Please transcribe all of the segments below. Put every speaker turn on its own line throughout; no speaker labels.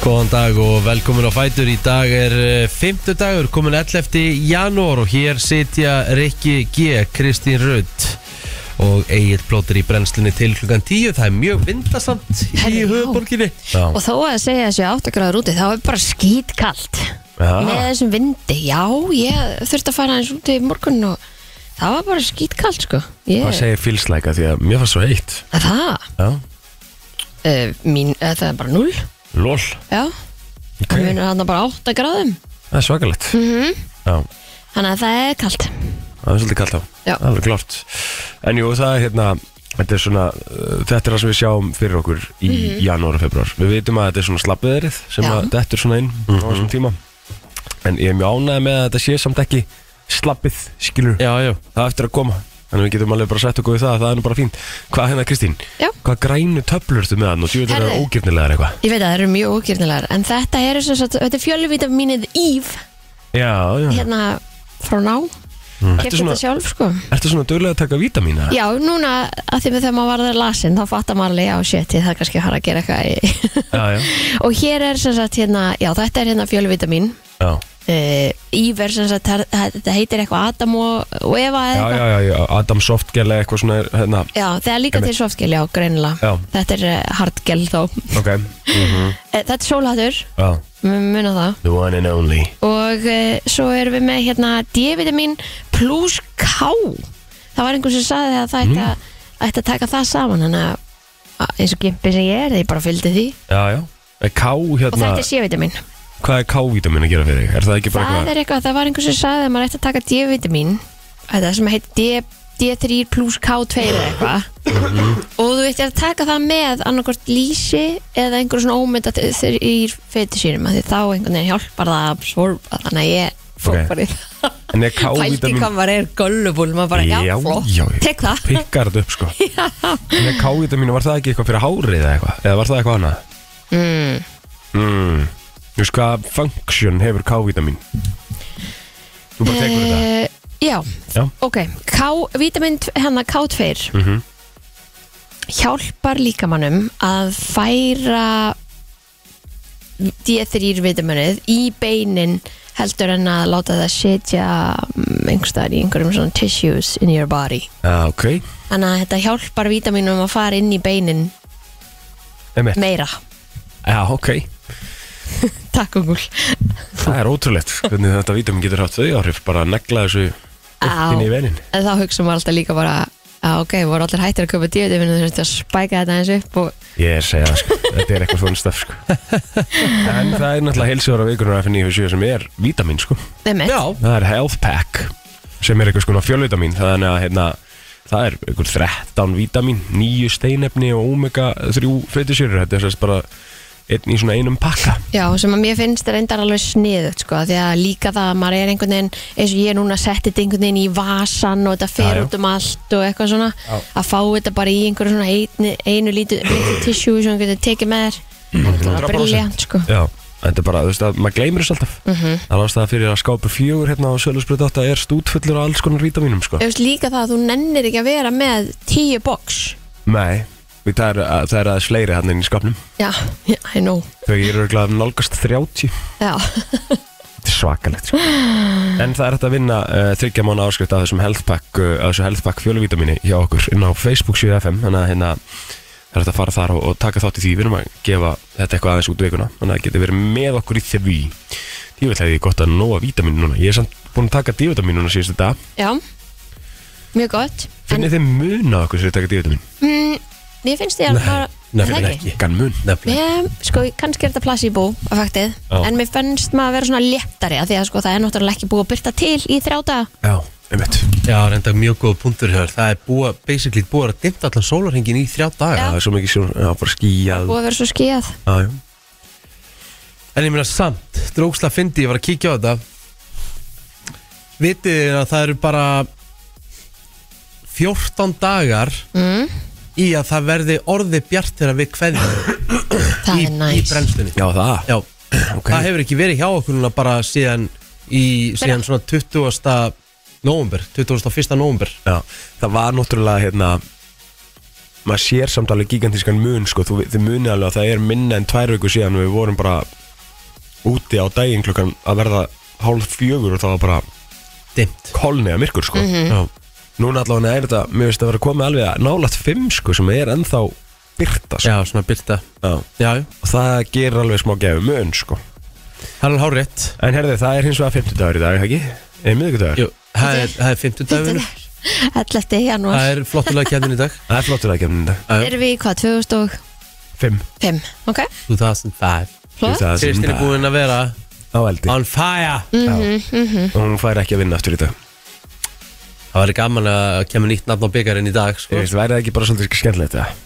Góðan dag og velkomin á Fætur. Í dag er eh, fymtu dagur, komin 11. janúar og hér sitja Rikki G, Kristín Rudd og Egil Plóter í brennslunni til klukkan 10. Það er mjög vindasamt í
Herri, já.
höfuborginni. Já.
Og þó að segja þessi áttagraður úti, þá er bara skítkallt með
Já.
þessum vindi. Já, ég þurfti að fara eins úti í morgun og það var bara skítkallt, sko.
Hvað
Ég,
segir fylsleika því að mér fannst svo heitt.
að það,
Já.
uh, mín, uh, það er bara null,
Lól.
já. Það munur hann bara áttagraðum.
Það er svakalegt.
Mhm.
Já.
Þannig að það er kallt.
Það er svolítið kallt á.
Já.
Það er klart. En jú, það er hérna, þetta er svona, uh, þetta er það sem við sjáum fyrir okkur í mm janúar og februar. Við veitum að þetta er svona slappiðrið sem
Mhm. Já.
að þetta er svona inn á þessum tíma. En ég er mjög ánægð með að þetta sé samt ekki slappið, skilur.
Já, já,
Það er eftir að koma. Þannig að við getum alveg bara sett okkur í það, það er nú bara fínt. Hvað hérna, Kristín?
Já.
Hvað grænu töflur ertu með hann og djúið er það
Herðu.
ógirnilegar eitthvað?
Ég veit að það eru mjög ókýrnilegar, en þetta eru sem sagt, þetta er fjölvitamínið Ív,
Já, já.
hérna frá ná. Mm.
Ertu svona-
þetta sjálf, sko.
Ertu svona dugleg að taka vítamína?
Já, núna, að því með þegar maður var það lasin, þá fattar maður alveg, já, shit, ég það kannski að að gera eitthvað í
Já, já.
Og hér er sem sagt hérna, já þetta er hérna fjölvitamin
Já,
uh, Íver sem sagt, það- það- þetta heitir eitthvað Adam og, og Eva eða
já,
eitthvað
já, já, já. Adam Softgel eða eitthvað svona, hérna,
Já, það er líka
Einmitt.
til softgel, já, greinilega
Já.
Þetta er uh, hardgel þá uh,
ok.
Eh, Þetta er sólhattur,
Já.
mun- muna það
The one and only
Og uh, svo erum við með hérna D-vitamin plus K Það var einhver sem sagði að það
Mm.
ætti að, ætti að taka það saman Þannig að að eins og gimpi sem ég er, ég bara fylgdi því
Já, já Er K
Og
hérna,
þetta er C-vitamin
hvað er K-vítamin að gera fyrir þig? Er það ekki bara
Það
eitthvað?
er eitthvað, það var einhvers sem sagði að maður ætti að taka D-vitamin Þetta sem heit D, D3 plus K2 eða eitthvað
Mhm.
Og þú veit að taka það með annarkvort lýsi eða einhver svona ómynda þrýr fetisýrum Því þá einhvern veginn hjálpar það að absorba Þannig að ég fór
Ok.
bara í það
En er
Pælti
K-vítamin
hvað maður er göllubull, maður bara, já,
Já,
flott,
já, já.
tek það
Pikkar þetta upp sko
Já,
En er K-vítamin, var það ekki eitthvað fyrir hárið eða eitthvað? Eða var það eitthvað annað?
mm,
Mm Þú veist hvað function hefur K-vítamin? Þú bara tekur þetta
Eh, já.
Já.
ok K-vitamin hennar K2
Mhm.
hérna, hjálpar líkamannum að færa D3 vitaminið í beinin heldur en að láta það setja mm, einhverstaðar í einhverjum svona tissues in your body
Já, ok
þannig að þetta hjálpar vítaminum að fara inn í beinin
Emmett
meira
Já, ok
Takk og gul
Það er ótrúlegt Hvernig þetta vítamin getur haft þau áhrif Bara að negla þessu upp
Á.
inn í venin
en þá hugsa maður alltaf líka bara að ok, voru allir hættir að köpa D-vitamin þú þurfti að spæka þetta eins upp og
Ég segja það sko, þetta er eitthvað svona stöf sko En það er náttúrulega heilsuðar á vikunar FNF7 sem er vítamin sko
nefnir
já,
Það er health pack sem er eitthvað svona fjölvitamin þannig að hérna, það er eitthvað 13 vítamin, 9 steinefni og omega 3 fetisýrur þetta er sérst bara einn í svona einum pakka
Já, sem að mér finnst er reyndar alveg sniðut sko, því að líka það að maður er einhvern veginn eins og ég er núna að setja þetta einhvern veginn í vasan og þetta fer
Já, já.
út um allt og eitthvað svona
Já.
að fá þetta bara í einhverju svona einu, einu lítu, lítu tissjú sem þú getur tekið með þér
Mm,
Það er
100%.
briljant sko
Já, þetta er bara, þú veist að maður gleymir þess alltaf Það er ástæða fyrir að skápu fjögur hérna á Sölusbröð 8 er stútfullur á alls konar vítaminum sko
Ég veist líka það að þú nennir ekki að vera með tíu box
Nei, því það er, það er aðeins fleiri hérna inn í skapnum
Já, já, I know
Þau eru glæðum nálgast 30
Já,
Þetta er svakalegt sko. En það er hægt að vinna uh, þryggja mánu áskrift af þessum healthpack, uh, af þessu healthpack fjöluvítamini hjá okkur inn á Facebook 7FM þannig að hérna það er hægt að fara þar og, og taka þátt í því við erum að gefa þetta eitthvað aðeins út veikuna þannig að það geti verið með okkur í því Ég vil hefði gott að nóa vítamin núna Ég er samt búin að taka divitamin núna síðustu dag
já Mjög gott En
Finnið þið mun á okkur sem þið taka divitamin?
mm, mér finnst ég að bara Er það
nefnilega ekki Gann mun Nefnilega
Ég, sko, kannski er þetta placebo að faktið,
Já.
en mér fannst maður að vera svona léttari að því að sko, það er náttúrulega ekki búið að byrta til í þrjá daga.
Já, einmitt
já, reynda mjög góð punktur hér Það er búa, basically búið að dimta allan sólarhengin í þrjá daga
Það er svo mikið sjón, já, bara skýjað
búið að vera svo skíðað
Já, já.
En ég meina samt, dróksla fyndi, ég var að kíkja á þetta Vitið þið að það eru bara 14 dagar
mm,
í að það verði orði bjart þegar við kveðjum
það
í,
er
í
næst
brennstunni
já, það
Já,
Ok.
það hefur ekki verið hjá okkur núna bara síðan, í, síðan svona 20. november 21. november
Já, það var náttúrulega hérna maður sér samt alveg gigantískan mun sko, þú, þið munið alveg að það er minna en tvær viku síðan við vorum bara úti á daginn klukkan að verða hálf fjögur og það var bara
dimmt
kolni að myrkur sko
Já.
Núna allavega er þetta, mér finnst að vera komið alveg að nálaðt fimm sko sem er ennþá byrta sko.
Já, svona byrta
Já.
Já, já.
og það gerir alveg smá gefið mun sko
það er alveg hárétt
En herði, það er hins vegar 50 dagur í dag, er það ekki? Eða miðvikudagur?
Jú, það er, það er 50 dagur
11. janúar
Það er flottulega kemmin í dag
Það er flottur að kemna þetta
Já, já.
Erum við í hvað, 2005?
5
Ok,
2005
flott
Kristín er búin að vera
á eldi
on fire
Mm. og hún fær ekki að vinna aftur í dag
Það væri gaman að kemur nýtt nafn á byggarinn í dag
Ég
sko.
veist, væri það ekki bara svolítið skemmtilegt það?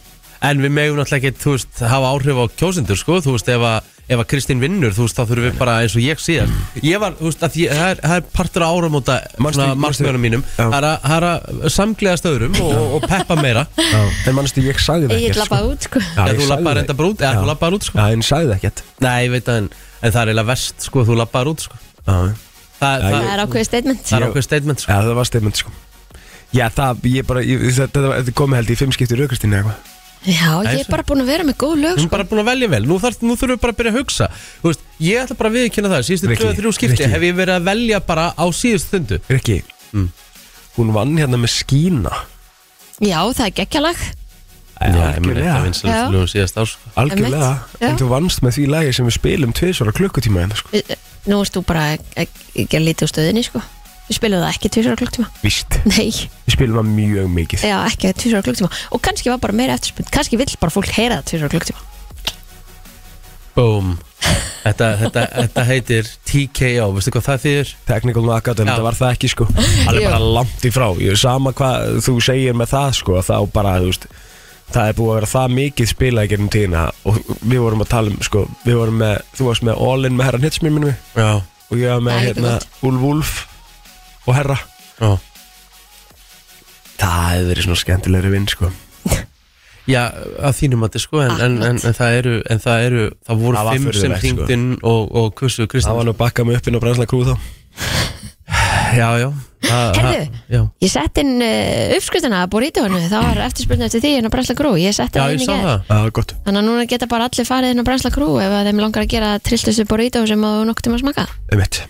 En við megum náttúrulega ekki, þú veist, hafa áhrif á kjósendur, sko, þú veist, ef að, ef að Kristín vinnur, þú veist, þá þurfum við bara eins og ég síðan. Ég var, þú veist, að ég, það, er, það er partur á áramóta,
Manstu-
svona,
manstu-
markmjörnum mínum,
Já.
það er að- það er að samgleðast öðrum og, og peppa meira.
Já. En mannstu, ég sagði það
Ég
ekkert,
er labbað út, sko
Já,
Já,
ég
þú
sagði
labbaðir
það.
enda bara út, eða þú
Já.
labbaðir út, sko.
Já, en sagði það ekkert
Nei, ég veit að, en, en það er eiginlega verst, sko, þú labbaðir út, sko.
Já,
Það,
Já,
það,
Það er ákveðið statement
það er okkur statement, sko.
Já, það var stefnund sko Já, það, ég bara, ég, þetta, þetta, þetta komið held í fimm skipti raukastinni eitthvað
Já, ég
Nei,
er bara búin að vera með góð lög,
Við erum
sko
bara búin að velja vel, nú, þarf, nú þurfum við bara að byrja að hugsa Þú veist, Ég ætla bara að viðkynna það, síðustu
Rikki,
2-3 skipti
Rikki.
hef ég verið að velja bara á síðustu stundu
Rikki,
Mm.
hún vann hérna með skína
Já, það er geggjalag
algjörlega,
Já.
vinsælum síðast ár sko.
algjörlega
Einmitt, já.
En þú vannst með því lagi sem við spilum tvisvara klukkutíma hérna sko
Nú erst þú bara að að gera lítið úr stöðinni, sko Við spilum það ekki tvisar klukktíma
Víst,
Nei,
við spilum það mjög mikið
já, ekki tvisar klukktíma Og kannski var bara meira eftirspunn Kannski vill bara fólk heyra það tvisar klukktíma
Búm þetta, þetta, þetta heitir TKO, veistu hvað það þýðir?
Technical knockout, en
Já.
þetta var það ekki sko
Jú.
Alveg bara langt í frá, ég, sama hvað þú segir með það sko Þá bara, þú veist, það er búið að vera það mikið spilað gerum tíðina Og við vorum að tala um sko, við vorum með, þú varst með All In með herran hitsmir minnum við
Já,
og ég var
Það
með
er líka
hérna Úlf Úlf og Herra
já.
Það hefði verið svona skemmtilegri vinn sko
já að þínum að þetta sko en, en, en, en, það eru, en það eru, það voru
Það var
fimm sem
furðulegt, sko.
hringdinn og, og kussu
Það var
Kristján
nú bakkað mig upp inn á brænsla krú þá
Já, já það-
Heyrðu.
það- Já,
Ég sett inn uh, uppskriftina að borítónu Það var eftirspunn eftir því en að brensla grú Ég sett
já
það
ég
inn í
sá
gær
það
Það var gott
Þannig að núna geta bara allir farið inn á Brensla Crew ef að þeim langar að gera trilltustu burrito sem að þú nokkuð tíma að smaka.
Einmitt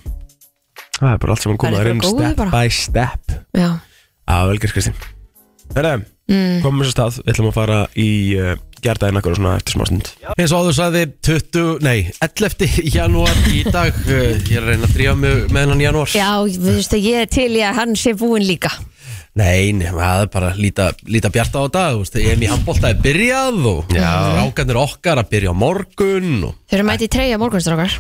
Það er bara allt sem hún
Það
komað
er
inn
bara góðu
step
bara.
by step
Já.
Á velgerð Kristín Herra, mm. komum við svo stað Við ætlum að fara í uh, gerðaðin akkur og svona eftir smá stund
eins og áður sagði 20, nei, 11. janúar í dag, eh, ég er að reyna að drífa mig með hennan janúar
Já, þú veist að ég er til í að hann sé búinn líka.
Nei, nei, það er bara að líta, líta bjarta á dag, þú veist, EM í handbólta er byrjað og rákanir okkar að byrja á morgun og
Þau eru mæti í treyja morgunstrókar.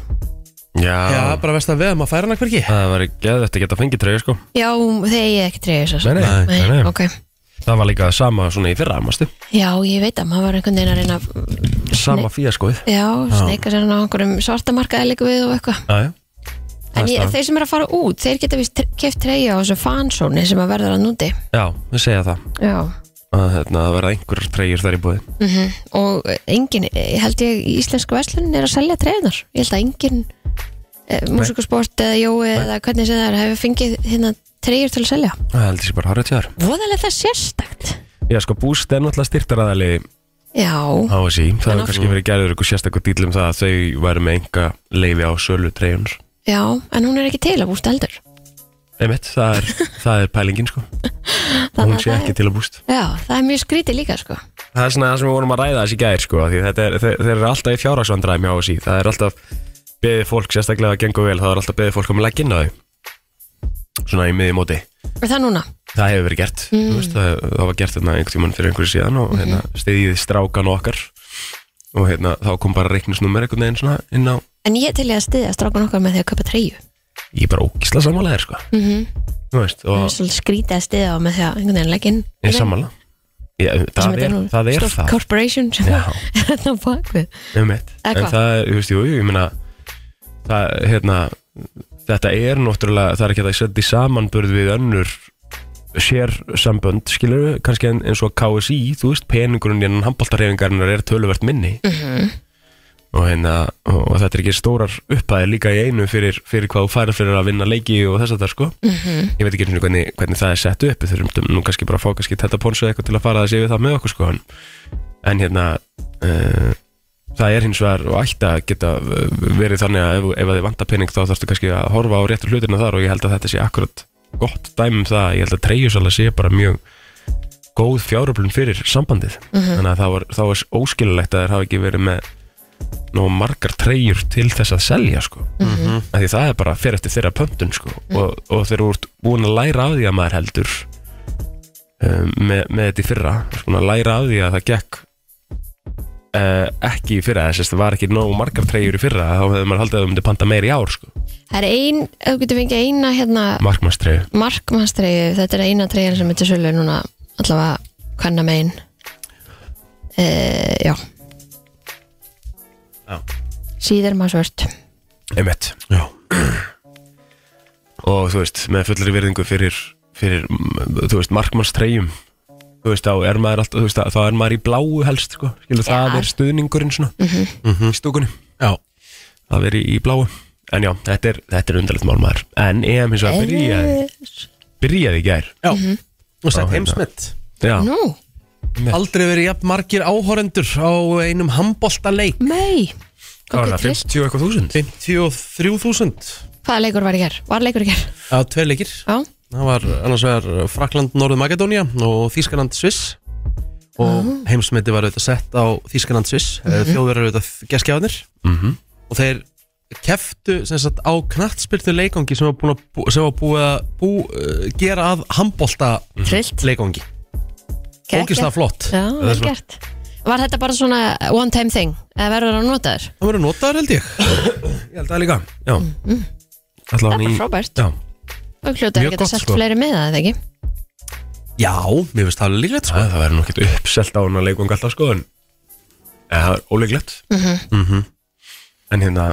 já, það er bara vest að veða maður færa hana hverki
það var geðvægt að geta fengið treyja sko
Já, þegar ég ekki treyja þess
nei,
Nei,
ok.
Það var líka sama svona í fyrra, mástu
Já, ég veit að maður var einhvern veginn að reyna að,
Sama fíaskoð
já, sneika sér hann á einhverjum svartamarkaði líka við og eitthvað.
Já, já
En ég, þeir sem eru að fara út, þeir geta vist keft treyja á þessu fansóni sem að verður að núti.
Já, við segja það
Já.
að hérna, það verða einhverjar treyjur þar í búið
og engin, ég held ég í íslensku verslun er að selja treyðunar ég held að engin e, músikasport eða jói eða hvernig sem það er hefur fengið hérna treyjur til að selja
Það heldur sér bara hárið tjáður
voðalega það sérstakt
Já, sko, Boost er náttúrulega styrtaraðali
já,
á þessi. Það
En
hefur
af-
kannski verið gerður eitthvað sérstakur dýl um það að þau væri með enga leifi á sölu treyjunars.
já, en hún er ekki til að bústa eldur
Einmitt, það er, það er pælingin, sko. Hún
það
sé ekki
er,
til að búst.
já, það er mjög skrítið líka sko.
Það er svona það sem við vorum að ræða þessi gæðir, sko. af Því þetta er, þeir, þeir eru alltaf í fjárhagsvandræmi á þessi. Það er alltaf beðið fólk, sérstaklega að gengur vel, það er alltaf beðið fólk um að leggja inn á þau. Svona í miðjum móti.
er það núna?
Það hefur verið gert mm. veist, það, það var gert hérna einhvern tímann fyrir einhverju síðan og hérna, stiðið strákan okkar og hérna, þá kom bara reiknisnúmer einhvern veginn svona inn á
en ég er til ég að stiðja strákun okkar með því að köpa treyju
ég er bara ógísla sammálaðir sko mm veist,
það
og
er svolítið skrítið að stiðja á með því að einhvern veginn legginn
ég er sammála ég, það, er, það er það
corporation sem
Já.
er þarna á bakvið
um eitt
Eða
en
hvað?
það, er, þú veist, jú, jú, ég meina það, hérna þetta er náttúrulega, það er ekki hægt að setja í samanburð við önnur sér sambönd, skilur við, kannski en- eins og KSI, þú veist, peningurinn innan handbóltarhefingarinnar er töluvert minni -hmm.
Mhm.
og hérna og, og þetta er ekki stórar upphæðir líka í einu fyrir, fyrir hvað þú færir fyrir að vinna leiki og þess að það sko -hmm.
Mhm.
ég veit ekki einu sinni hvernig, hvernig það er sett upp við þurfum nú kannski bara að fá kannski þetta ponsu eitthvað til að fara þessi yfir það með okkur sko en, en hérna uh, það er hins vegar og ætti að geta uh, verið þannig að ef, ef að þið vantar pening þá þarfstu kannski að horfa á réttu hlutina þar og ég held að þetta sé akkurat gott dæmi um það, ég held að treyjusala sé bara mjög góð fjáröflun fyrir sambandið þannig að það var, það var óskilulegt að þeir hafa ekki verið með nóg margar treyjur til þess að selja sko af því það er bara fyrir eftir þeirra pöntun sko og, og þeir eru búin að læra af því að maður heldur um, með, með þetta í fyrra svona læra af því að það gekk uh, ekki í fyrra þess að það var ekki nóg margar treyjur í fyrra þá hefði maður haldið að það myndi panta meir í ár sko
Það er ein, ef þú getur fengið eina hérna
markmannstreyju
markmannstreyju, þetta er eina treyjan sem er til sölu núna allavega hvenna megin e, Já
Já.
Síðar maður svört
Einmitt Já Og þú veist, með fullri virðingu fyrir, fyrir mm, þú veist, markmannstreyjum Þú veist, þá er maður alltaf, þú veist, þá er maður í bláu helst, sko Skilu, það
Já. Mhm.
er stuðningurinn svona Í stúkunni
Já,
Það er í, í bláu En já, þetta er, þetta er undarlegt mál maður En EM hins
Eh,
vegar byrjaði, byrjaði í gær
já Og sett
Á, hérna.
heimsmet
Já,
Nú,
Aldrei verið jafn margir áhórendur á einum handbóltaleik
mei
hvað var það, 50 eitthvað þúsund?
53.000
Hvaða leikur var í hér? Var leikur í hér?
á tveir leikir
Já,
Það var annars vegar Frakland, Norður Makedónia og Þískaland, Sviss og heimsmeti var auðvitað sett á Þískaland, Sviss mm -hmm. þjóðverðar auðvitað geskjáðnir
Mhm.
og þeir keftu sem sagt á knattspyrtu leikongi sem var búin að, bú- sem var búið að bú, uh, gera að handbólta
Mhm.
trillt
leikongi
Gekk,
ógislega
gekk.
flott
Já,
Það er
vel
svona-
gert Var þetta bara svona one time thing? Eða verður það notaður?
það verður notaður held ég
Ég held það líka Já
Mm-hmm.
Alla
Það
hann
er
í
bara frábært
Já,
Og hljótaður
Mjög
geta
gott,
sett
sko.
fleiri með það, eða ekki?
já, mér finnst það líklegt sko.
það, það verður nú ekkert uppselt á hann að leikum alltaf sko En en það er óleiklegt
Mm-hmm.
En hérna,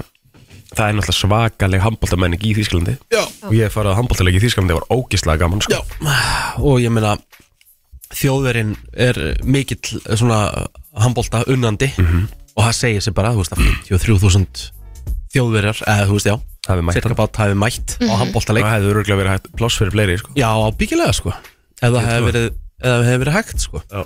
það er náttúrulega svakaleg handbóltamenning í Þýskalandi
já.
Og ég hef farið á handbóltalegi í Þýskalandi, það var ógislega gaman sko
já og ég meina þjóðverinn er mikill eh, svona handbólta unnandi
Mhm.
og það segir sér bara, þú veist að 53.000 þjóðverjar, eða þú veist já
Hafi mætt
cirka
hann
bát hafi mætt á handbóltaleik
Það hefði örgulega verið hægt pláss fyrir fleiri sko
já, ábyggilega sko ef það hefði
trúi.
verið, ef það hefði verið hægt sko
Já,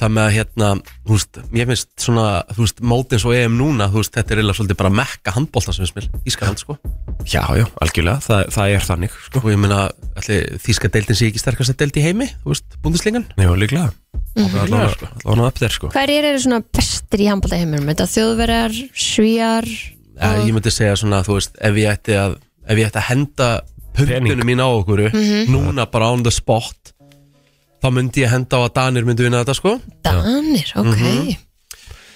það með að hérna, þú veist, mér finnst svona, þú veist, mótins og EM núna þú veist, þetta er eiginlega svolítið bara mekka handbólta sem finnst mér, Ískaland sko
já, já algjörlega, það, það er þannig sko
og ég meina, ætli Þíska deildin sé ekki sterkast að deildi heimi, þú veist, búndislingan
Nei, og líklega Það er
Líklega,
allavega-
sko.
allavega upp þér sko
Hverjir eru svona bestir í handbóltaheiminum? Þetta þjóðverjar, svíjar
Ja, Eh, ég myndi segja svona, þú veist, ef ég ætti að ef ég ætti að henda
Pening.
pundinu mín á okkur Mhm. núna bara on the spot þá myndi ég henda á að Danir myndi vinna þetta sko
Danir, ok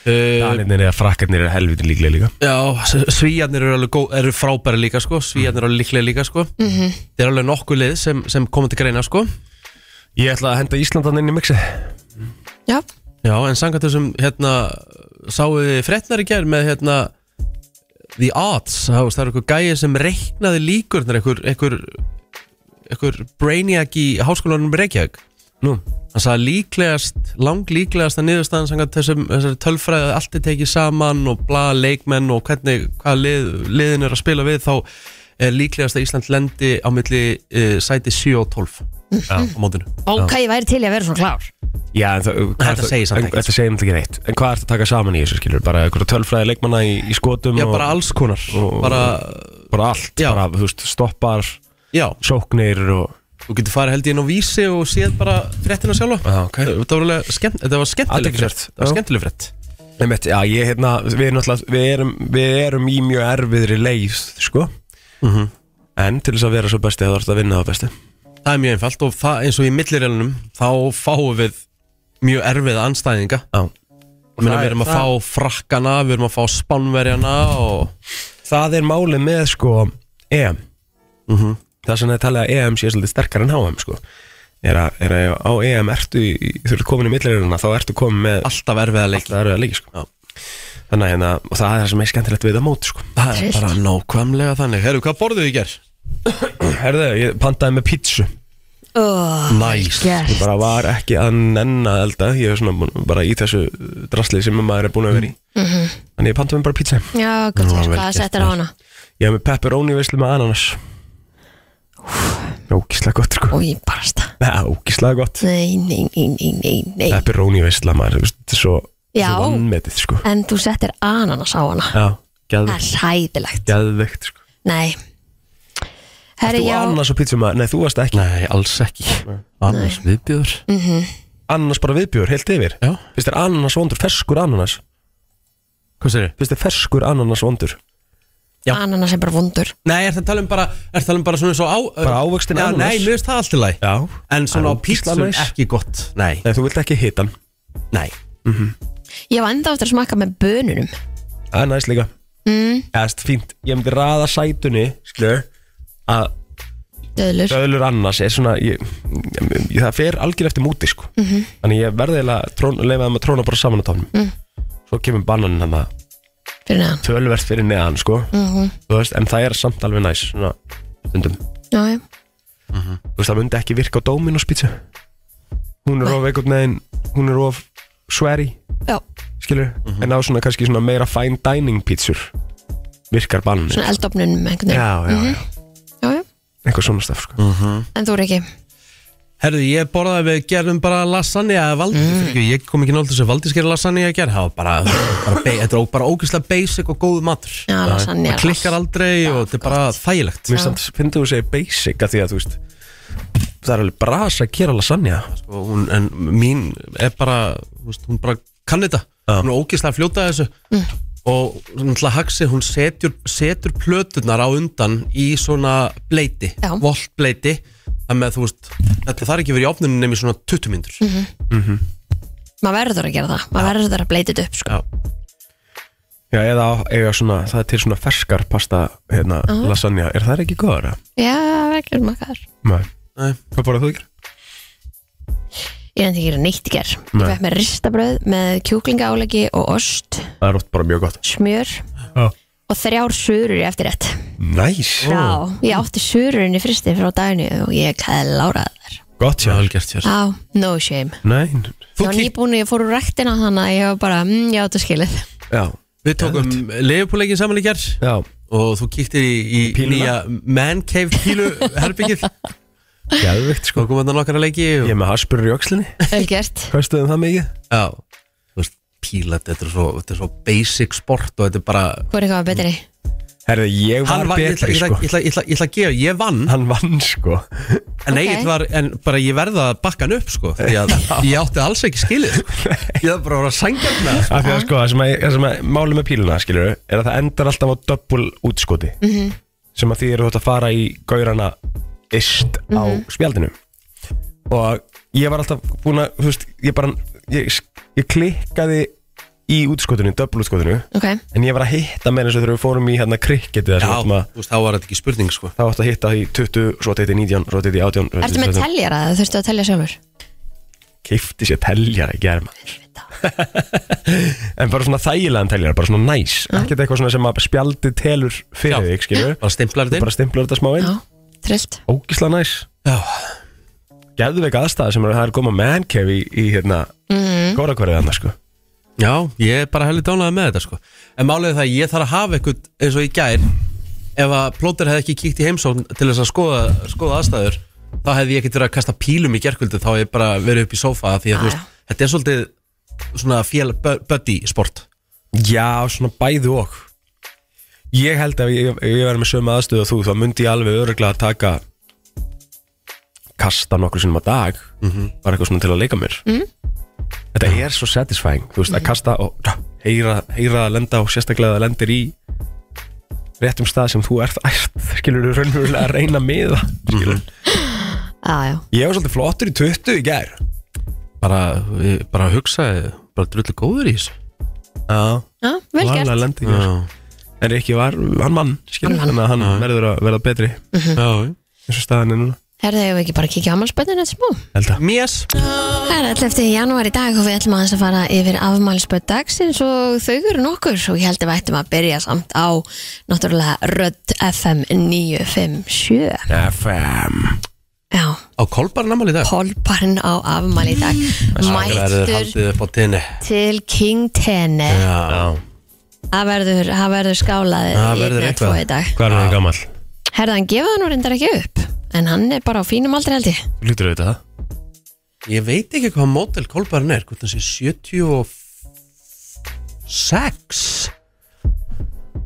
uh,
Danirnir eða frakkarnir er helviti líklega líka
Já, s- Svíarnir eru, alveg góð, eru frábæri líka sko Svíarnir eru alveg líklega líka sko Þeir eru alveg nokkuð lið sem, sem koma til greina sko
Ég ætla að henda Íslandan inn í mixið
Já,
Já, en samkvæmt þessum hérna sáu þið frettnar í gær með hérna The Odds, þá veist, það er einhver gæi sem reiknaði líkurnar einhver, einhver, einhver brainiac í háskólanum í Reykjavík
Nú,
hann sagði líklegast, langlíklegast að niðurstaðan samkvæmt þessum þessari tölfræði að allt er tekið saman og bla leikmenn og hvernig, hvað lið, liðin er að spila við þá er líklegast að Ísland lendi á milli uh, sæti 7 og 12
já,
á mótinu
ok, ég væri til í að vera svona klár
já en það, hvað er
Þetta segir samt
en-
ekkert.
Þetta segir samt ekki neitt En hvað ertu að taka saman í þessu skilur? Bara einhverja tölfræði leikmanna í, í skotum
Já,
og,
bara alls konar
og-
bara,
bara allt
Já.
bara, Þú veist, stoppar,
já,
sóknir og
þú getur farið held ég inn á vísi og séð bara fréttina sjálfa
Já, ok
Þetta var alveg skemmt, þetta var skemmtileg
Athyglisvert.
frétt Þetta var
Já.
skemmtileg frétt
Einmitt, já, ég, hérna, við, erum náttúrulega- við, erum, við erum í mjög erfiðri leið sko.
Mhm.
en til þess að vera svo besti þá ertu að vinna það besti
Það er mjög einfalt og það, eins og í millirælunum þá fáum við mjög erfiða anstæðinga
Já.
Ég meina,
Það
Við
er-
erum að
það-
fá frakkana, við erum að fá spánverjana og
Það er málið með sko EM
Mhm.
Það sem það er talið að EM sé svolítið sterkar en HM sko. er að, er að á EM ertu í- í- þú ert komin í millirirna þá ertu komin með
alltaf erfiða leik
alltaf erfiða leiki
Já.
sko. þannig að hérna, og það er það sem er skemmtilegt við það mót sko.
Það er bara nákvæmlega þannig Herru, hvað borðuðu í ger?
Herðu, ég pantaði með pítsu
oh,
Næs.
ég bara var ekki að nenn að elda ég er svona búinn- bara í þessu drasli sem maður er búin að vera í þannig ég pantaði mér bara pizza
Mhm. Já, gott
Nú,
þér,
vel
hvað
gert,
settir á hana?
ég hef með pepperoni veislu með ananas ógíslega gott sko
Új, barasta
ógíslega gott
Nei, nei, nei, nei, nei, nei
pepperoni veisla maður þú veist, þetta er svo
Já,
Svo vannmetið sko
en þú settir ananas á hana
Já,
Það er
geðveikt,
hæðilegt
geðveikt sko
Nei Herri,
Þú
já,
annars og pítsum að, nei þú varst ekki
Nei, alls ekki Annars viðbjör
Annars bara viðbjör, heilt yfir
Já.
Fyrst er ananas vondur, ferskur ananas
Hvað segir þið?
Fyrst er ferskur ananas vondur
já.
ananas er bara vondur
Nei, er það tala um bara, er það tala um bara svona svo á
Bara ávöxtin
Já,
ananas.
Nei, mér finnst það allt í lagi
Já
En
Það
svona á
er ógeðslega
pítsum
næs.
ekki gott Nei,
Nei, þú vilt ekki hita hann
nei
Ég var enda aftur að smakka með bönunum
Það er næst líka mm. Það er fínt Ég myndi raða sætunni Skilur Að
Döðlur
döðlur annars er svona ég, ég, Það fer algjör eftir múti sko -hmm. Þannig ég verði eiginlega trón- Leifað um að tróna bara saman á tónum mm. Svo kemur bananin hann að
Fyrir neðan
Tölvert fyrir neðan sko mm -hmm. veist, En það er samt alveg næs Svona stundum
Já, já
Þú veist það myndi ekki virka á Dominos pizza Hún er of einhvern veginn Hún er of swery
Já,
Skilur En á svona kannski svona meira fine dining pizzur Virkar bananin
svona eldofnunum einhvern veginn
Já, já, já
já, já.
eitthvað svona staf sko.
En þú er ekki
Herðu, ég borðaði við gerðum bara lasagne að valdi, mm. ég kom ekki náttúrulega þess að valdi skera lasagne að gera, það var bara, bara be- þetta er ó- bara ógeðslega basic og góð matur
Já, lasagne er
það klikkar aldrei og þetta er bara þægilegt
Mér samt finnst þú að segja basic að því að þú veist það er alveg brasa að gera lasagna
sko, hún, en mín er bara, þú veist, hún bara kann þetta, hún er ógeðslega að fljóta þessu
Mm.
og náttúrulega Haxi, hún setur, setur plöturnar á undan í svona bleiti,
Já.
voltbleiti, það með þú veist, þetta þarf ekki að vera í ofninu nefnir svona 20 myndur.
Mhm. Maður verður að gera það Maður verður að bleita þetta upp sko.
Já.
Já, eða á- eiga svona, það er til svona ferskar pasta, hérna, lasagna Er það ekki góður? eða?
Já, um ekki er makkar
Nei
Nei.
Hvað borðað þú ekki?
Ég nefndi ekki að gera neitt í ger Ég
Nei.
fekk með ristabröð með kjúklingaálegi og ost,
Það er oft bara mjög gott
smjör
Já.
og þrjár surur í eftirrétt
Næs
Já, ég átti sururinn í fristi frá daginu og ég kæði láraði þær
Gott
Já,
já
vel gert hér.
Já, no shame
Nei
Ég var nýbúin og ég fór úr rektina þannig að ég var bara, mm, já, þetta skilið
Já
Við tókum leifupúleikin saman í gerð
Já
og þú kíktir í, í
Píluna.
nýja man cave pílu herbyggið og
Gæðvikt sko
komum þetta nokkara leiki og,
Ég er með haspurur í öxlinni
Ölgert
Hvað stöðum það mikið?
Já, þú veist, píla, þetta er, svo, þetta er svo basic sport og þetta er bara
Hvor er eitthvað betri?
Herði, ég var
Hann var, ég ætla-
betri
ég ætla-
sko
ég ætla- ég ætla ég ætla að gefa, ég vann
Hann vann sko
en,
Ok.
okay. var, en bara ég verða að bakka hann upp sko, því að ég átti alls ekki skilið sko. ég var bara að vera sangjarna
Af því að sko, það sem að, það sem að máli með píluna, skilur er að það endar alltaf á döbbul útskoti
Mhm.
-hmm. sem að því eru þetta að fara í gaurana ist á
Mhm.
spjaldinu og ég var alltaf búin að, þú veist, ég bara ég, ég klikkaði í útskotinu, döbbul útskotinu
Ok,
en ég var að hitta með eins og þegar við fórum í hérna krikketið
Já,
þessum að
þú veist, þá var þetta ekki spurning sko
þá átti að hitta í 20, svo átti að hitta í 19, svo átti að hitta í 18 svo átti
ertu
að
með
hitta í 17.
teljara eða þurftu að telja sjálfur?
Keypti sér teljar í germa En bara svona þægilegan teljar, bara svona næs Ekkert eitthvað svona sem að spjaldið telur fyrir
Já.
þig, skilur
bara stimplar
Þú
þetta
bara stimplar þetta smá
Já,
inn
trillt
Ógisla næs
inn Já,
Geðveik aðstæða sem er, það er koma man cave í, í hérna
Mhm.
mm. Górakverðið annars, sko
Já, ég er bara heldur dánlega með þetta sko En málið er það að ég þarf að hafa eitthvað eins og í gær Ef að plóter hefði ekki kíkt í heimsókn til þess að skoða, skoða aðstæður Þá hefði ég ekkert verið að kasta pílum í gerkvöldu Þá hef ég bara verið upp í sófa Því að þú
Já,
veist, þetta er svolítið svona fél buddy sport
Já, svona bæðu og Ég held að ég, ef ég verið með sömu aðstöðu og þú Þá myndi ég alveg öruglega að taka Kasta nokkru sinnum á dag Bara eitthvað svona til að leika mér
Mhm.
mm. Þetta er svo satisfying Þú veist, að kasta og heyra, heyra að lenda Og sérstaklega að það lendir í Réttum stað sem þú ert ært Skilur þú raunverulega að reyna með það Skilur
Já, já,
Ég var svolítið flottur í 20 í gær
Bara, ég- bara að hugsa, bara drullu góður í þessu
Já,
já vel
var alveg
gert
að lenda í gær En Rikki var, hann mann Skilur,
Hann vann.
þannig að hann verður að verða betri
Já
eins og staðan er núna
Herðu, hefur við ekki bara að kíkja á afmælspöndin eftir smá?
held að
Mjess
Það er alltaf eftir janúar í dag og við ætlum aðeins að fara yfir afmælspönd dagsins og þau eru nokkur og ég held að við ættum að byrja samt á náttúrulega Rödd FM 957
FM
Já,
Á kolbarnamal í dag
Kolbarn á afmæli í dag
Það er
Mættur
haldið upp á tinni
til King Tene
Já,
Það verður, það verður skálað
Það verður
einn eða tvo
eitthvað.
í dag
Hvað er hann gammal?
Herðan, gefa það nú reyndar ekki upp En hann er bara á fínum aldrei held ég
Þú lítur auðvitað það
ég veit ekki hvað mótel kolbarn er Hvort það sé 74 sex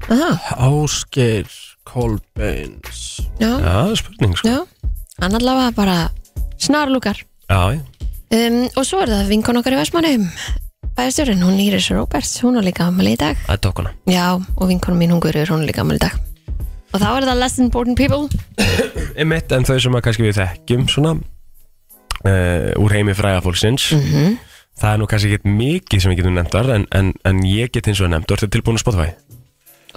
Aha,
Ásgeir Kolbeins
já,
Já, það er spurning sko
já Hann allavega bara snarlúkar
Já, já
um, Og svo er það vinkon okkar í Vestmannum Bæðstjórinn, hún Íris Roberts, hún á líka ammali í dag
Það er tókuna
Já, og vinkonum mín hún Guður, hún á líka ammali í dag Og þá er það less important people
Einmitt, en þau sem að kannski við þekkjum svona uh, úr heimi fræðafólksins
Mhm.
Það er nú kannski ekkert mikið sem við getum nefnt þar en, en, en ég get eins og nefnt, þú ertu tilbúin að Spotify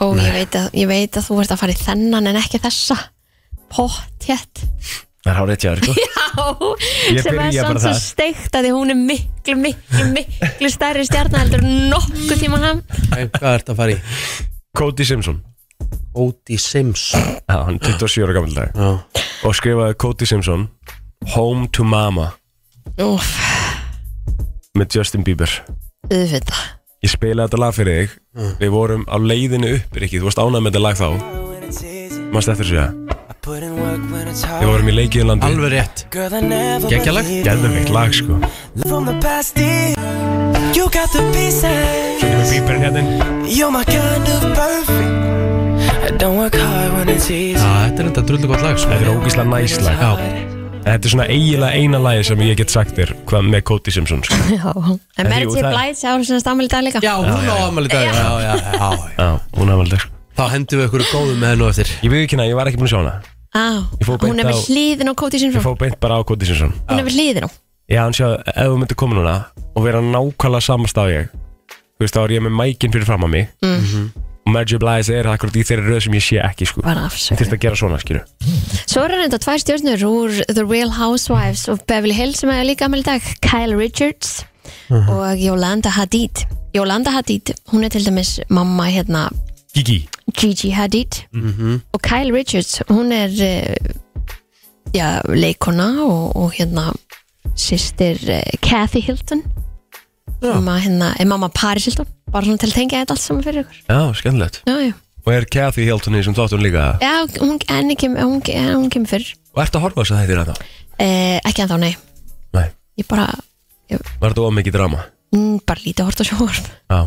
Og ég veit, að, ég veit að þú ert að fara í þennan en ekki þessa Pottjett
Það er hárið tjáður, sko Ég
Já, sem er
byrja bara
sann svo
þar.
steikt að því hún er miklu, miklu, miklu stærri stjarnaheldur nokkuð tíma hann
En hvað ert að fara í?
Cody Simpson
Óti Simpson
Já, hann er 27 ára gammal dag
Já.
Og skrifaði Cody Simpson Home to Mama
Úf,
með Justin Bieber
auðvita
Ég spilaði þetta lag fyrir þig Við vorum á leiðinu upp, Rikki Þú varst ánægð með þetta lag þá Mást eftir þessu, já Við
Ég
vorum í leikiðinlandi
Alveg rétt
Gekkjalag
Gæðveikt lag, sko
You got the pieces
Kemur Bieberinn hérna inn.
You're my kind of perfect I don't work hard when it's easy
Já, Þetta er enda drullu gott lag sko.
Þetta er ógislega næs lag Þetta er svona eiginlega eina lagi sem ég get sagt þér Hvað með Cody Simpson sko.
Já, en
En
Mary
jú,
J.
það-
Blige ára sinna stammel í dag líka
Já, hún á amal í dag já, já, já, já.
Já, hún er valdið
Þá hendum við ykkur góðum með hennu eftir
Ég veit ekki hérna, ég var ekki búin að sjá hana
Á,
Ég
Ah,
fór
hún
beint
er
á-
með hliðin á Cody
Ég
Simpson
fór beint bara á Cody Simpson
Hún er með hliðin á
Já, hann sjá, ef þú myndir koma núna Og vera nákvæmlega samast á ég Þú veist, þá er ég með mækinn fyrir fram að mig mm Og Mary J. Blige er akkurat í þeirri röð sem ég sé ekki sko.
Bara
Ég
afsökun
þurfti að gera svona, skilu
Svo er þetta tvær stjórnur úr The Real Housewives of Beverly Hills sem er líka ammali í dag Kyle Richards og Yolanda Hadid Yolanda Hadid, hún er til dæmis mamma hérna
Gigi
Gigi Hadid og Kyle Richards hún er eh, já, leikona og, og hérna sýstir eh, Kathy Hilton sem að hérna er mamma Paris Hilton bara svona til að tengja þetta allt saman fyrir ykkur
Já, skemmtilegt
já, já.
Og er Kathy Hilton í sem þáttun líka
já hún, henni kem, hún, eh, hún kemur fyrir
Og ertu að horfa þess að þetta er þetta?
eh, ekki ennþá, nei
Nei,
ég bara,
var þetta of mikið drama?
mm, bara lítið hort á sjóvarp
Já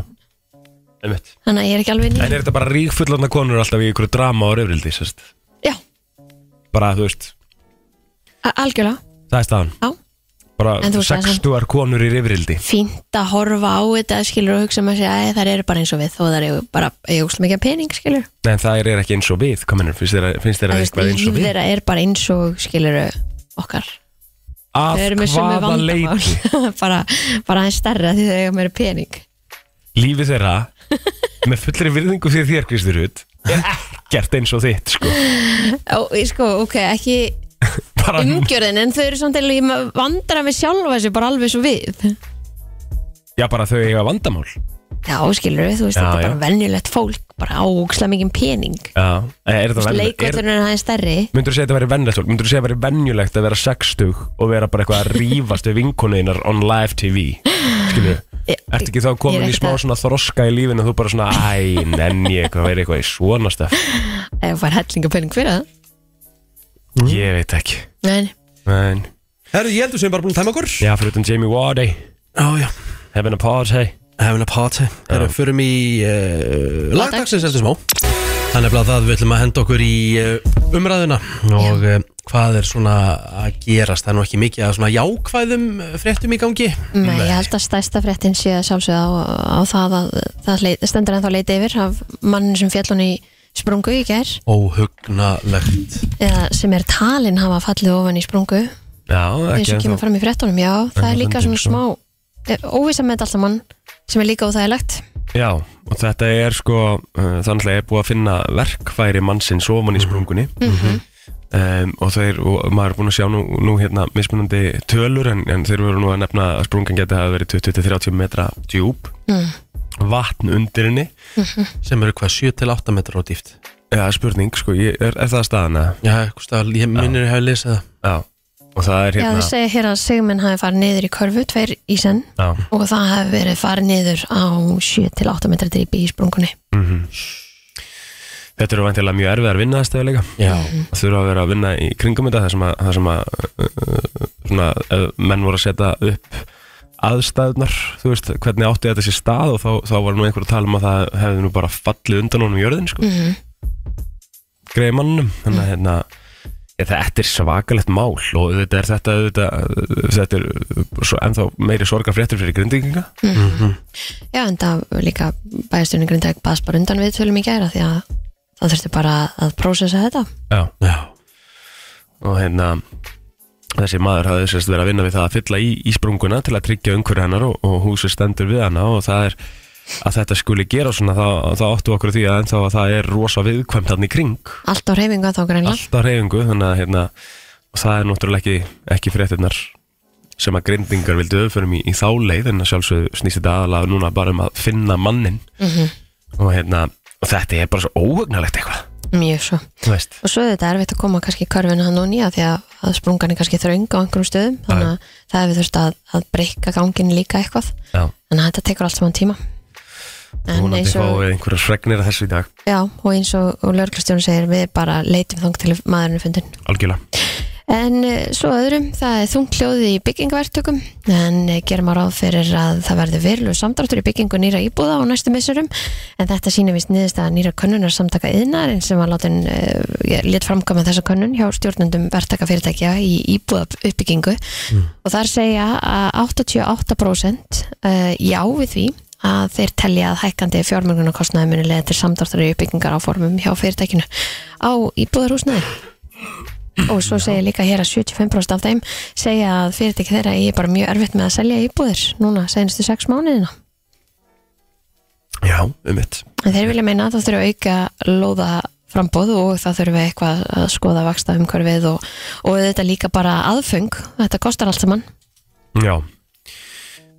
Einmitt.
þannig að ég er ekki alveg
En
ný
er þetta bara ríkfullandna konur alltaf í ykkur drama og röfrildi, sérst?
já,
Bara, þú veist,
a- algjörlega,
það er staðan
já En
Bara
þú veist, það er svona-
sextuar konur í röfrildi
fínt að horfa á þetta skilur og hugsa maður sér að það eru bara eins og við þó það eru bara, ég úsla mikið af pening skilur
Nei, en það er ekki eins og við, hvað mennur, finnst þér- finnst þér
Að
að
þú veist,
eitthvað eins og
líf
við?
þeirra er bara eins og skilur okkar
Af
Þau eru með sömu
hvaða leiti?
vandamál bara, bara aðeins stærra því þau eiga meira pening
Lífi þeirra, með fullri virðingu fyrir þér, Kristur Rutt, er ekkert eins og þitt, sko
og ég sko, ok, ekki
Bara,
umgjörðin en þau eru samt eða ég vandrar með sjálfa þessu bara alveg svo við
já, bara þau eiga vandamál
já, skilur þú veist,
Já,
þetta er
já.
bara venjulegt fólk bara áksla mikið pening
Já, Eh, er þetta venjulegt?
leikvöldurinn er aðeins stærri
Myndur þú segja þetta að vera venjulegt fólk? Myndur þú segja að þetta væri venjulegt að vera sextug og vera bara eitthvað að rífast við vinkonuðinnar on live TV? Skilju,
Ég-
ertu ekki þá komin
ég er
í smá
ekkert að-
svona þroska í lífinu og þú bara svona, æ, nenni ég eitthvað að vera eitthvað í svona stöf?
ef það fær hellinga pening fyrir það Mm.
Ég veit ekki.
en,
En,
Herru, ég heldur sem bara búin að tæma okkur
já, fyrir utan Jamie Wardy,
Já, já
having a party.
Having a party Herru, förum í uh, lagdagsins eftir smá Það er nefnilega það við ætlum að henda okkur í uh, umræðuna og uh, hvað er svona að gerast það er nú ekki mikið að svona jákvæðum eh, fréttum í gangi
Nei, ég held að stærsta fréttin sé að sjálfsögða á, á það að það leit, stendur ennþá leiti yfir af mannin sem fjall hún í sprungu í ger
Óhugnalegt
eða sem er talin hafa fallið ofan í sprungu
Já,
eins
ekki
og kemur
ennþá.
fram í fréttunum, já, það er
á
líka
fundinum,
svona smá eh, óvissa með þetta allt saman sem er líka óþægilegt
Já, og þetta er sko, uh, þannig að ég er búið að finna verkfæri mannsins ofan í sprungunni. Um, og þeir, og maður er búin að sjá nú, nú hérna mismunandi tölur en, en þeir voru nú að nefna að sprungan geti hafa verið 20-30 metra djúb vatn undir henni
sem eru hvað 7-8 metrar á dýft
eða spurning, sko, ég, er, er það staðan eða?
Já, eitthvað stað, ég minnir að hafa lesið það
já, og það er
Já,
hérna
þau segja hér að segminn hafi farið niður í körfu, tveir í senn
já,
og það hafi verið farið niður á 7-8 metra dreipi í sprungunni
Mhm. þetta eru vantilega mjög erfiðar vinnaðastöðu líka
Já,
það þurfa að vera að vinna í kringum þetta þar sem að, þar sem að uh, svona, ef menn voru að setja upp aðstæðnar þú veist, hvernig átti þetta sér stað og þá, þá var nú einhver að tala um að það hefði nú bara fallið undan honum í jörðin sko. mm
Mhm.
mannum þannig að hérna ég, þetta er svakalegt mál og þetta er þetta, þetta, þetta er svo, ennþá meiri sorgarfréttur fyrir grindinginga
Já, en það líka bæðastjórnin Grindæk baðst bara undan við tölum í gæra því að það þurfti bara að prósessa þetta
Já. Og hérna þessi maður hafði sérst verið að vinna við það að fylla í, í sprunguna til að tryggja umhverju hennar og, og húsið stendur við hana og það er að þetta skuli gera svona þá, þá áttu okkur á því að ennþá að það er rosa viðkvæmt hann í kring
Allt á reyfingu að þá greinlega
alltaf reyfingu þannig að hérna og það er náttúrulega ekki, ekki fréttinnar sem að grindingar vildu öðförum í, í þá leið en að sjálfsögðu snýst þetta aðalega núna bara um að finna mannin og hérna og þetta er bara svo óhugnalegt eitthvað
Mjög svo
þú veist
Og svo er þetta erfitt að koma kannski í körfinu hann og nýja því að, að sprungan er kannski þröng á einhverjum stöðum þannig að það hefur þurft að, að breyka gangin líka eitthvað
Já.
en þetta tekur allt saman tíma En
Hún
eins
átti
og,
fáið einhverja fregnir að þessu í dag
já, og eins og, og lörglastjórn segir við bara leitum þang til maðurinn er fundinn
Algjörlega
En eh, svo öðrum, það er þungt hljóði í byggingverktökum en eh, gerum á ráð fyrir að það verði virlu samdráttur í byggingu nýra íbúða á næstu missurum en þetta sýnir vist niðurstaða nýra könnunar samtaka yðnarinn sem var látin uh, létt framkama þessa könnun hjá stjórnendum verktakafyrirtækja í íbúða uppbyggingu og þar segja að 88% uh, já við því að þeir telja að hækkandi fjármögnunarkostnaði muni leða til samdráttur í uppbyggingar á formum hjá fyrirtækinu á íbúðarhúsnaði og svo segir líka hér að 75% af þeim segja að fyrirtæki þeirra ég er bara mjög erfitt með að selja íbúðir núna senastu 6 mánuðina
Já, um mitt
en þeir vilja meina að það þurfa að auka lóða frambóð og það þurfa eitthvað að skoða vaksta umhverfið og, og þetta líka bara aðfeng þetta kostar allt saman
Já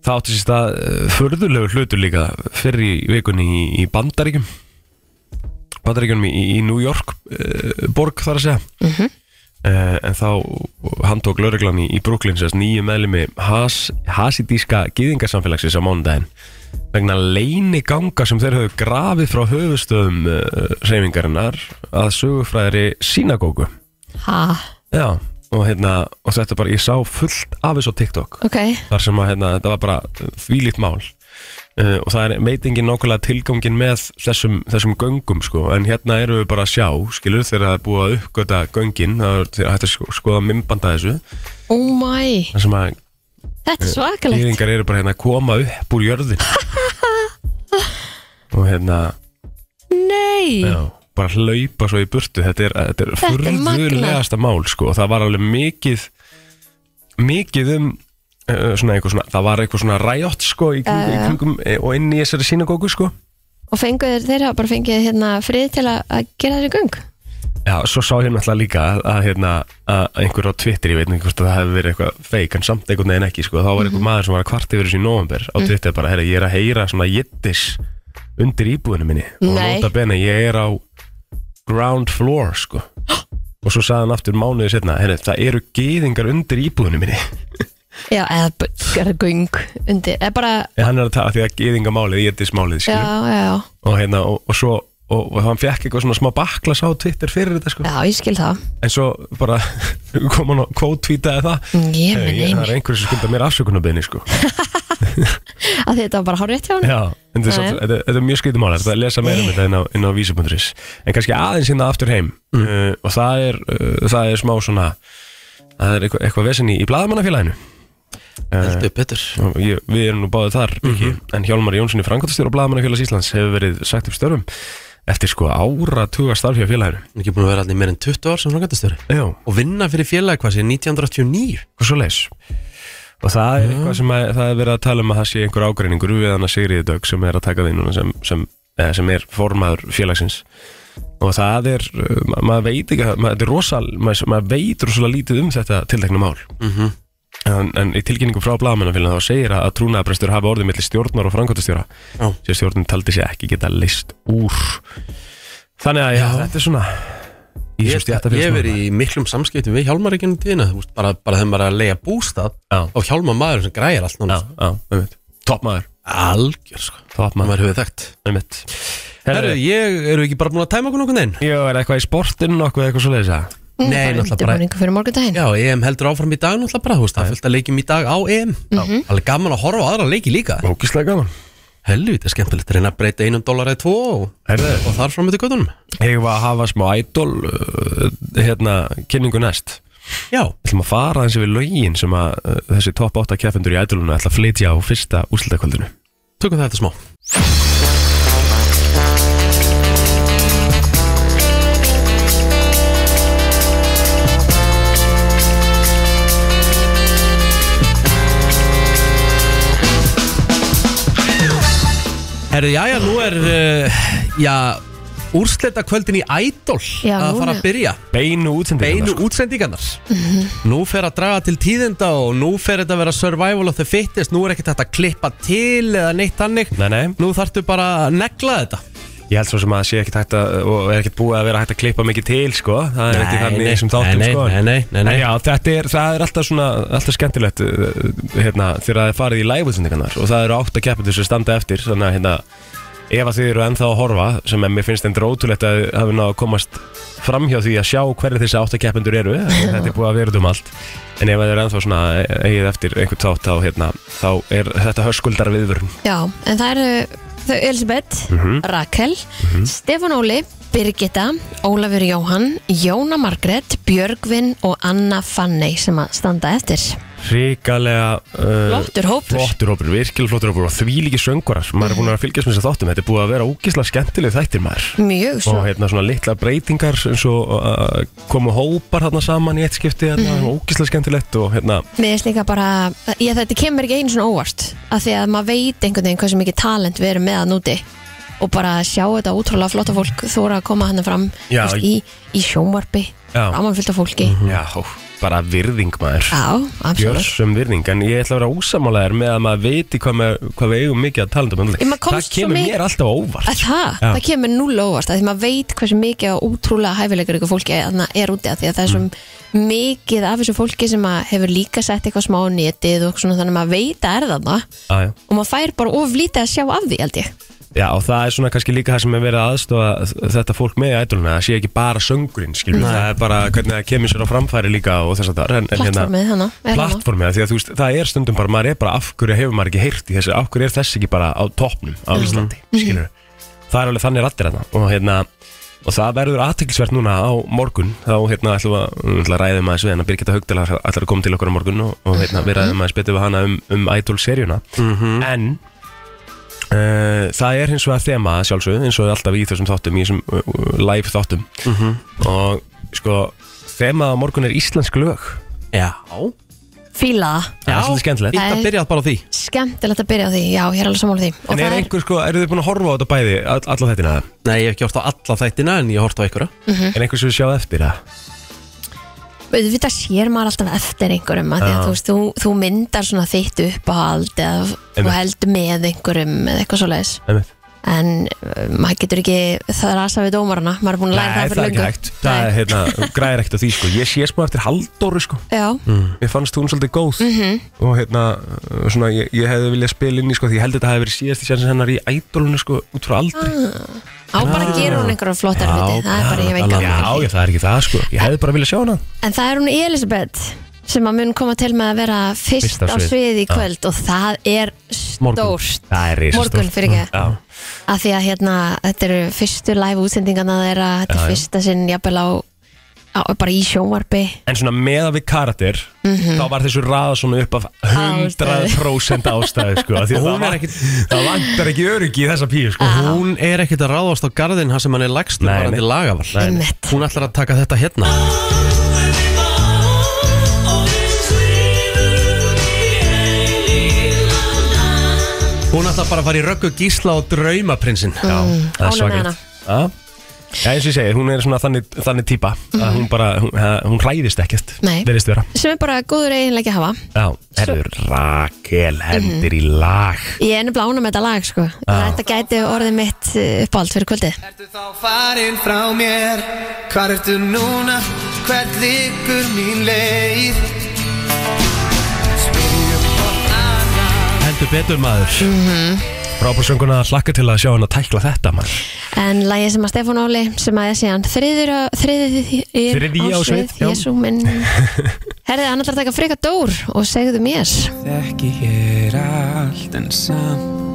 Það átti sér stað uh, förðulegu hlutur líka fyrir í vikunni í, í Bandaríkjum Bandaríkjum í, í New York uh, borg þar að segja
Mhm.
uh, En þá handtók lauruglan í, í Brooklyn sérst nýju meðlimi has, hasidíska gýðingarsamfélagsins á mánudaginn vegna leiniganga sem þeir höfðu grafið frá höfustöðum uh, reyfingarinnar að sögufræðari sínagóku
ha,
Já, og hérna og þetta bara, ég sá fullt af þessu á TikTok
ok,
þar sem að hérna, þetta var bara þvílíkt mál uh, og það er meitingin nákvæmlega tilgangin með þessum, þessum göngum sko, en hérna eru við bara að sjá skilur þegar það er búið að uppgöta göngin það er þegar hægt að sko- skoða mymbanda þessu
oh my
þar sem að Eh,
þetta er svakalegt
gýringar eru bara hérna að koma upp úr jörðin og hérna
nei,
já, bara hlaupa svo í burtu þetta er, þetta er
Þetta er magnað.
furðulegasta mál sko. og það var alveg mikið mikið um uh, svona einhver svona, það var eitthvað svona ræjot sko, í kringum, í kringum, eh, og inn í þessari sínagóku sko.
og fengu þeir þeirra bara fengið hérna frið til að, að gera þessi göng
já, svo sá ég náttúrulega líka að, að, hérna, að einhver á Twitter, ég veit ekki hvort að það hefði verið eitthvað feik, en samt einhvern veginn ekki sko. þá var
Mhm.
einhver maður sem var að kvart yfir þessu í november á Twitter bara, herra, ég er að heyra svona jittis undir íbúðinu minni og
Nei.
nota bene, ég er á ground floor sko og svo sagði hann aftur mánuði setna herri, það eru gýðingar undir íbúðinu minni
já, eða b- gera göng undir, eða bara
en hann er að tala því að gýðingamálið, jættismálið
já, já, já,
og hérna og, og svo og, og hann fekk eitthvað svona smá baklas á Twitter fyrir þetta sko,
já, ég skil það
en svo bara kom hann og kvótvítaði það
Mm, Ég
Hey,
menn
Eh, ég- það
einu,
er einhverjum sem skulda mér afsökunarbeðni sko.
að þetta var bara hárrétt hjá hann
Já, en þetta er,
Já,
samt-
já.
þetta, þetta er mjög skrítið mál Þetta er að lesa meira um þetta inn á, inn á vísi.is En kannski aðeins hérna aftur heim uh, Og það er, uh, það er smá svona Það er eitthvað, eitthvað vesen í, í bladamannafélaginu
Heldur betur
Og ég, Við erum nú báðið þar ekki, En Hjálmar Jónssoni Frankotastjóra Bladamannafélags Íslands Hefur verið sagt upp störfum Eftir sko ára tuga starf hjá félaginu
Hún er ekki búin að vera allir meir en 20 ár sem frangatastöru
Já,
Og vinna fyrir félagi hvað sér 1989
og svo leis Og það
Mm.
er eitthvað sem að, það er verið að tala um að það sé einhver ágreiningur við hann að Sigriði Dögg sem er að taka því núna sem, sem, eh, sem er formaður félagsins og það er, uh, ma maður veit ekki að- maður, þetta er rosal, maður, maður veit rosalega lítið um þetta tiltekna mál
Mhm.
en, en í tilkynningum frá blagamennafélagin þá segir að, að trúnaðabrestur hafa orðið millir stjórnar og framkvæmtastjóra
Já.
sem stjórnin taldi sig ekki geta list úr þannig að já, þetta er svona í
Ég
þessum
ég hef verið í miklum samskiptum við Hjálmar ekki um tíðina Þú veist, bara, bara þegar maður er að leiða bústað
Já.
Og Hjálmar maður sem græjar allt núna
stjórnmál Topmaður
Algjör sko
Topmaður
Maður hefur þekkt Eh.
Einmitt.
Herru, ég eru ekki bara búin að tæma okkur nokkuð einn
Jó, er eitthvað í sportinu nokkuð eitthvað svo leiðis að?
Hún
Nei,
er bara
náttúrulega bara-
undirbúningu fyrir morgundaginn
Já, EM heldur áfram í dag náttúrulega bara, þú veist, það er fullt að leikjum í dag á EM Alveg gaman að horfa á aðra leiki líka
Ógíslega gaman
Helvítið skemmtilegt, reyna að breyta einum dólar eða tvo og,
Herðu.
og þar fram með til göttunum
Ég var að hafa smá idol uh, hérna, kynningu næst
Já,
Við ætlum að fara eins yfir lögin sem að uh, þessi topp 8 keppendur í idolunum ætla að flytja á fyrsta úrslutakvöldinu
tökum það eftir smá Herðu, já, já, nú er, uh, já, úrslita kvöldin í Idol
Já,
að
nú
fara
er-
að byrja
Beinu sko. útsendingar
beinu útsendingarnar Nú fer að draga til tíðinda og nú fer þetta að vera survival of the fittest Nú er ekkert hægt að klippa til eða neitt hannig
Nei, nei,
Nú þarftu bara að negla þetta
ég held svo sem að það sé ekkert hægt að og er ekkert búið að vera hægt að klippa mikið til sko. það er
Nei,
ekki þannig
nei,
sem þáttum
nei, nei,
sko.
nei, nei, nei, nei.
En Já, þetta er, það er alltaf svona alltaf skemmtilegt uh, hérna, þegar það er farið í live útsendingarnar og það eru 8 keppendur sem standa eftir þannig að hérna, ef að þið eru ennþá að horfa sem að mér finnst endur ótrúlegt að þið hafi náðu að komast fram hjá því að sjá hverju þessi 8 keppendur eru þetta er búið að vera út um allt en ef að þið eru ennþá svona eh, eigið eftir einhvern þátt þá, hérna, þá er þetta höskuldar viðvörn
Já, en það eru þau Elisabeth,
Mhm.
Rakel, Stefán Óli, Birgitta, Ólafur Jóhann, Jóna Margrét, Björgvin og Anna Fanney sem að standa eftir.
ríkalega
eh,
uh,
Flottur hópur.
flottur hópur, virkilega flottur hópur og því líki söngurar, maður er búin að fylgjast með þess að þáttum þetta er búið að vera ógislega skemmtileg þættir maður
Mjög
og
svo.
hérna svona litla breytingar eins og uh, komu hópar þarna saman í eitt skipti, hérna,
Mhm.
ógislega skemmtilegt og hérna,
Mér er líka bara, ég, þetta kemur ekki einu svona óvart af því að maður veit einhvern veginn hversu mikið talent við erum með að núti og bara sjá þetta ótrúlega flotta fólk þóra að koma hann fram
Já,
veist, í, í sjónvarpi,
Já.
ramanfylta fólki.
Mhm.
já, bara virðing maður
Mhm. Já, absolutt.
Björsum virðing, en ég ætla að vera ósamálaðir með að maður viti hvað, með, hvað við eigum mikið að tala
Ég,
um
maður
öll. Það
komst svo
kemur
mikið-
mér alltaf á óvart
Að það,
Já.
það kemur núl óvart að því maður veit hversu mikið og útrúlega hæfilegur ykkur fólki þarna er úti að því að það er svo
Mm.
mikið af þessu fólki sem að hefur líka sett eitthvað smá á netið og eitthvað svona þannig að maður veit að er þarna
ah, já.
og maður fær bara oflítið að sjá af því held ég
Já, og það er svona kannski líka það sem er verið að aðstofa þetta fólk með í ædoluna, það sé ekki bara söngurinn, skiljum, það er bara hvernig það kemur sér á framfæri líka og þess að það er
Plattformið hérna, hana, er hana.
Plattformið, því að þú veist, það er stundum bara, maður er bara af hverju hefur maður ekki heyrt í þessu, af hverju er þess ekki bara á toppnum á Íslandi, skiljum það er alveg þannig rættir þetta og hérna og það verður aðteklisvert núna á morgun þá hérna ætlum við að, um, ætlum að ræðum aðeins við hérna Birgitta Haugdala ætlar að koma til okkar á morgun og, og hérna við ræðum aðeins betur við hana um, um Idol-seríuna en uh, það er hins vegar þema að sjálfsögðu eins og alltaf í þessum þáttum, í þessum uh, uh, live þáttum og sko þema á morgun er íslensk lög
Já,
Fíla það,
það er svolítið skemmtilegt
Ítta byrjað bara á því
skemmtilegt að byrja á því, já ég er alveg sammála því og
En er
það
einhver sko, eru þið búin að horfa á þetta bæði all- alla þetta mm
Nei, ég hef ekki hort á alla þættina en ég hort á einhverja
Mhm.
er einhver sem við sjáð eftir það?
auðvitað sér maður alltaf eftir einhverjum að því að þú, veist, þú, þú myndar svona þitt uppáhald eða þú
Einmitt.
held með einhverjum eða eitthvað svoleiðis
Einmitt.
en uh, maður getur ekki það er aðsað við dómarana, maður er búin að læra
Nei,
það
það er
fyrir
ekki
löngu
hægt Það er hérna, græðir ekkert á því sko Ég sé smá eftir Halldóru sko
Já,
Mér fannst hún svolítið góð
Mhm.
-hmm. Og hérna, uh, svona, ég, ég hefði viljað spila inn í sko Því ég held að þetta hefði verið síðasti sjansin hennar í ædolunum sko Út frá aldri
á bara að gera hún einhverja flottar hluti, það er bara ég veit
Ah. Já,
ekki
ég, það er ekki það sko Ég hefði bara viljað sjá hana
En það er hún Elisabeth sem að mun koma til með að vera fyrst
Fyrst á
á
svið.
sviði í kvöld og það er stórt
Það er risastórt.
Morgun fyrir ekki
Já.
að því að hérna, þetta eru fyrstu live útsendingana þeirra, þetta
Já, já.
er fyrsta sinn jafnvel á, á, bara í sjónvarpi
En svona meða við karakter
Mhm.
Þá var þessu raða svona upp af 100% ástæðu sko af Því að
Hún
það,
er
var,
ekkit-
það vantar ekki öryggi í þessa píu sko
Hún er ekkert að ráðast á garðin hann sem hann er lægstur
Nei,
varandi
nei.
lagaval
Einmitt.
Hún ætlar að taka þetta hérna Hún ætlar bara að fara í röggu gísla og draumaprinsinn Já,
Það er
Ánægð Mm. með
svakalegt Já, Já, eins og ég segi, hún er svona þannig, þannig típa að hún bara, hún, ha- hún hræðist ekkert
Mm. Nei.
Verðist vera
sem er bara góður eiginlega að hafa
Já, herður, Rakel hendir í
Mm.
lag
Ég er nefnilega ánum með þetta lag sko. þetta gæti orðið mitt eh, uppáhald fyrir kvöldið
Ertu þá farin frá mér? Hvar ertu núna? Hvert liggur mín leið?
Mhm.
Heldur betur maður mm
frábársönguna hlakka til að sjá hann að tækla þetta maður.
En lægið sem að Stefán Óli sem að er síðan þriður á- þriðji
Þriðji á svið, já.
Jésu minn Herðið, annar þarf að taka freka dór og segðu mér
Þekki hér allt en samt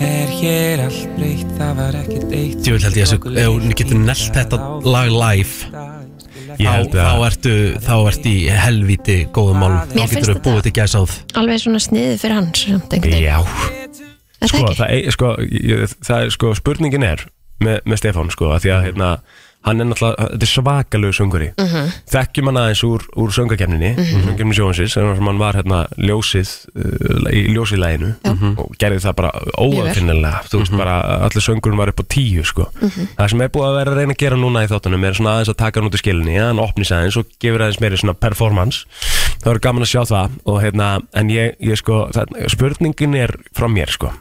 Er hér allt breytt, það var ekkert eitt
Ég vil held ég að ef hún getur nellt þetta lag live
Ég
þá,
held
þá,
að
ertu, þá ertu í helvíti góðum málum Þá
Mér finnst
getur þú
þetta-
búið til gæsáð
alveg svona sniðið fyrir hans samt einhvern veginn.
Já,
Er
sko,
það ekki?
það er, sko, ég, það er, sko, spurningin er með, með Stefán, sko, að því að, hérna, hann er náttúrulega, þetta er svakalög sönguri. Þekkjum hann aðeins úr, úr söngakefninni, mm -hmm. söngakefni sjóhansins, sem hann var, hérna, ljósið, uh, í ljósiðlæginu og gerði það bara óafinnilega, þú veist, bara allir söngurinn var upp á tíu, sko. Það sem er búið að vera að reyna að gera núna í þáttunum er svona aðeins að taka hann út í skilinni, að hann opnis aðeins og gefur aðeins meiri svona performance. Það er gaman að sjá það og, hérna, en ég, ég sko, það, spurningin er frá mér, sko.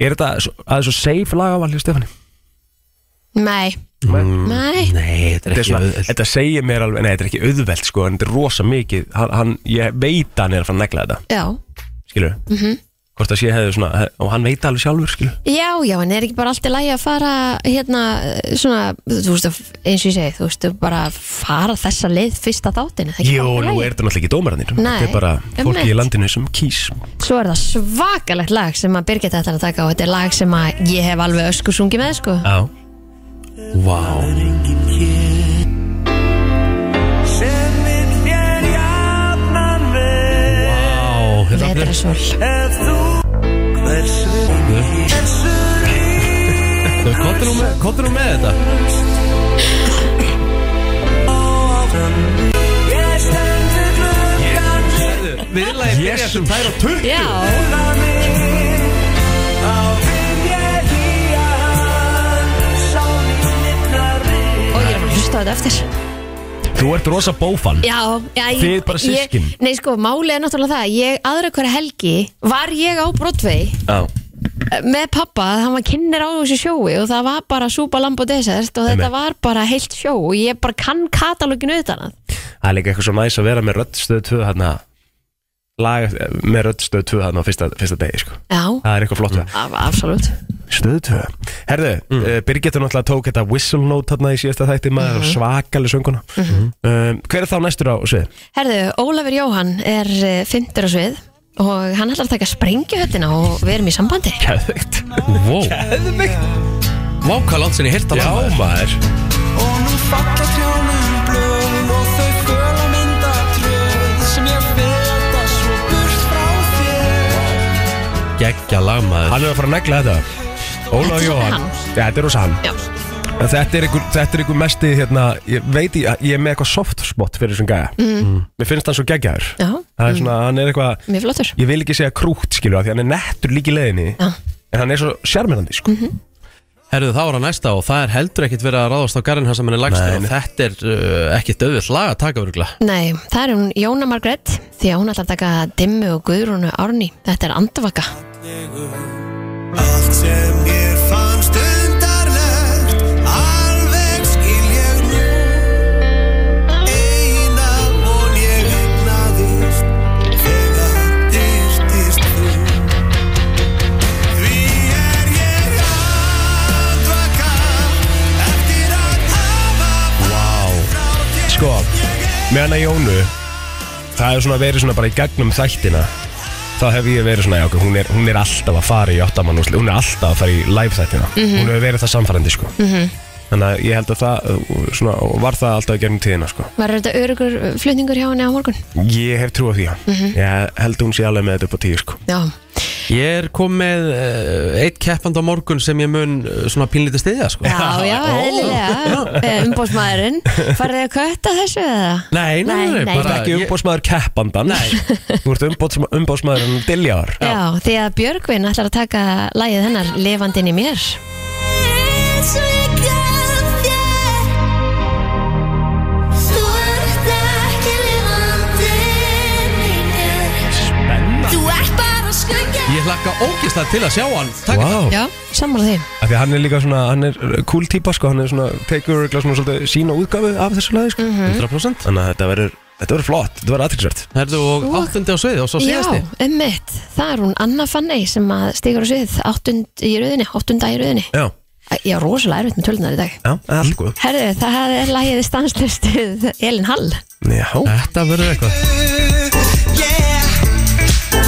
Er þetta svo- aðeins svo safe lagavall hjá Stefáni?
Nei,
Mm.
nei
Nei, þetta er
Þetta, er
ekki
svona,
auðvelt.
þetta segir mér alveg, nei þetta er ekki auðvelt sko En þetta er rosa mikið, hann, hann, ég veit að hann er að fara að negla þetta
Já,
Skilur við? Mm -hmm.
Mhm.
Hvort að sé hefði svona, he- og hann veit það alveg sjálfur skilur
já, já, en er ekki bara allt í lagi að fara hérna, svona, þú veist að- eins og ég segi, þú veist, bara fara þessa leið fyrsta þáttin er það ekki
Jó,
bara í
nú
lagi?
er þetta náttúrulega ekki dómaranir
Nei,
Þetta er bara fólki
einmitt.
í landinu sem kýs
Svo er það svakalegt lag sem að Birgit ætlar að taka og þetta er lag sem að ég hef alveg ösku sungið með sko
Já
Vá Vá, þetta er-
Vetrasól
Þú, komdu nú með- Komdu nú með þetta Viðlagi byrja sem þær á törn
Já, og ég er bara að hlusta á þetta eftir
Þú ert rosa bófan
Já, já ég,
Þið bara systkin.
ég- Nei sko, málið er náttúrulega það Ég aðra hverja helgi var ég á Broadway
Já,
eh, með pappa, hann var kynner á þessu sjói og það var bara súpa lamb og desert og þetta
Einmitt.
var bara heilt sjó og ég bara kann katalóginu utan að
það er líka eitthvað svo næs að vera með röddstöð 2 hérna Lag með röddstöð 2 hérna á fyrsta, fyrsta degi sko
Já,
Það er eitthvað flott við það
af, absolutt
Stöðu 2 Herðu, mm. uh, Birgitta náttúrulega tók þetta whistle note þarna í síðasta þætti maður mm -hmm. svakalig sönguna um, Hver er þá næstur á svið?
Herðu, Ólafur Jóhann er fymtur á svið og hann ætlar að taka sprengjuhöllina og við erum í sambandi
Geðveikt
Vó Vá, hvað langt sinni hirt að
Já maður
Og nú falla trjánum blöð og þau föl að mynda tröð sem ég feta svo burt frá þér
Gekkja lagmaður
Hann er að fara að negla þetta Óla
Þetta er
Jóhann
hann.
Ja, Þetta er hos hann
Já,
En Þetta er ykkur, þetta er ykkur mesti hérna, Ég veit ég, ég er með eitthvað soft spot fyrir þessum gæja mm. Mér finnst hann svo geggjaður
Mhm. já, Mhm.
Það er svona, hann er eitthvað
mjög flottur
Ég vil ekki segja krútt skilur það Því hann er nettur líki leiðinni
Já.
En hann er svo sjarmirandi sko
Herðu þá var að næsta og það er heldur ekkit verið að ráðast á garinn hans sem hann er lagst
Nei,
og þetta er uh, ekkit auðvilt lag að taka örugla
Nei, það er hún Jóna Margrett því að hún ætlar að taka Dimmu og Guðrúnu Árni Þetta er andavaka
Allt sem mér fannst undarlegt Alveg skil ég nú Eina von ég eignaðist Þegar dyrtist þú Því er ég andvaka Eftir að hafa
Sko, með hana Jónu Það hefur svona verið svona bara í gegnum þættina Þá hef ég verið svona, já, ok, hún er, hún er alltaf að fara í áttamann úrslit Hún er alltaf að fara í live þættina Hún hefur verið það samfærandi, sko -hmm. Þannig að ég held að það, uh, svona, og var það alltaf í gegnum tíðina, sko
Var þetta örugur flutningur hjá henni á morgun?
Ég hef trú á því, já Ég held að hún sé alveg með þetta upp á tíu, sko
Já,
Ég er komið uh, eitt keppand á morgun sem ég mun uh, svona pínlítið stiðja sko.
já, já, eðlilega Eh, umbóðsmaðurinn Farðið að kötta þessu eða?
Nei, nei, nei,
Nei, nei.
bara
Ekki
ég,
umbóðsmaður keppandan Nei Þú ert umbóðsma- umbóðsmaður diljar
Já, því að Björgvin ætlar að taka lagið hennar Levandinn í mér
ég hlakka ógislega til að sjá hann Takk
Vá,
Já, sammála því
af því að hann er líka svona, hann er uh, cool típa, sko Hann er svona, tekur örugglega svona svolítið sína útgáfu af þessu lagi, sko
100%
Þannig að þetta verður Þetta verður flott, þetta verður aðtryggsvært
Herðu og
Og-
áttundi á sviði og svo
Já,
síðasti
ummitt, það er hún Anna Fanney sem að stigur á svið áttund í röðinni, áttunda í röðinni
Já,
Æ, Ég á rosalega erfitt með tölunar í dag
já, það er allt góð
Herðu, það er lægið stanslustið Elin Hall
Mm, Já,
Þetta verður eitthvað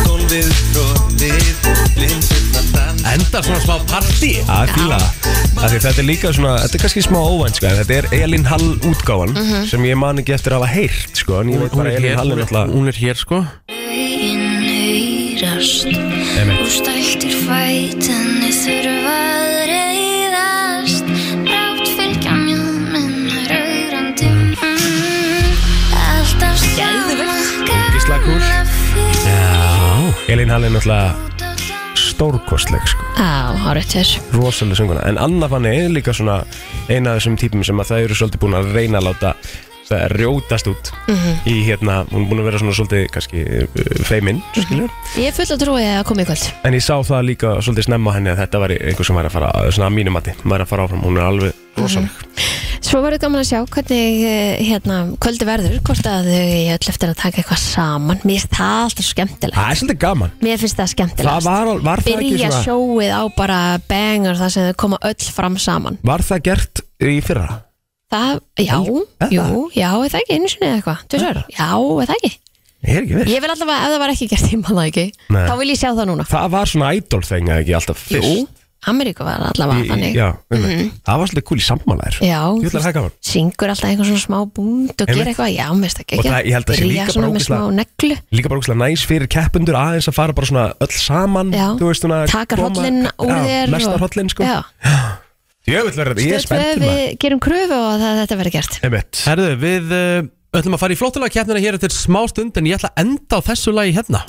Gólfið tróðið Linsurna þann
Endar svona smá partí
það er fíla Af því Þetta er líka svona, þetta er kannski smá óvænt sko, en Þetta er Elin Hall útgáfan sem ég man ekki eftir að hafa heyrt sko, en ég veit
Hún
bara
er
að Elin
hér,
Hall
hún
er
er,
náttúrulega
hún er hér sko
Heyrast
Einmitt.
og stæltir fætinni þurfa að reyðast Rátt fylgja mjöminn er augrandi mm, Alltaf sama
Gísla kúl.
fyrir
Elin Hall er náttúrulega stórkostleg sko,
Á, á réttur
rosalega sönguna en Anna Fanny er líka svona eina af þessum típum sem að það eru svolítið búin að reyna að láta það rjótast út
Mhm.
í hérna, hún er búin að vera svona svolítið kannski uh, feiminn, skilur
Ég er full að trúi að koma í kvöld
En ég sá það líka svolítið snemma á henni að þetta var einhver sem væri að fara, svona að mínum mati, væri að fara áfram, hún er alveg
Mhm.
rosaleg.
Svo verður gaman að sjá hvernig eh, hérna, kvöldi verður, hvort að þau ég öll eftir að taka eitthvað saman Mér finnst það alltaf skemmtilegt
Það er svolítið gaman.
Mér finnst það
Það
skemmtilegt
var, var það ekki
Byrja
svona,
sjóið á bara bengur þar sem þau koma öll fram saman
var það gert í fyrra?
Það, já,
Er
jú,
það?
já, er það ekki einu sinni eða eitthvað, tvisvar, já, er það ekki
Ég er ekki verið.
Ég vil allavega, ef það var ekki gert tíma það ekki
Nei.
þá vil ég sjá það núna
Það var svona idol þeng eða ekki alltaf fyrst.
Jú, Ameríku var allavega
Í- í-
þannig
Já, mm það var svolítið kúl í sammálaðir.
Mhm. Já,
Ég vil að hægja hann.
syngur alltaf einhver svona smá búnd og
Einmitt.
gerir eitthvað, já, mér finnst það ekki
Og það- ég held að sé líka
svona
bara
með smá
ógeðslega-
neglu
Líka bara úrslega næs fyrir keppundur aðeins að fara bara svona öll saman,
Já.
Mm, þú veist svona.
Taka hrollinn úr
Já,
þér
Mestar
og-
hrollin sko.
Já,
Jöfull verður
E
þetta, ég er
stöð tvö,
spenntið
við
maður.
gerum kröfu og það þetta verður gert
Einmitt.
Herðu við uh, ætlum að fara í flottulega keppnina hér eftir smá stund en ég ætla að enda á þessu lagi hérna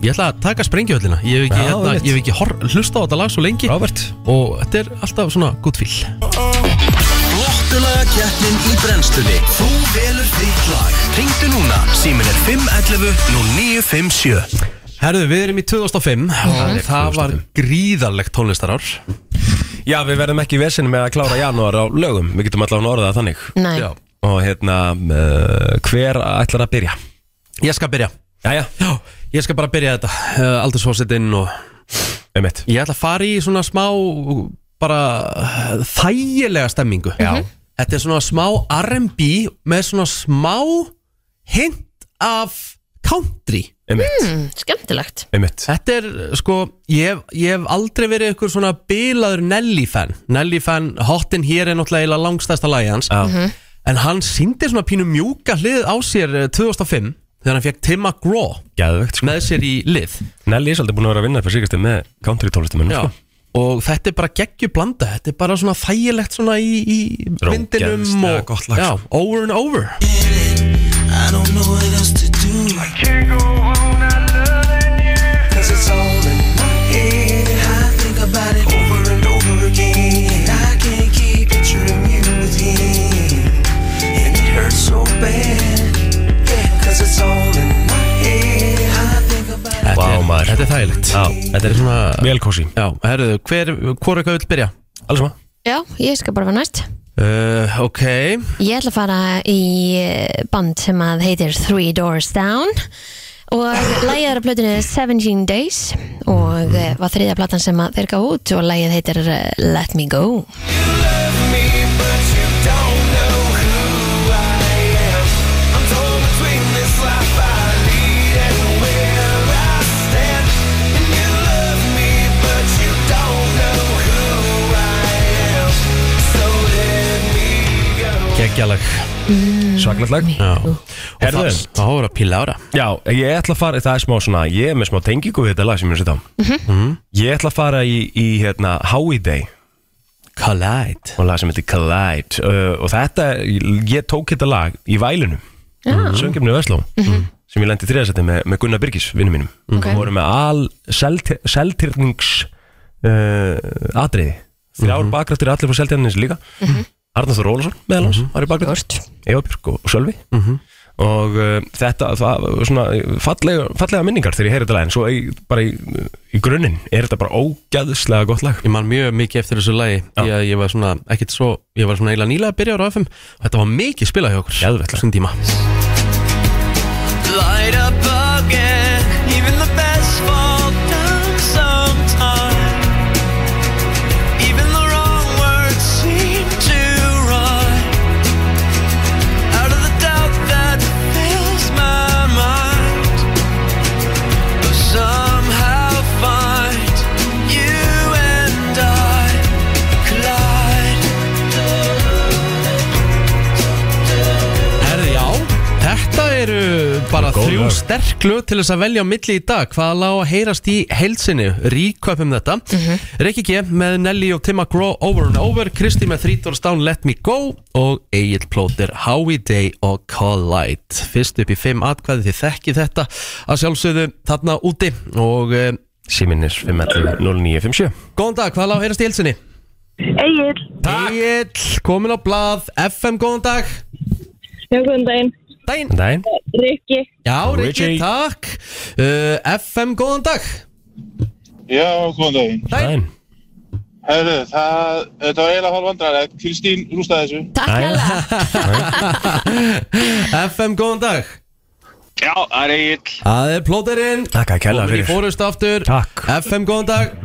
Ég ætla að taka sprengjuhöllina Ég hef ekki,
Já,
hérna,
einmitt.
ég hef ekki hor, hlusta á þetta lag svo lengi
Robert.
og þetta er alltaf svona gútt fíl
Flottulega keppnin í brennstunni Þú velur þitt lag Ringdu núna, símin er 511 0957
Herðu, við erum í 2005 og það var gríðarlegt tónlistarár
Já, við verðum ekki í vesinu með að klára janúar á lögum, við getum allavega orðað það þannig.
Nei,
Já.
Og hérna, uh, hver ætlar að byrja?
Ég skal byrja
Jæja,
Já, ég skal bara byrja þetta uh, Aldursfósitinn og
einmitt
Ég ætla að fara í svona smá bara eh, þægilega stemmingu Já. Þetta er svona smá R&B með svona smá hint af country
Einmitt,
mm, skemmtilegt
einmitt
Þetta er eh, sko, ég hef, ég hef aldrei verið ykkur svona bilaður Nelly-fan Nelly-fan, hotin hér er náttúrulega eiginlega langstæsta lagi hans
Já.
Mhm.
En hann síndi svona pínu mjúka hlið á sér eh, 2005 Þegar hann fekk Tim McGraw
Gæðvegt, sko
með sér í lið
Nelly er svolítið búin að vera að vinna fyrir síkastu með country tónlistamönnum,
Já,
sko
og þetta er bara geggjublanda Þetta er bara svona þægilegt svona í, í
Rókeðslega
vindinum og
gott lag, sko.
já, over and over
I don't know what else to do Cause it's all in my head I think about it over and over again And I can't keep picturing you with him And it hurts so bad Yeah, cause it's all in my head I think about it
Þetta
Vá,
er-
maður.
Þetta er þægilegt
Já.
Þetta er svona
Vel kósi,
Já, herruðu, hver, hvor eitthvað vil byrja?
alls maður
Já, ég skal bara vera næst
Uh, ok,
Ég ætla að fara í eh, band sem að heitir Three Doors Down og lægið er að plötunni 17 Days og eh, var þriðja platan sem að þeir gáðu út og lægið heitir eh, Let Me Go
geggjalag
Svaklega lag
Já, og
Herðu.
það það voru að píla ára
Já, ég ætla að fara, það er smá svona Ég er með smá tengingu við þetta lag sem ég er að setja á Mhm. Ég ætla að fara í, í hérna, Howie Day
Collide
og lag sem heitir Collide uh, og þetta, ég tók þetta lag í vælunum, Mm. söngjumni Vesló Mm. sem ég lendi þriðasætti með, með Gunnar Byrgis vinnu mínum,
Ok.
og voru með al seltirnings uh, atriði þrjár mm -hmm. bakrættir allir frá seltirnings líka mm -hmm. Arnáður Rólasson meðal hans, mm -hmm. Ari bakrætt
Bort.
Eva Björk og Sölvi og uh, þetta, það var svona fallega, fallega minningar þegar ég heyri þetta lag en svo í, bara í, í grunninn er þetta bara ógæðslega gott lag
Ég man mjög mikið eftir þessu lagi Því að ég var svona, ekkert svo Ég var svona eiginlega nýlega að byrja ára á FM Þetta var mikið spilað hjá okkur
Geðveikt lag.
Þessum tíma
I
bara
góð
þrjú
lög.
sterk lög til þess að velja á milli í dag Hvað lág að heyrast í heilsinni Ríköpum þetta mm Rikki G með Nelly og Tim McGraw Over and Over Kristi með Þrítórs Down Let Me Go Og Egil Plóter Howie Day og Collide Fyrst upp í fimm atkvæði þið þekki þetta Að sjálfsögðu þarna úti Og eh,
Síminn er 511 0957
góðan dag, hvað lág að heyrast í heilsinni
Egil,
Egil, komin á blað FM, góðan dag
já, góðan daginn,
Dæin
Dæn,
Rikki,
Já, Rikki,
Rikki.
takk uh, FM, góðan dag
Já, góðan daginn.
Dæin
dæn
Herru, það, þetta var eiginlega hálf vandrarlegt. Kristín rústaði þessu.
Takk
Jæja.
hella
FM, góðan dag
Já, það er eiginlega.
Það er plóterinn
Takk að kella
Komir í
fyrir
fórust aftur
Takk.
FM, góðan dag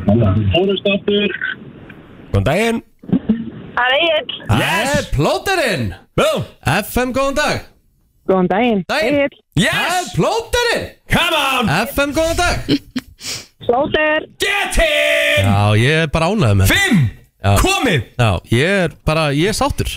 Góðan daginn
það er Egil,
Það er plóterinn
Boom
FM, góðan dag
góðan daginn,
Dæin
Egil,
Það er plóterinn
Come on
FM, góðan dag
Slóter,
Get in
Já, ég er bara ánægð með þetta.
Fimm
Já.
Komið
Já, ég er bara, ég er sáttur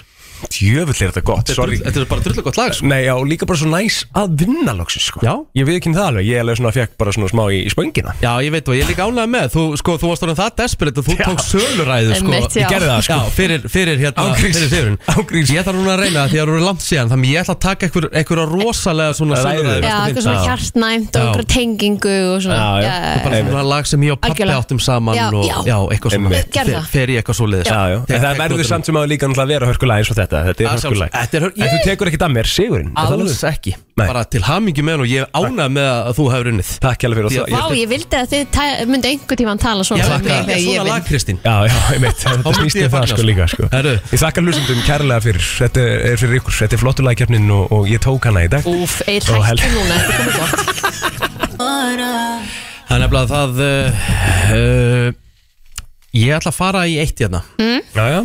Djöfull er þetta gott Sorry
Þetta er bara drullu gott lag sko.
Nei, já, líka bara svo næs að vinna loksins, sko
Já.
Ég við ekki það alveg Ég alveg svona fekk bara svona smá í, í spöngina
Já, ég veit og ég er líka ánægð með Þú, sko, þú varst orðin það desperate og þú
Já.
tók söluræðu sko.
Einmitt, já. Ég gerði
það, sko.
Já, fyrir, fyrir hérna
Ángríns.
Fyrir sigurinn.
Ángríns.
Ég þarf núna að reyna það því að það eru langt síðan Þannig ég ætla að taka einhver- einhverja rosalega svona
Ræður.
söluræður
Já, eitthvað svona hjartnæmt og
Já.
einhverja tengingu og svona
Já, já.
já,
bara svona lag sem ég og pappi
Algjörlega.
áttum saman
Já,
og,
já.
já, eitthvað svona
Einmitt.
Gerðu það.
Fer- fer í eitthvað svo liðis
Já, já En það verður samt sem að líka náttúrulega að vera hörkulag eins og þetta Þetta er hörkulag
þetta er hör-
En þú
Ég-
tekur ekki damer, Sigurinn er það
alls
alveg?
ekki
Nei.
bara til hamingi með hann og ég er ánað með að þú hefur unnið
Takk hérlega fyrir
Ég-
það
Vá, ég vildi að þið tæ- myndu einhvern tímann tala
ég
svona við
þakka
mig, þegar
svona
ég
lag
vinn.
Kristín
Já, já, ég veit, þetta
myndi
snýst
ég
um það
fagna,
sko
sko.
líka sko.
Herru.
Ég þakka hlustundum kærlega fyrir Þetta er fyrir ykkur, þetta er flottulagkeppnin og, og ég tók hana í dag
Úf, Egil,
Ó, hel-
hættu núna, þetta er komið gott
það er nefnilega það uh, uh, ég ætla að fara í eitt hérna
Já, já,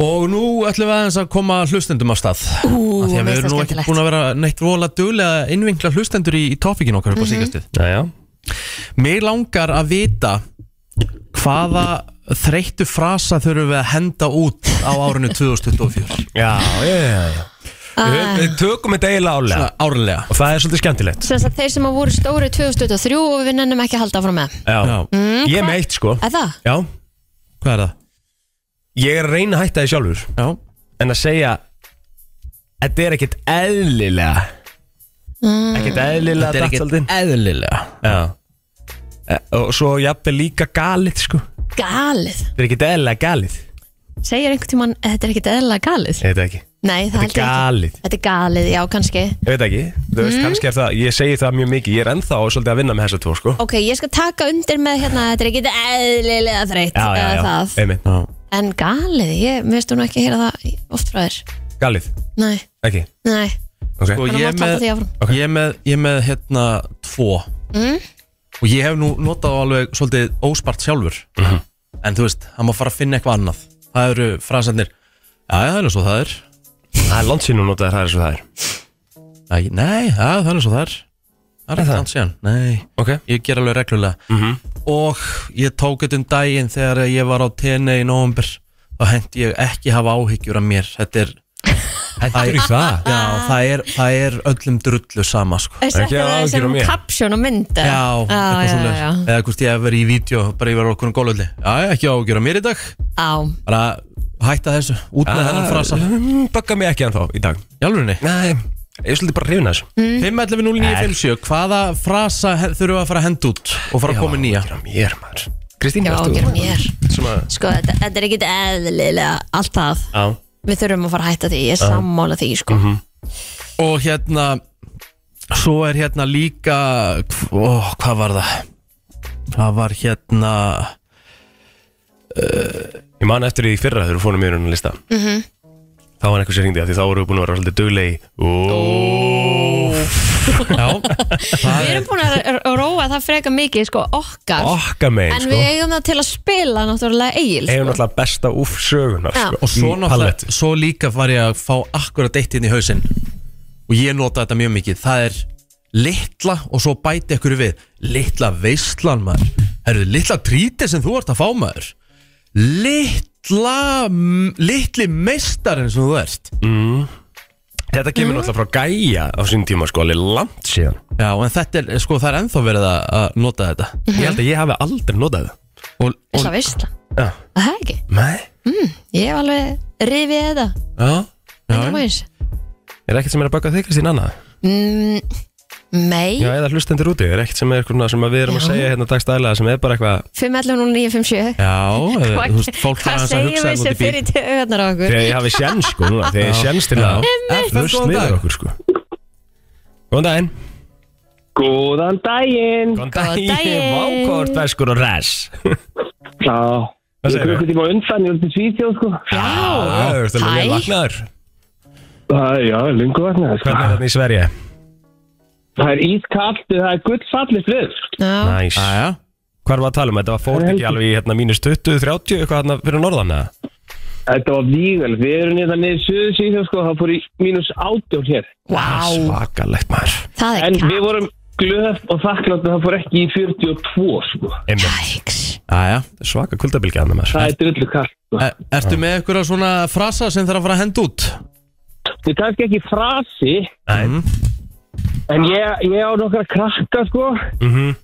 og nú ætlum við aðeins að koma hlustendum á stað
Ú,
Af því að við
veist
erum
það
nú ekki
skemmtilegt.
búin að vera neitt vola duglega að innvinkla hlustendur í, í tófikin okkar
Mhm.
upp á síkastuð
já, já
Mér langar að vita hvaða þreyttu frasa þurfum við að henda út á árinu 2024
Já, já, já, já. Við, við tökum þetta eiginlega álega
Svona árlega
Og það er svolítið skemmtilegt
Svo að þeir sem að voru stóri 2023 og við nennum ekki að halda áfram með
Já, Mm,
Já.
ég er með eitt sko
Er það?
Já,
Hvað er það?
ég er að reyna að hætta því sjálfur
Já
En að segja Þetta er ekkit eðlilega Ekkit eðlilega
Þetta er
dagsaldin.
ekkert eðlilega
Já E- Og svo jafnvel líka galið sko Þetta
Galið
er ekkit eðlilega galið
Segir einhvern tímann að þetta er ekkert eðlilega galið
Ég veit það ekki
Nei, það
Þetta er
held ég ekki
galið
Þetta er galið, já, kannski
Ég veit það ekki Þú veist, kannski er það Ég segi það mjög mikið Ég er ennþá svolítið að vinna með þessa tvo sko
Ok, ég skal taka undir með hérna að Þetta er ekkert eðlilega þreytt
Já, já,
eða
já
það.
Einmitt.
Já.
En galið, ég veist hún ekki að heyra það oft frá þér
Galið
Nei,
Ekki
nei,
Ok
Og ég
Þannig að Mm. mátt halda
með,
því áfram.
okay. ég með, ég með hérna tvo Og ég hef nú notað á alveg svolítið óspart sjálfur En þú veist, hann má fara að finna eitthvað annað Það eru frasarnir Já, já, það er svo það er
Það er langt sín og notaður Það er svo það er
Æ, Nei, já, það er svo það er Það er
það?
ekki hans síðan, nei
Ok
Ég ger alveg reglulega -hmm. Og ég tók þetta um daginn þegar ég var á TN í november Þá hendi ég ekki hafa áhyggjur af mér Þetta er Hendur í það? Já, það er, það er öllum drullu sama sko.
Er
Ekki
þetta
að
það
áhyggjur af
sem
mér.
kapsjón og um mynd eða?
Já,
Ah, já,
eitthvað
já,
svoleiðis.
já.
Eða hvort ég hef verið í vídeo Bara ég var okkur um gólöldi Já, já, ekki áhyggjur af mér í dag
Á,
Bara hætta þessu, út
Ah.
með þennan frasa
Bögga mig ekki ennþá í dag
Jálfurinni
Nei Ég er svolítið bara hrifin að þessu
Mm. 5.11.09.57 Hvaða frasa he- þurfum við að fara að henda út Og fara að koma með nýja
Ágjör á mér maður Kristín,
já,
ert
ágjör mér
Svona
Sko, þetta, þetta er ekkert eðlilega allt það
Já
Við þurfum að fara að hætta því, ég er sammála því, sko
Mhm. Og hérna Svo er hérna líka ó, Hvað var það? Hvað var hérna
Ég man eftir því í fyrra þegar við fórum mér unna lista mm -hmm.
Mhm.
Þá var einhver sér hringdi af Því þá vorum við búin að vera svolítið duglegi
Já, það
Við
er
erum búin að r- r- róa það freka mikið sko okkar
Okka megin
En
sko
við eigum það til að spila náttúrulega eigil
Hefum
sko.
náttúrulega besta úf sögunar
Já.
sko,
Og svo
í palett
náttúrulega Svo líka var ég að fá akkurat eitt inn í hausinn Og ég nota þetta mjög mikið Það er litla og svo bæti ykkur við Litla veistlan maður Herðu, litla trítið sem þú ert að fá maður Litla Litli meistarinn sem þú ert
Þetta
Mhm.
kemur náttúrulega frá gæja á sín tíma sko alveg langt síðan
Já, en þetta er, sko, það er ennþá verið að- að nota þetta
Mhm.
Ég held að ég hafi aldrei notað það
og, og,
Ísla veistla
Já.
Það er ekki
Nei
Ég hef alveg rifið þetta
já, já,
Engar máls.
Er ekkert sem er að baka þig Kristín Anna?
Mm, Nei
Já, eða hlustendur úti Er ekkert sem er svona sem að við erum að
Já.
segja hérna dagstælega sem er bara eitthvað
5.11.09.57
já eða,
Hvað
þú veist, fólk
hvað
fara aðeins að hugsa
segjum við
þetta
sem
út í bíl
fyrir til auðarnar á okkur?
Þegar ég hafi sjens sko núna Þegar ég sjens til að
FM,
Hlust
góðan
niður
dag
okkur sko Góðan daginn
Góðan daginn
Góðan
Góðan daginn.
Vákort beskur og sko res
Já,
Hvað
ég
segirðu?
klukkutíma á undan, ég er til Svíþjóð sko
Já, þú ert alveg vel
Hæ.
vaknaður
Það er, já, lungu vatna
Hvernig er þetta í Sverige?
Það er ískallt, það er gullfallið fyrr
Já,
Næs
Jæja,
Hvað var að tala um? Þetta var fórt ekki alveg í hérna mínus 20, 30 eitthvað hérna fyrir norðan eða?
Þetta var vígal, við erum niður niður suðu Svíþjóð sko, það fór í mínus átjón hér
vá,
Svakalegt maður
það er
En
kæ-
við vorum glöð og þakklátt að það fór ekki í 42 sko
Einmitt.
kæks
jæja
Svaka kuldabilgja hann maður
Það er drullu kallt sko.
Er- E, Ertu með einhverja svona frasa sem þarf að fara að henda út?
Ég kannski ekki frasi,
Nei
en ég, ég á nokkra krakka sko
Mhm.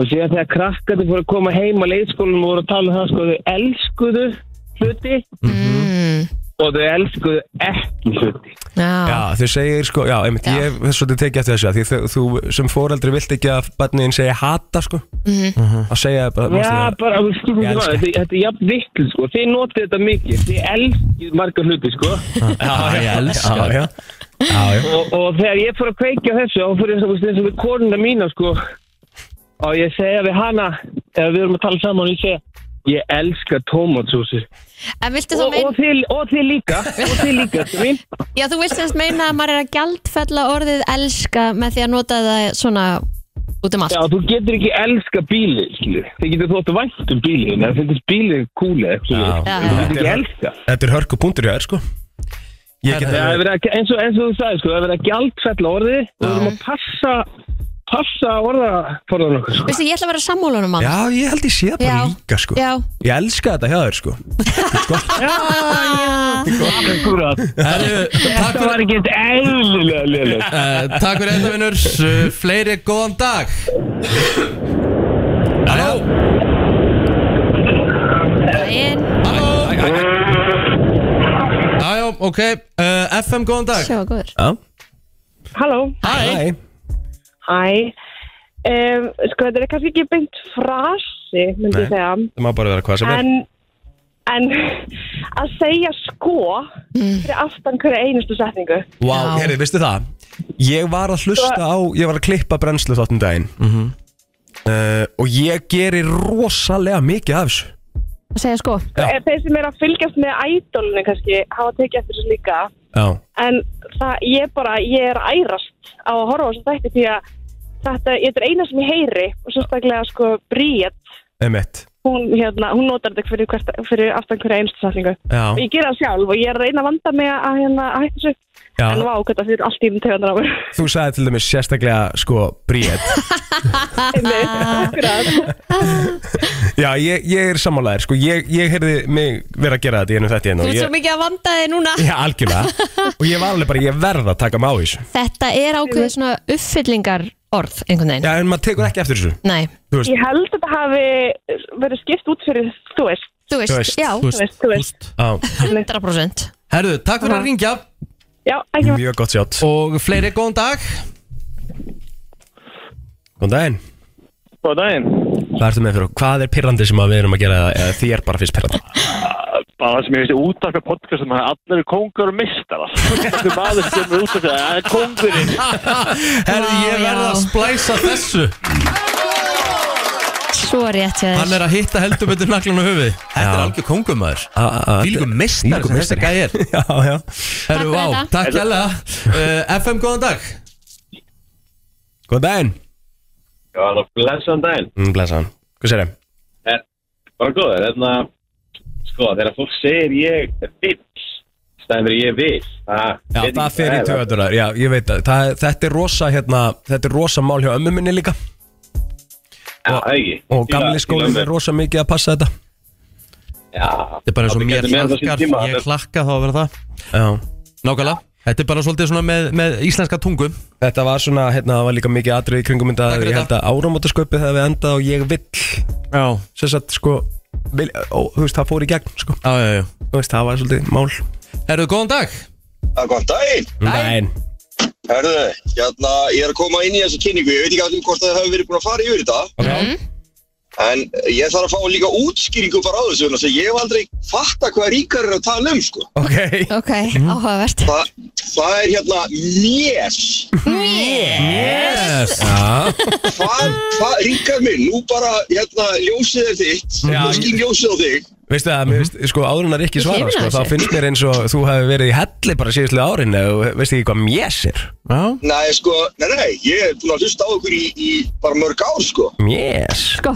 og síðan þegar krakkarnir fóru að koma heim á leikskólanum og voru að tala um það sko þau elskuðu hluti
Mm,
og þau elskuðu ekki hluti
Já,
Já, þau segir sko, já, einmitt,
Já.
ég hef svolítið tekið eftir þessu að því þau- þú sem foreldri vilt ekki að barniðin segja hata sko
Mhm.
að segja það bara,
Já,
manstu
bara, þú
Ég
skilur ekki
elska
maður, þetta, þetta er jafn vittl sko, þið notið þetta mikið, þið elskið marga hluti sko
Já, ég elska
það?
það
já, já, já, já.
og, og þegar ég fór að kveikja á þessu og fór ég þess að við konuna mína sko og ég segja við hana, eða við erum að tala saman og ég segja Ég elska tómatsúsi
en viltu þá
og, og,
meina
þið, og þið líka Og þið líka, þetta mín
Já, þú vilt semst meina að maður er að gjaldfella orðið elska með því að nota það svona út um
Já,
allt
þú getur ekki elska bíli, skilur. Þið getur þótt vænt um bílin, en þetta er bílin kúli, skilur.
Já.
Já. Þú getur ekki elska.
Þetta er hörku punktur hjá þér sko Ég get
Það er verið að, eins og, eins og þú sagði, sko, það er verið að gjaldfella orðið og við erum að passa, passa orðaforðan okkur, sko.
Veistu, ég ætla að vera sammúlunum mann
Já, ég held ég sé það bara
Já.
líka sko
Já.
Ég elska þetta hjá þér sko
Akkurat.
Herru, Takk
Þetta
fyrir
var ekki eitt eðlilega liðlega.
Eh, Takk fyrir þetta vinnur Eh, Fleiri góðan dag Halló
En,
Jájá, ok Eh, FM, góðan dag
sjá, góður
Já,
Halló,
Hæ
Nei.
hæ um, Sko, þetta er kannski ekki beint frasi, myndi
Nei.
ég segja
það má bara vera hvað sem er
En, en að segja sko fyrir aftan hverja einustu setningu
Vá, wow, herri, veistu það? Ég var að hlusta á, ég var að klippa brennslu þáttum daginn
Mhm.
uh, Og ég geri rosalega mikið af þessu
Að segja sko
Já.
Eh, Þeir sem eru að fylgjast með ædolinu kannski hafa tekið eftir þessu líka
Já,
en það, ég bara, ég er að ærast á að horfa á þessu þætti því að þetta, þetta er eina sem ég heyri og sérstaklega sko Bríett
emitt
hún, hérna, hún notar þetta fyrir, hvert, fyrir aftan hverja einustu setningu
Já,
og ég gera það sjálf og ég er að reyna að vanda mig að, hérna, að hætta þessu
já
en vá, hvað þetta fyrir allt í um tegundar á mér
Þú sagði til dæmis sérstaklega sko bríð
akkurat
Já, ég, ég er sammálaðir sko Ég, ég heyrði mig vera að gera þetta í einu þetta
Þú ert svo
ég,
mikið að vanda þig núna
Já, algjörlega Og ég var alveg bara, ég verð að taka mig á þessu
Þetta er ákveðið svona uppfyllingar orð einhvern veginn
Já, en maður tekur ekki eftir þessu
Nei,
Þú veist,
ég held að þetta hafi verið skipt út fyrir þú veist,
þú veist,
Þú veist,
já,
Þú veist, þú veist
já,
100%
Herru, takk fyrir að ringja
já, ekki
mjög gott sjátt
Og fleiri góðan dag
Góðan daginn
Góð daginn.
Hvað ertu með fyrir okkur? Hvað er pirrandi sem að við erum að gera eða- eða þér bara fyrst pirrandi?
Bara sem ég veist útarka podcast sem
um
að allir eru kongur og mistar Þetta er maður sem er útarka Það er kongurinn
Herru,
Vá,
ég verð
já.
að splæsa þessu
Svo rétt hjá
Hann
þér
er að hitta heldur betur naglan á höfið Þetta er
Já.
algjör kongumæður
Fylgum
Fylgum mistar
Þvílíkur
sem þetta gæði er
Já, já
Herru,
Takk fyrir
vá,
þetta.
takk jælega Eh, FM, góðan dag
Góðan daginn
Já, það er blessan daginn
mm, Blessa hann Hvað sér ég?
Bara góður, þarna Sko, þegar fólk segir ég vill Stæðan fyrir ég vil það-
Já,
ég-
það fer í töðunar Já, ég veit að það, þetta er rosa hérna Þetta er rosa mál hjá ömmu minni líka
Já, það er ekki
Og
Fíla-
gamli skólinn
fíla
er rosa mikið að passa þetta
Já
Þetta er bara eins og
Pabbi
mér
gerði meira á sínum
hlakkar
tíma,
Ég
þetta-
hlakka þá að vera það
Já
Nákvæmlega Þetta er bara svolítið svona með, með íslenska tungu
Þetta var svona, hérna, það var líka mikið atrið í kringum þetta
Takk fyrir
Ég held að áramótasköpið hefði endað og ég vill
Já,
Sér satt, sko, vil, ó, þú veist, það fór í gegn, sko
já, já, já
Þú veist, það var svolítið mál
Herðu, góðan dag
Það er gott daginn.
Nein
Herðu, hérna, ég er að koma inn í þessu kynningu. Ég veit ekki allir hvort það hefur verið búin að fara yfir þetta.
Ok,
En ég þarf að fá líka útskýringu bara á þessu. vegna þess að Ég hef aldrei fatta hvað ríkar er að tala um, sko.
ok
Ok,
Mhm.
áhugavert
Þa, það er hérna mjess.
Yes
Já,
Hvað, hvað, ríkar minn, nú bara, hérna, ljósið er þitt.
Já.
Nú skýn ljósið á þig.
veistu það, mér veist, sko, áður en að Rikki
Ég
svara,
hrifin
sko
af
Þá
þessu.
finnst mér eins og þú hefði verið í helli bara síðustlega árin Og veist ekki hvað mjess er
Já,
Nei, sko, nei, nei, ég er búin að hlusta á ykkur í, í bara mörg ár, sko.
Mjess
Sko,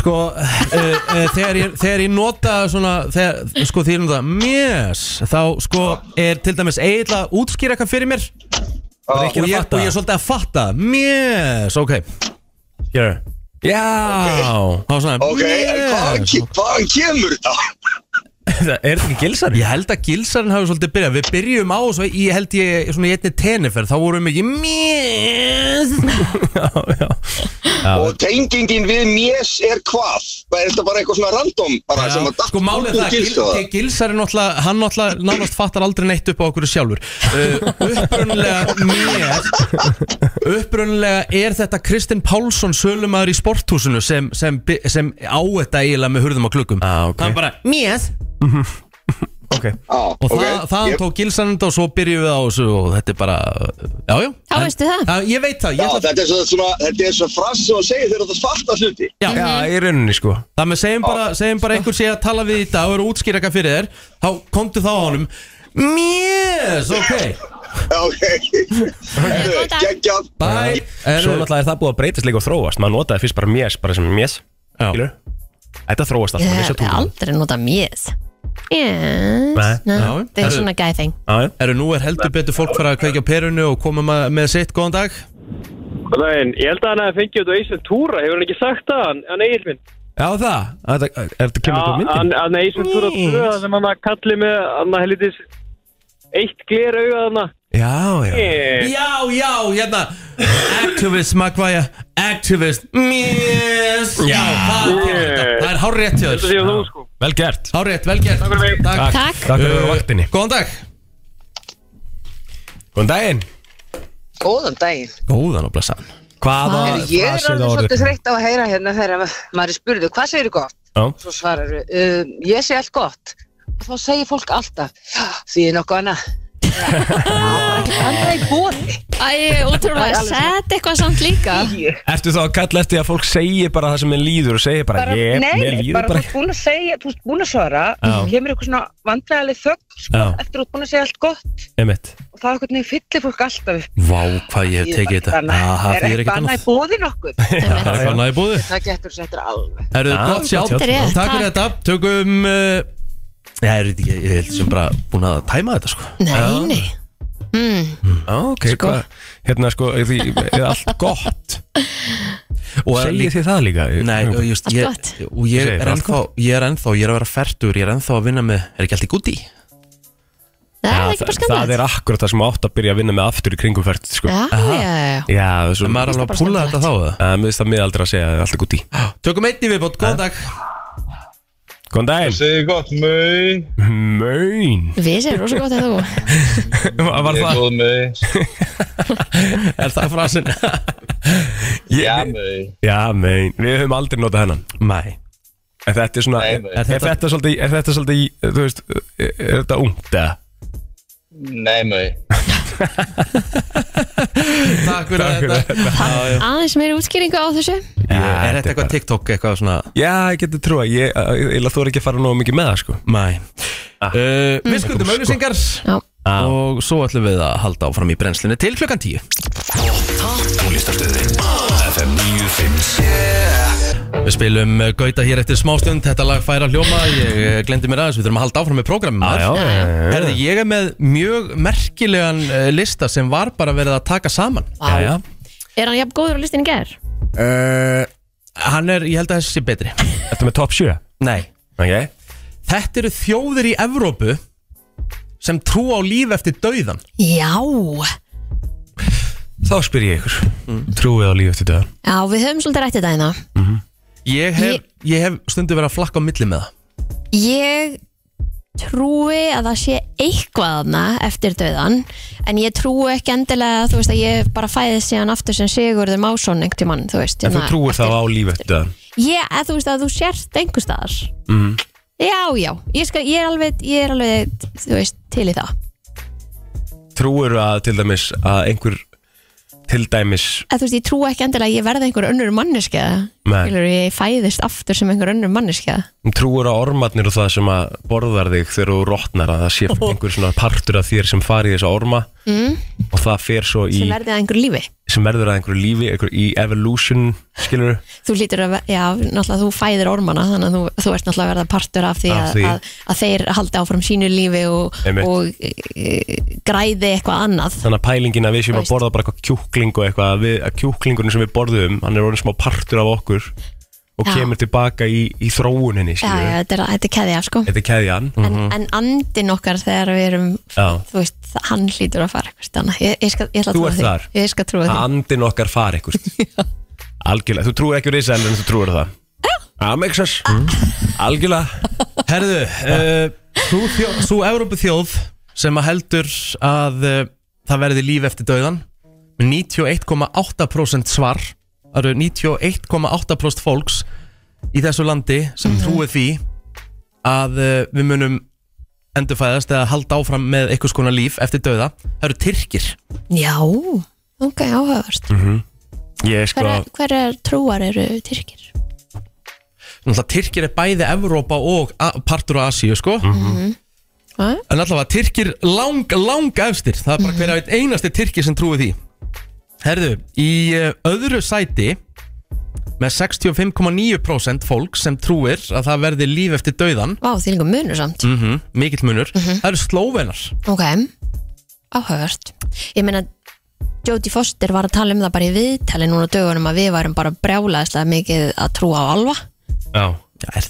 sko, uh, uh, þegar, ég, þegar ég nota svona þegar, Sko, því ég nota Yes Þá, sko, er til dæmis eiginlega að útskýra eitthvað fyrir mér
Rikki
og
er að
ég, og
fatta
ég er svolítið að fatta Yes, ok
Gjör Já
Þá svona
Ok, en hvaðan,
yes.
ke- hvaðan kemur þetta?
Er þetta ekki gilsari?
Ég held að gilsarinn hafi svolítið byrjað Við byrjum á svo ég held ég svona í einni tenifer Þá vorum við ekki Yes
Já, já
Og tengingin við mjess er hvað? Er þetta bara eitthvað svona random bara sem að
Já, sko málið er það,
gilsa
gil, gilsar er náttúrulega hann náttúrulega nánast fattar aldrei neitt upp á okkur sjálfur uh, upprunlega mér upprunlega er þetta Kristinn Pálsson sölumæður í sporthúsinu sem, sem, bi- sem á þetta eiginlega með hurðum á klukkum
Ah, ok.
hann bara, mér
Ok
Já,
og
ok.
það, þaðan
Ég-
tók gilsarinn þetta og svo byrjum við á þessu og þetta er bara, já, já
Þá
En-
veistu það.
Já, ég veit það, ég
Já,
ætla,
þetta er svo- svona, þetta er svona frass sem að segja þegar það svarta hluti.
já,
Já, í rauninni, sko
Það með segjum bara, segjum bara einhver sé að tala við í dag og eru að útskýra eitthvað fyrir þér þá komdu þá á honum Yes, ok,
Já, ok.
góðan dag.
Geggjað.
bye
Svo náttúrulega er það búið að breytast líka og þróast Maður notaði fyrst bara mjess, bara sem mjess
náttúrulega
Skilur? Þetta þróast
ég
alltaf þessi
hef
tungum.
aldrei notað mjöðs Yes
Nei,
já.
Það er
Herru.
svona guy thing
Já, já.
Eru nú er heldur betur fólk fara að kveikja á perunni og koma ma- með sitt, góðan dag
Nei, ég held að hann hefði fengið þetta á Ísland túra, hefur hann ekki sagt það, hann, hann Egil minn?
Já, það Er þetta- er þetta kemur upp á myndin?
hann, hann Ísland túra
Nei.
tvö, það sem hann að kalli með, hann að helítið eitt gler auga þarna.
Já, já
Já, já, hérna Activist, Magvæja, activist Yes, já, það er þetta. Það er hár rétt hjá
Þetta séu
þér
þú sko.
Vel gert
Hár rétt, vel gert
fyrir mig.
Takk,
Takk.
Takk Eh, fyrir vaktinni
Góðan dag
Góðan daginn
Góðan daginn.
Góðan og blessa
Hvaða
Heyrðu, Ég er
frasið
alveg
orðið?
svolítið þreytt á að heyra hérna þegar maður er spurðu, hvað segir þú gott?
Já.
Svo svarar þú, um, ég segi allt gott. Og þá segir fólk alltaf, "Já, því er nokkuð annað. Það er bóði.
Æ, og þú maður að setja eitthvað samt líka
Ertu þá að kalla eftir að fólk segi bara það sem mér líður og segi bara,
Bara,
ég, mér
nei,
líður
bara þú
bara
ert búin að segja, þú ert búin að svara,
Já.
og kemur eitthvað svona vandræðileg þögn sko,
Já.
eftir að þú ert búin að segja allt gott
Emitt
og það er eitthvað neginn fyllir fólk alltaf upp.
Vá, hvað ég hef tekið þetta Aha,
Það er
því er
eitthvað
ekkert
annað
annað
í bóði nokkuð.
Það er eitthvað annað í búði
Það getur þetta alveg.
Það eru
Já,
gott sjátt,
gott
sjátt.
takk fyrir þetta Tökum uh, Já, ég veit ekki, ég held sem bara búin að tæma þetta sko
Nei, nei
Já, ok,
Sko.
hvað Hérna, sko, er því, er allt gott
Og er
Segir
líka-
þið það líka?
Nei, og just,
Allt
ég,
gott.
og ég,
Segir
er
bara allt
ennþá, ég er ennþá, ég er að vera færtur Ég er ennþá að vinna með, er ekki allt í gúti?
Það er ekki
Já,
bara
það, það
skandað
er akkurat það sem þú átt að byrja að vinna með aftur í kringumfært sko.
Já, já, já
Já, það er svo Eh,
En maður er alveg
bara
að púla
skemmtilegt.
þetta þá eða?
Mér finnst það miðaldra að segja það er alltaf gúti
Tökum einn í viðbót, góðan dag
Góðan daginn
Segðu gott, mei
Mön
Við séum rosa gott að þú
Ég
Var
er
það
góð, mei
Er það frasin?
Já, mei
Já, mön Við höfum aldrei notað hennan
Nei
En þetta er svona
Nei,
er,
nei.
er, þetta svolítið, er þetta svolítið í, Þú veist Er er þetta ungt eða?
Nei, mei
Takk fyrir þetta Já, já.
Aðeins meiri útskýringu á þessu
Er þetta eitthvað TikTok, eitthvað svona?
Já, ég geti trúa Ég ætla þú er ekki að fara nógu mikið með það sko
Nei Uh, Við skuldum auðvisingar
Já.
og svo ætlum við að halda áfram í brennslinni til klukkan 10 Við spilum uh, Gauta hér eftir smástund Þetta lag fær að hljóma Ég uh, glendi mér aðeins, við þurfum að halda áfram með prógramum
Já, já, já, já.
Herði, ég er með mjög merkilegan uh, lista sem var bara verið að taka saman
Já, já.
Er hann jafn góður á listinni ger?
uh, Hann er, ég held að þessi sé betri
Ertu með top 7?
Nei
Ok
Þetta eru þjóðir í Evrópu sem trú á líf eftir dauðan
Já,
Þá spyr ég ykkur Trúið á líf eftir döðan
já, við höfum svolítið rættið það hérna
Ég hef, ég hef stundu verið að flakka á milli með það
Ég trúi að það sé eitthvað þarna eftir döðan en ég trúi ekki endilega þú veist að ég bara fæðið síðan aftur sem Sigurður Másson einhvern tímann, þú veist
En þú
hérna,
trúir þá á líf eftir döðan
Ég, að þú veist að þú sért einhver staðar
mm.
Já, já, ég, skal, ég, er alveg, ég er alveg, þú veist, til í það
Trúir að til dæmis að einhver Til dæmis
að Þú veist, ég trúi ekki endilega að ég verði einhver önnur manneska
Nei.
Skilur, ég fæðist aftur sem einhver önnur manneska
Trúir á ormarnir og það sem að borðar þig þegar þú rotnar að það sé einhver svona partur af þér sem fari í þessa orma
Oh. mm,
og það fer svo í
sem verði að einhver lífi
sem verður að einhverju lífi, einhverju í evolution skilur,
þú lítur að, ve- já, náttúrulega þú fæðir ormana þannig að þú, þú ert náttúrulega að verða partur af því
Af
að,
því.
Að, að þeir haldi áfram sínu lífi og,
Einmitt.
og e, e, græði eitthvað annað
þannig að pælingin að við séum að
Veist.
borða bara eitthvað kjúkling og eitthvað, að, við, að kjúklingurinn sem við borðum hann er orðin smá partur af okkur og
Já.
kemur tilbaka í, í þróuninni
já,
skilur,
já, þetta er, þetta er keðja, sko
þetta er keðjan
en andin okkar þegar við erum
Já.
þú veist, þa- hann hlýtur að fara eitthvað annað, ég, ég, skal, ég ætla að
Þú
trúa
ert
því
þar.
ég skal trúa því,
að andin okkar fari eitthvað algjörlega, þú trúir ekki á risa en þú trúir á það að make sense algjörlega
Herðu, uh, þú, þjó- þú Európu þjóð sem að heldur að uh, það verði líf eftir dauðan með 91,8% svar það eru 91,8% fólks í þessu landi sem trúið því að uh, við munum endurfæðast eða halda áfram með einhvers konar líf eftir dauða það eru tyrkir
já ok, áhugavert
mm -hmm.
Ég sko
hverjar hver trúar eru tyrkir
Náttúrulega Tyrkir er bæði Evrópa og a- partur á Asíu sko
Mhm. Mhm. Hva?
En allavega Tyrkir lang, lang efstir Það er bara hver að einasti Tyrkir sem trúið því Herðu, í eh, öðru sæti Með 65,9% fólk sem trúir að það verði líf eftir dauðan
vá, því líka munur samt
mm Mikill munur Það eru slóvenar
Ok, áhugavert Ég meina, Jodie Foster var að tala um það bara í viðtali núna á dögunum að við varum bara brjálaðislega mikið að trúa á alva
Já,
er,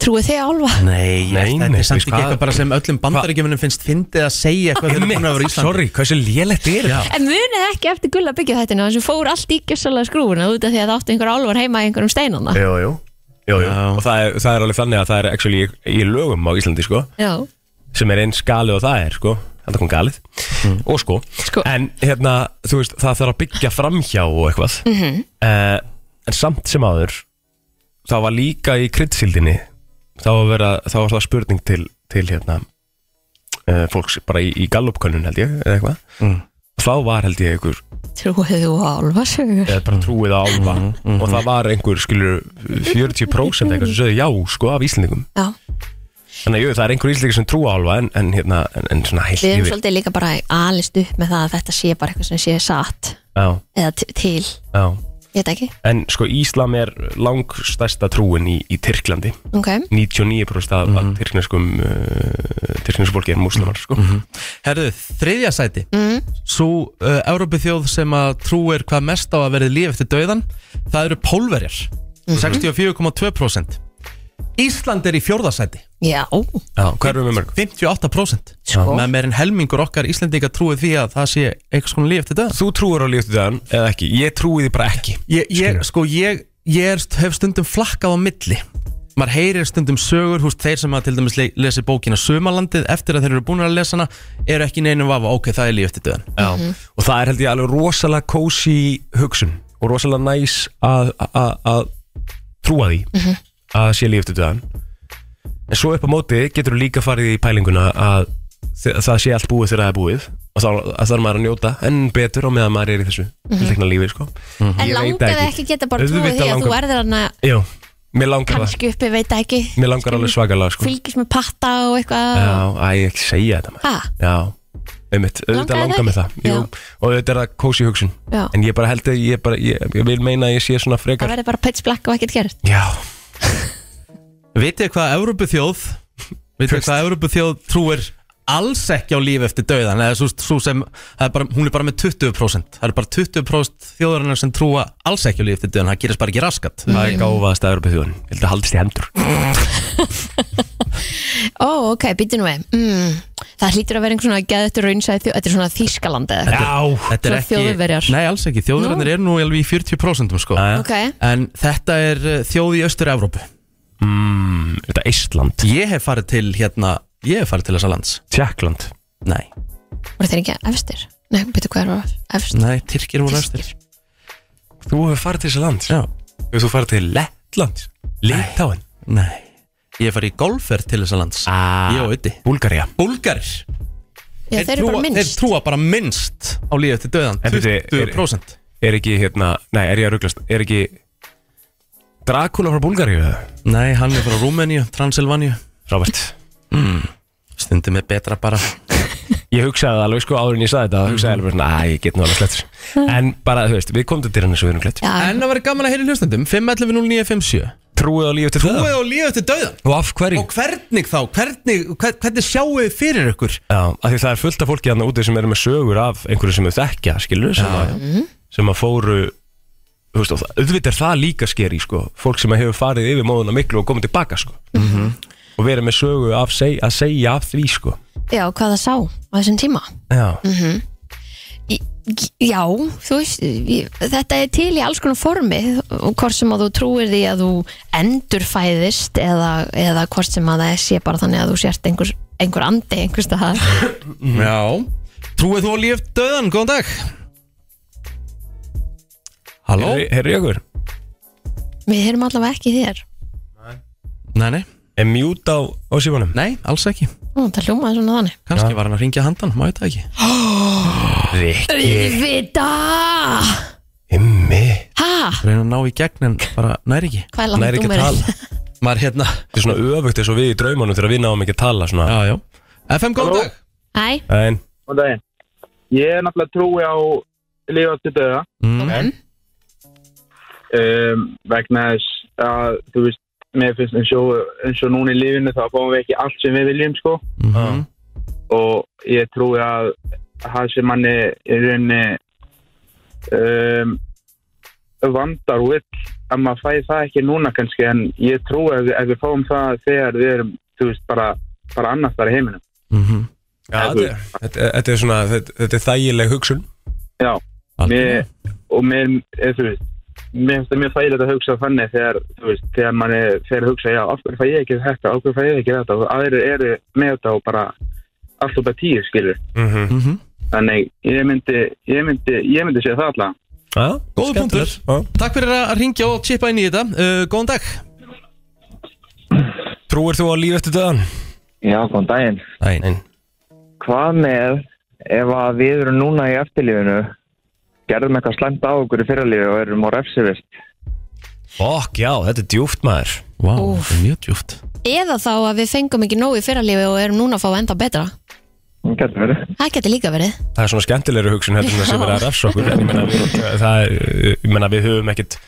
Trúið þið á alva?
Nei,
nei,
þetta
nei,
er samt
við
ekki
hvað-
eitthvað bara sem öllum bandaríkjumunum finnst fyndið að segja eitthvað þegar
Einmitt,
búin að vera í Íslandi
sorry, hversu lélegt er þetta?
En munið ekki eftir gulla byggja þetta sem fór allt í gjössalega skrúfuna út af því að það áttu einhver álvar heima í einhverjum steinana
jú, jú. Jú, jú. og það er, það er alveg þannig að það er actually í, í lögum á Íslandi sko
Já,
sem er eins galið og það er sko þetta kom galið og sko. en hérna þú veist það þarf að byggja framhjá og eitthvað mm
Mhm.
en samt sem áður þá var líka í kryddsildinni þá var, vera, þá var það spurning til, til hérna uh, fólks bara í, í gallupkönnun held ég eða eitthvað þá var held ég einhver
trúið þú á alva sögur
eða bara trúið á álfa og það var einhver skilur 40% eitthvað sem sögðu já sko af Íslendingum
Já.
þannig að jú, það er einhver Íslendingur sem trú á álfa en, en hérna en, en svona heilt
Við erum
yfir.
svolítið líka bara alist upp með það að þetta sé bara eitthvað sem sé satt
Já,
eða t- til,
já.
ég veit ekki
En sko Íslam er langstærsta trúin í, í Tyrklandi
Ok,
99% af mm -hmm. tyrkneskum uh, tyrkneskum fólki er múslimar sko.
Herðu, þriðja sæti
mm.
Svo uh, Európi þjóð sem að trúir hvað mest á að verði líf eftir dauðan Það eru pólverjar Mhm. 64,2% Ísland er í fjórða sæti
já
Já, hvað erum við mörg?
58%
Sko.
Með meirinn helmingur okkar Íslendinga trúið því að það sé eitthvað svona líf eftir dauðan
Þú trúir á líf eftir dauðan eða ekki Ég trúi því bara ekki
Ég, ég, sko, ég, ég er, hef stundum flakkað á milli maður heyrir stundum sögur húst þeir sem að til dæmis le- lesi bókina Sumalandið eftir að þeir eru búin að lesa hana eru ekki neinum vafa, ok, það er líf eftir döðan
Já,
Mhm.
og það er held ég alveg rosalega kósi hugsun og rosalega næs að að- að trúa því
Mhm.
að sé líf eftir döðan en svo upp á móti getur þú líka farið í pælinguna að þe- það sé allt búið þegar það er búið og þá að þarf maður að njóta enn betur og meðan maður er í þessu
Mhm.
tiltekna lífi sko.
En
Ég veit
langaði ekki geta bara trúið
Auðvitað
því að þú
langar-
verður hann að
Jú, mér langar það
kannski uppi, veit það ekki
Mér langar alveg svakalega sko
fylgist með patta og eitthvað
Já, æ, ég ekki segja þetta maður
Ha?
Já, einmitt, auðvitað
Langaði
langar
það
mig það
ekki?
Jú,
Já.
og auðvitað er það kósi hugsun
Já.
En ég bara held að ég, bara, ég, ég vil meina að ég sé svona
það
frekar
verður bara pitch black og ekkert gerst
Já
Vitið þið hvað Európu þjóð Vitið þið hvað Európu þjóð trúir alls ekki á lífi eftir dauðan eða svo, svo sem, það er bara, hún er bara með 20% það er bara 20% þjóðarinnar sem trúa alls ekki á lífi eftir dauðan, það gerist bara ekki raskat
Það er
gáfaðast að Európa þjóðan, ég held að haldist í hendur
Ó, ok, býttu nú við mm, Það hlýtur að vera einhver svona geðettur raunsæð þjó Þetta er svona Þýskaland eða
Já, þetta er
Svo
ekki
Þjóðverjar.
Nei, alls ekki, þjóðverjarnir eru nú alveg í 40% sko.
Ok.
En þetta er uh, þjóð í Östur-Evrópu mm, Þetta er Ísland Ég hef farið til hérna Ég hef farið til þessa lands Tjekkland Nei,
Voru þeir ekki efstir? Nei, býttu hvað er efstir?
nei, Tyrkir voru östur
Þú hefur farið til þessi land
Já
Hefur þú farið til Lettland Litáin
Nei Ég hef farið í golfferð til þessa lands ah, Ég og Ötti
Búlgaría
Búlgarir
Já, þeir eru bara
trúa-
minnst
Þeir trúa bara minnst á lífið til döðan
En bíddu, er-
20%
Er ekki hérna Nei, er ég að rugglast Er ekki Dracula frá Búlgaríu eða?
Nei, hann er frá Rúmeníu, Transilvaníu
Robert
mm, Stundum er betra bara
Ég hugsaði það alveg sko áður en ég saði þetta þá Hugsaði alveg svona Æ, ég get nú alveg slett En bara, þú veist Við komum til dyrann eins og við erum klett
En það verður gaman að heyra í hlustendum 5.11.09.57
Trúið á líf til
Trúið á lífið til döðan
Og af hverju?
Og hvernig þá? Hvernig, hver, hvernig sjáu þið fyrir ykkur?
Já, af því það er fullt af fólki hann úti sem eru með sögur af einhverju sem þau þekkja, skilur sem, að, sem að fóru þú veist, og það- auðvitað er það líka skeri sko, fólk sem hefur farið yfir móðuna miklu og komið tilbaka sko,
Mhm.
og verið með sögu af seg, að segja af því sko. Mhm.
Já, hvað það sá á þessum tíma
Já,
mm Já, þú veist ég, Þetta er til í alls konar formi og hvort sem að þú trúir því að þú endurfæðist eða, eða hvort sem að það sé bara þannig að þú sért einhver, einhver andi einhvers það
Mhm. Já Trúið þú á lífið til döðan? Góðan dag Halló?
Herri ykkur
Við heyrum allavega ekki í þér
Nei, nei
Er mjút á, á símanum?
Nei, alls ekki
Ó, Það hljómaði svona þannig
Kanski var hann að ringja handan, má ég þetta ekki Rikki
Rífita
Himmi
Ha?
Reina að ná í gegn en bara næri ekki
Hvað er langt
Nær ekki að
númerið?
tala
Maður hérna
Þetta er svona öfugt eins og við í draumanum þegar við náum ekki að tala svona.
Já, já FM, góðan dag
Hæ
En,
Góðan daginn. Ég er náttúrulega trúi á lifa til döða
mm.
um, vegna þess að, þú veist, mér finnst eins og, eins og núna í lífinu þá fáum við ekki allt sem við viljum, sko.
Mm-hmm.
Mhm.
Og ég trúi að það sem manni í rauninni um, vandar og vill að maður fæði það ekki núna kannski en ég trúi að ef við fáum það þegar við erum, þú veist, bara, bara annars þar í heiminum.
já, þetta, er- þetta, þetta er svona þetta, þetta er þægileg hugsun
Já, mér, og mér, eða, þú veist, mér finnst það mjög þægilegt að hugsa þannig þegar, þú veist, þegar manni fer að hugsa, já, af hverju fæ ég ekki þetta, af hverju fæ ég ekki þetta, og aðrir eru með þetta og bara allt og bara tíu, skilur.
mm -hmm.
Þannig, ég myndi, ég myndi, ég myndi segja það allavega.
Já,
Góður punktur Takk fyrir að ringja og chippa inn í þetta uh, Góðan dag
Trúir þú á líf eftir döðan?
Já, góðan daginn.
Daginn.
Hvað með ef að við erum núna í eftirlífinu, gerðum eitthvað slæmt á okkur í fyrralífi og erum á refsivist?
Fokk, já, þetta er djúft maður
Vá, þetta er mjög djúft
Eða þá að við fengum ekki nóg í fyrralífi og erum núna að fá enda betra
Það getur verið
Það geti líka verið
Það er svona skemmtilegri hugsun heldur en það sem er að refsa okkur en ég meina við, það, er, ég meina við höfum ekkit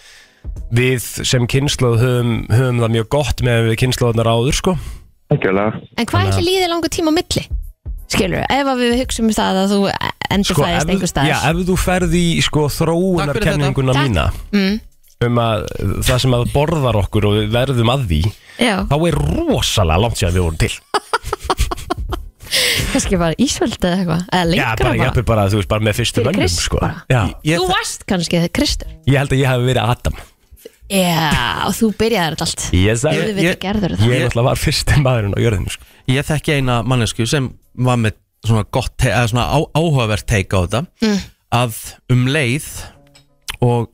við sem kynnslóð höfum, höfum það mjög gott með við kynnslóðnar áður sko
Ekkjulega
En hvað
Þannig að-
ætli líði langur tíma á milli? Skilur, ef að við hugsaum það að þú endurfæðist sko, einhver
já,
staðar
ef þú ferð í sko þróunarkenninguna
Takk.
mína
mm,
um að það sem að borðar okkur og við verðum að því
Já,
þá er rosalega langt sér að við vorum til
kannski bara ísvöld eða eitthvað Eða
Já,
lengra
bara,
bara,
jafnvel bara, þú veist, bara með fyrstu
Fyrir
mönnum
Krist
sko.
bara.
Já, ég,
Þú varst kannski þegar Kristur
ég held að ég hafi verið Adam
Já, og þú byrjaði þetta allt
Ég sagði-
Þú veit
ég-
ekki erður
Ég náttúrulega var fyrsti maðurinn á jörðinu sko.
Ég þekki eina mannesku sem var með svona gott, te- eða svona á, áhugavert teika á þetta
Mm.
að um leið og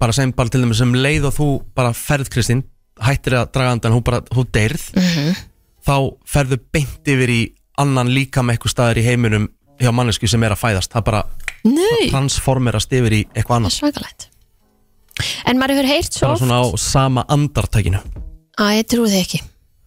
bara segjum bara til dæmis um leið og þú bara ferð Kristín hættir að draga andan, hún bara, hún deyrð
Mhm.
þá ferðu beint yfir í annan líka með eitthvað staðar í heiminum hjá mannesku sem er að fæðast það bara
Nei.
transformerast yfir í eitthvað annað
Svakalegt En maður hefur heyrt svo
bara
oft
svona á sama andartækinu
Æ, ég trúi þig ekki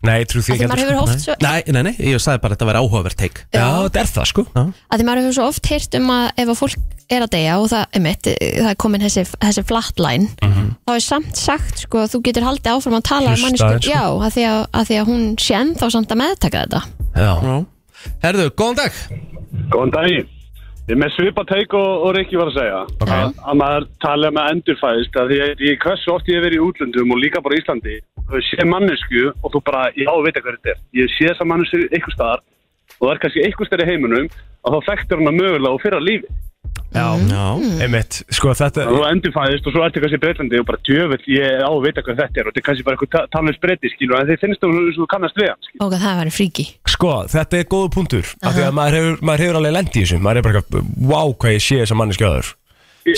Nei, ég trú
því Af því ekki maður heldur, hefur sko. oft svo-
nei, nei, nei, ég sagði bara að þetta væri áhugavert teik
Já, þetta er það sko
að því maður hefur svo oft heyrt um að ef að fólk er að deyja og það, emitt, það er komin þessi, þessi flatline
Mhm.
þá er samt sagt sko að þú getur haldið áfram að tala um
Hlusta
mannesku,
aðeins, sko.
já, að því að, að því að hún sé ennþá samt að meðtaka þetta
Já.
Já. Herðu, góðan dag
Góðan daginn. Ég er með svipa teik og, og Rikki var að segja að, að maður tala með endurfæðist að því að ég hversu oft ég hef verið í útlöndum og líka bara í Íslandi þú sé mannesku og þú bara, já, veit ekki hvað þetta er ég sé þess að mannesku einhver staðar og það er kannski einhver staðar í heiminum að þá þekktur hana mögulega og fyrra lífi
Já,
Mm.
já.
einmitt, sko þetta
og þú endurfæðist og svo ertu kannski í Breitlandi og bara djöfell, ég á að vita hvað þetta er og þetta er kannski bara eitthvað talveg spreyti skilur en þeir finnst þú eins og þú kannast við hann
Og það væri fríki
Sko, þetta er góða punktur af því að maður hefur, maður hefur alveg lendi í þessu maður er bara eitthvað, wow, hvað ég sé þess að manneski aður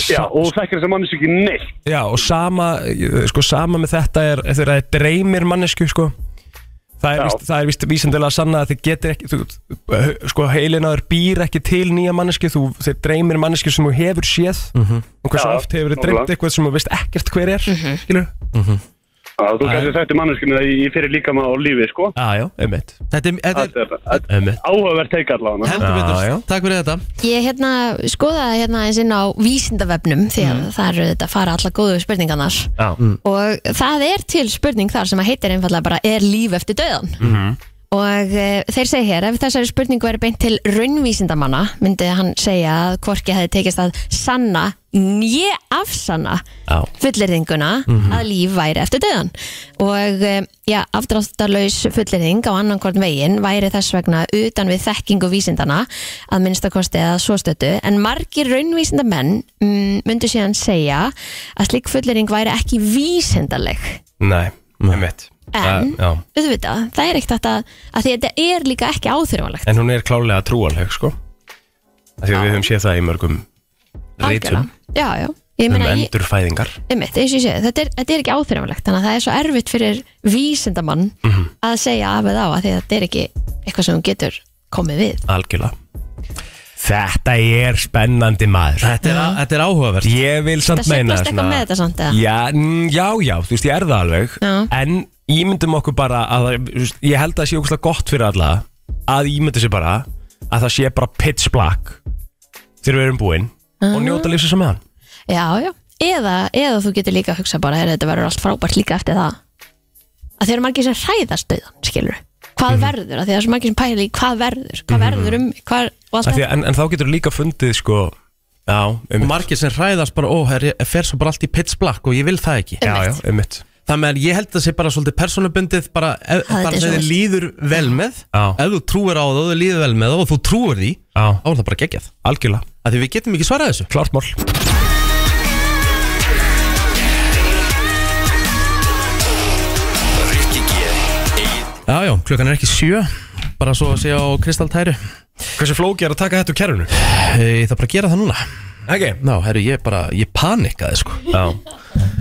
Já, og þekkir þess að mannesku ekki neitt
Já, og sama, eh, sko, sama með þetta er þegar það er dreymir mannesku, sko Það er, víst, það er víst vísindilega að sanna að þið getur ekki, þú, sko heilinaður býr ekki til nýja manneski, þú, þið dreymir manneski sem þú hefur séð
Mhm.
og hversu
Já,
oft hefur þið
nákvæmlega.
dreymt eitthvað sem þú veist ekkert hver er, mm
Mhm.
-hmm. skilur?
Já, þú kannski þekktir manneskinu það í í fyrir líkama á lífi, sko.
Já, já, einmitt.
Þetta er,
þetta er, áhugavert teika allavega.
Heldur
Ah,
betur. Já, já. Takk fyrir þetta.
Ég hérna, skoðaði hérna eins inn á vísindavefnum því að það eru þetta fara alla góðu spurningarnar
Mm. Já. Mm.
og það er til spurning þar sem að heitir einfallega bara er líf eftir döðan
Mhm.
og e, þeir segja hér ef þessari spurningu er beint til raunvísindamanna myndi hann segja að hvorki hefði tekist að sanna njö afsanna
Já.
fullirðinguna
Mhm.
að líf væri eftir döðan og eh, já, afdráttarlaus fullirðing á annarkorn veginn væri þess vegna utan við þekkingu vísindana að minnstakosti eða svo stötu en margir raunvísindamenn mm, myndu síðan segja að slík fullirðing væri ekki vísindaleg
Nei, einmitt.
En?
Það- já.
auðvitað, það er ekkert að, að því að þetta er líka ekki áþurfanlegt
En hún er klálega trúanleg sko Af Því að við höfum séð það í mörgum Rítum
já, já, ég
um
meina ég,
endurfæðingar
einmitt, eins og ég segi, þetta er, þetta er ekki áþurfanlegt þannig að það er svo erfitt fyrir vísindamann
Mhm.
að segja af eða á að því að þetta er ekki eitthvað sem hún getur komið við
Algjörlega Þetta er spennandi maður
Þetta er, þetta er áhugavert
Ég vil samt
Þetta
meina
sveiflast eitthvað með þetta samt, eða?
já, mm, já, já, þú veist, ég er það alveg
Já.
En ímyndum okkur bara að, það- þú veist, Ég held að það sé okkur gott fyrir alla Að ímynda sér bara Að það sé bara pitch black Þegar við erum búin
Ah.
Og njóta lífsins á meðan
Já, já, eða, eða þú getur líka að hugsa bara, heyrðu, þetta verður allt frábært líka eftir það að þeir eru margir sem hræðast döðan, skilur hvað verður, að því það er svo margir sem pælir í hvað verður, hvað
Mhm.
verður um mig, hvað, og allt
Af því
þetta
að- en, en þá getur líka fundið sko Já, um
Og margir sem hræðast bara, ó, herri, fer svo bara allt í pitch black og ég vil það ekki
Já, já, um mitt
Þannig að ég held að það sé bara svolítið persónubundið bara, ef,
þetta
bara
er
sem þið
svoleiðis.
líður vel með
Já.
ef þú trúir á það og þið líður vel með það og þú trúir því
Já.
þá er það bara geggjað
Algjörlega
Af Því við getum ekki svarað þessu
Klart mál
Rikki G Egil
Já, já, klukkan er ekki sjö bara svo að segja á kristaltæru
Hversu flóki er að taka þetta úr kerfinu?
Eh, Ég þarf bara að gera það núna
Ekki?
Ná, herru, ég bara, ég panikaði sko
Já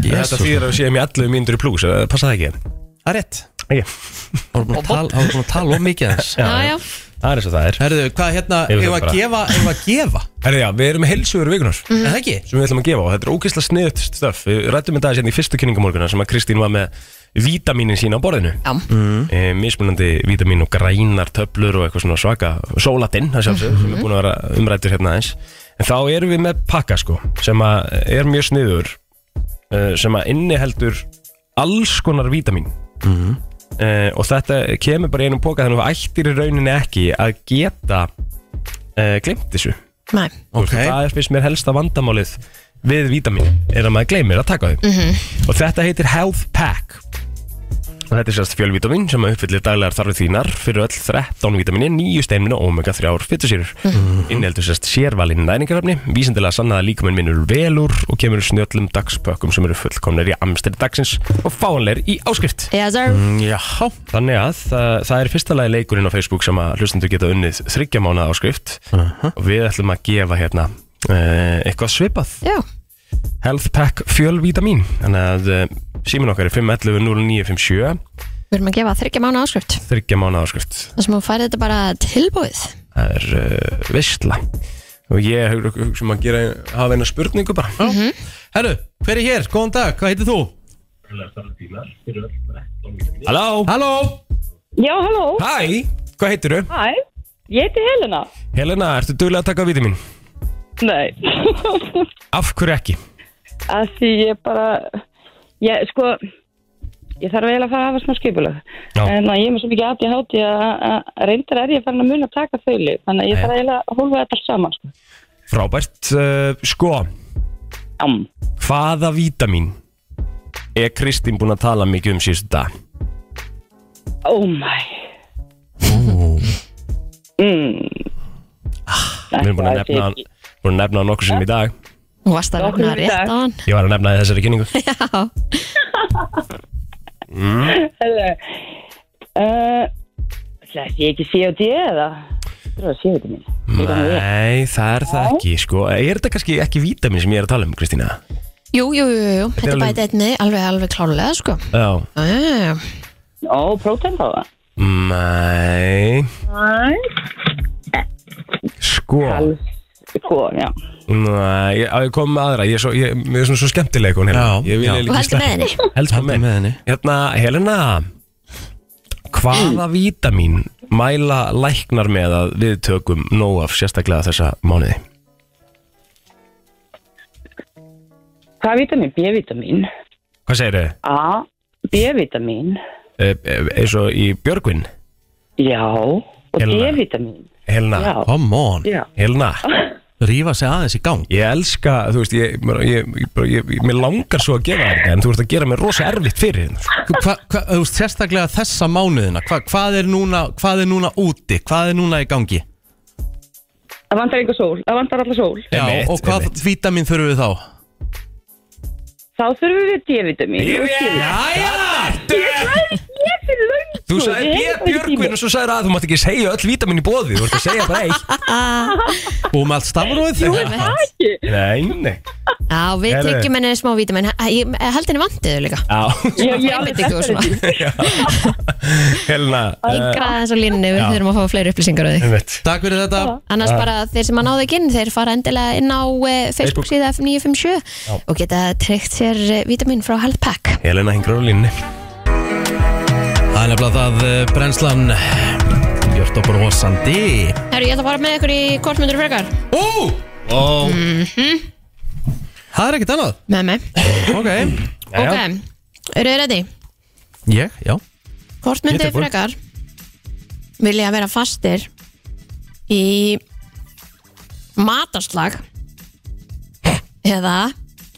Jesus.
Þetta þýðir að við séum í 11 mínútur í plús, eh, passa það ekki?
Það er rétt
Ekki
Það var búin að tala- hann var búin að tala of mikið aðeins
Já, já. Það er eins og það er
Herðu, hvað hérna,
Yfir
ef
það
að
bara.
gefa, ef að gefa
Herri, já, við erum heilsugur vikunar
Mhm. Er það ekki?
Sem við ætlum að gefa og þetta er ógeðslega sniðut stöf Við rættum þetta hérna í fyrstu kynningamorguna sem að Kristín var með vítaminin sína á borðinu
Já
e, Mismunandi vítamin og grænar töflur og eitthvað svona svaka Sólatinn, það sjálfsög, sem er búin að vera umrættur hérna aðeins En þá erum við með pakka sko sem að er mjög sniður eh, sem að inniheldur alls konar vítamin
Mhm.
uh, og þetta kemur bara í einum póka þannig að þú ættir í rauninni ekki að geta uh, glemt þessu
Nei.
okay. það er fyrst mér helsta vandamálið við vítamin er að maður gleymir að taka þau
Mhm.
og þetta heitir Health Pack og þetta er sérst fjölvitamin sem uppfyllir daglegar þarfir þínar fyrir öll 13 vitamini, 9 steinmin og omega 3 fytusýrur mm. inneldur sérst sérvalinn næringaröfni vísindilega sannaða líkuminn minnur vel úr og kemur úr snjöllum dagspökkum sem eru fullkomnir í amstæri dagsins og fáanleir í áskrift
Yes, sir.
Mm, Já, þannig að það, það er í fyrsta lagi leikurinn á Facebook sem að hlustendur geta unnið þryggja mánuða áskrift og við ætlum að gefa hérna uh, eitthvað svipað
Já.
Health Pack fjölvítamin þannig að uh, símin okkar er 511 0957
við erum að gefa þryggja mánu áskrift
þryggja mánuða áskrift
þar sem hún færði þetta bara tilbúið
það er uh, veistla og ég hugsa um að gera hafa eina spurningu bara
mm
Mhm.
-hmm. Herru, hver er hér? Góðan dag, hvað heitir þú?
Halló
Halló
Já, halló
Hæ, hvað heitirðu?
Hæ, ég heiti Helena
Helena, ertu duglega að taka vítamin?
Nei
Af hverju ekki?
Af því ég bara Ég, sko
Ég þarf eiginlega að fara að hafa smá skipulag.
Já.
En að ég er með svo mikið aðtíð hátíð að að reyndar er ég farin að muna að taka þau lið. Þannig að ég
Já.
þarf eiginlega að hólfa þetta allt saman. Sko.
Frábært, uh, sko
Am.
Hvaða vítamin er Kristín búin að tala mikið um síðustu dag?
Oh my. Mm.
Ah, Við erum búin að
Þetta
nefna,
er-
búin að nefna nokkur sem í dag
Hún varst að nefna rétt á hann.
Ég var að nefna það í þessari kynningu
Já.
mm.
Herðu, eh, Það sé ekki COD E eða? Það er COD E mín.
Nei, það er það ekki sko. Er þetta kannski ekki vítamin sem ég er að tala um, Kristína?
Jú, jú, jú, jú.
er
Þetta
alveg-
bæti einni alveg, alveg klálega, sko.
Já
Ah.
Ó, prótein þá það?
Nei
Nei.
Sko
Sko, já
Nei, ég, á, ég kom með aðra Ég er svo, ég, ég er svona svo skemmtileg hún Helena.
Já,
Ég vil
já. Og
eiginlega ekki
heldur með henni.
sleppa- Heldur með, henni Hérna, Helena Hvaða vítamin mæla læknar með að við tökum nóg af sérstaklega þessa mánuði?
Hvað vitamin? B-vitamin
Hvað segir þau?
A, B-vitamin
eh, Eins og í Björgvin?
Já, og
Hérna.
D-vitamin
Helena,
Já.
come on
Já.
Helena, rífa sig aðeins í gang Ég elska, þú veist, ég, ég, ég, bara- ég, ég mér langar svo að gefa þér þetta en þú ert að gera mér rosa erfitt fyrir þetta sko.
hva, hva, þú veist, sérstaklega þessa mánuðina hva, hvað, er núna, hvað er núna úti hvað er núna í gangi
Það vantar einhver sól, það vantar alla sól
Já, og hvað vítamin þurfum við þá
Þá þurfum við D-vitamin
Ég-
Jæja Ég sagði B fyrir löngu
Þú sagði
Ég
Björn
hef ekki tíma.
Björgvin og svo sagði að þú mátt ekki segja öll vítamin í bóði þú ert að segja bara eitt
Búum um allt stafróð
Jú,
er það
Nei, nei
Já, við
Heyrðu.
tryggjum henni smá vítamin. Ég eh, held henni vantiðu líka.
Já.
Ég- ég alveg Einbeitingu og svona. eftir
Já. Helena
Yngra aðeins á línunni, við
Já.
þurfum að fá fleiri upplýsingar á þig.
Takk fyrir þetta
Annars bara þeir sem að náðu ekki inn, þeir fara endilega inn á eh, Facebook síða FM957
Já.
og geta tryggt sér eh, vítamin frá Health Pack.
Helena hengur á línni
Það er nefnilega það eh, brennslan Björn og brosandi
Herru, ég ætla að fara með ykkur í kortmyndur frekar.
Ó! Ó Það er ekkert annað
Með mig.
Ok
Ok, eru þið ready?
Ég, já Ég
Hvort
er
myndið
tilbúin.
frekar vilja vera fastir í mataslag eða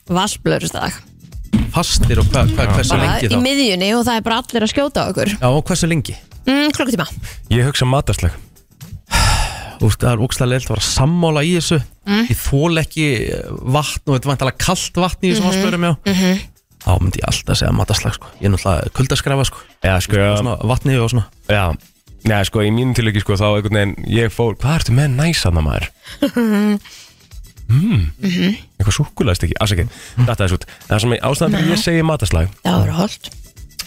vassblöruslag
Fastir og hvað, hvað, hversu
bara
lengi
í
þá
miðjunni og það er bara allir að skjóta á okkur
Já, og hversu lengi
mm, klukkutíma
Ég hugsa matarslag
Úst, það er ógstlega leilt að vera sammála í þessu
Mm.
Ég þól ekki eh, vatn og þetta er vantalega kalt vatn í þessum mm
Mhm,
já
mhm.
Þá myndi ég alltaf segja mataslag sko Ég er náttúrulega kuldaskræfa sko
Já, sko
svona, Vatni og svona
Já, Já sko, í mínum tilöki sko, þá einhvern veginn, ég fór, hvað ertu með næsanna maður? Mm.
Mhm.
Eitthvað súkulaðist ekki, afsakið, þetta er svo Það sem ég- ástæðan fyrir ég segi mataslag
það voru holdt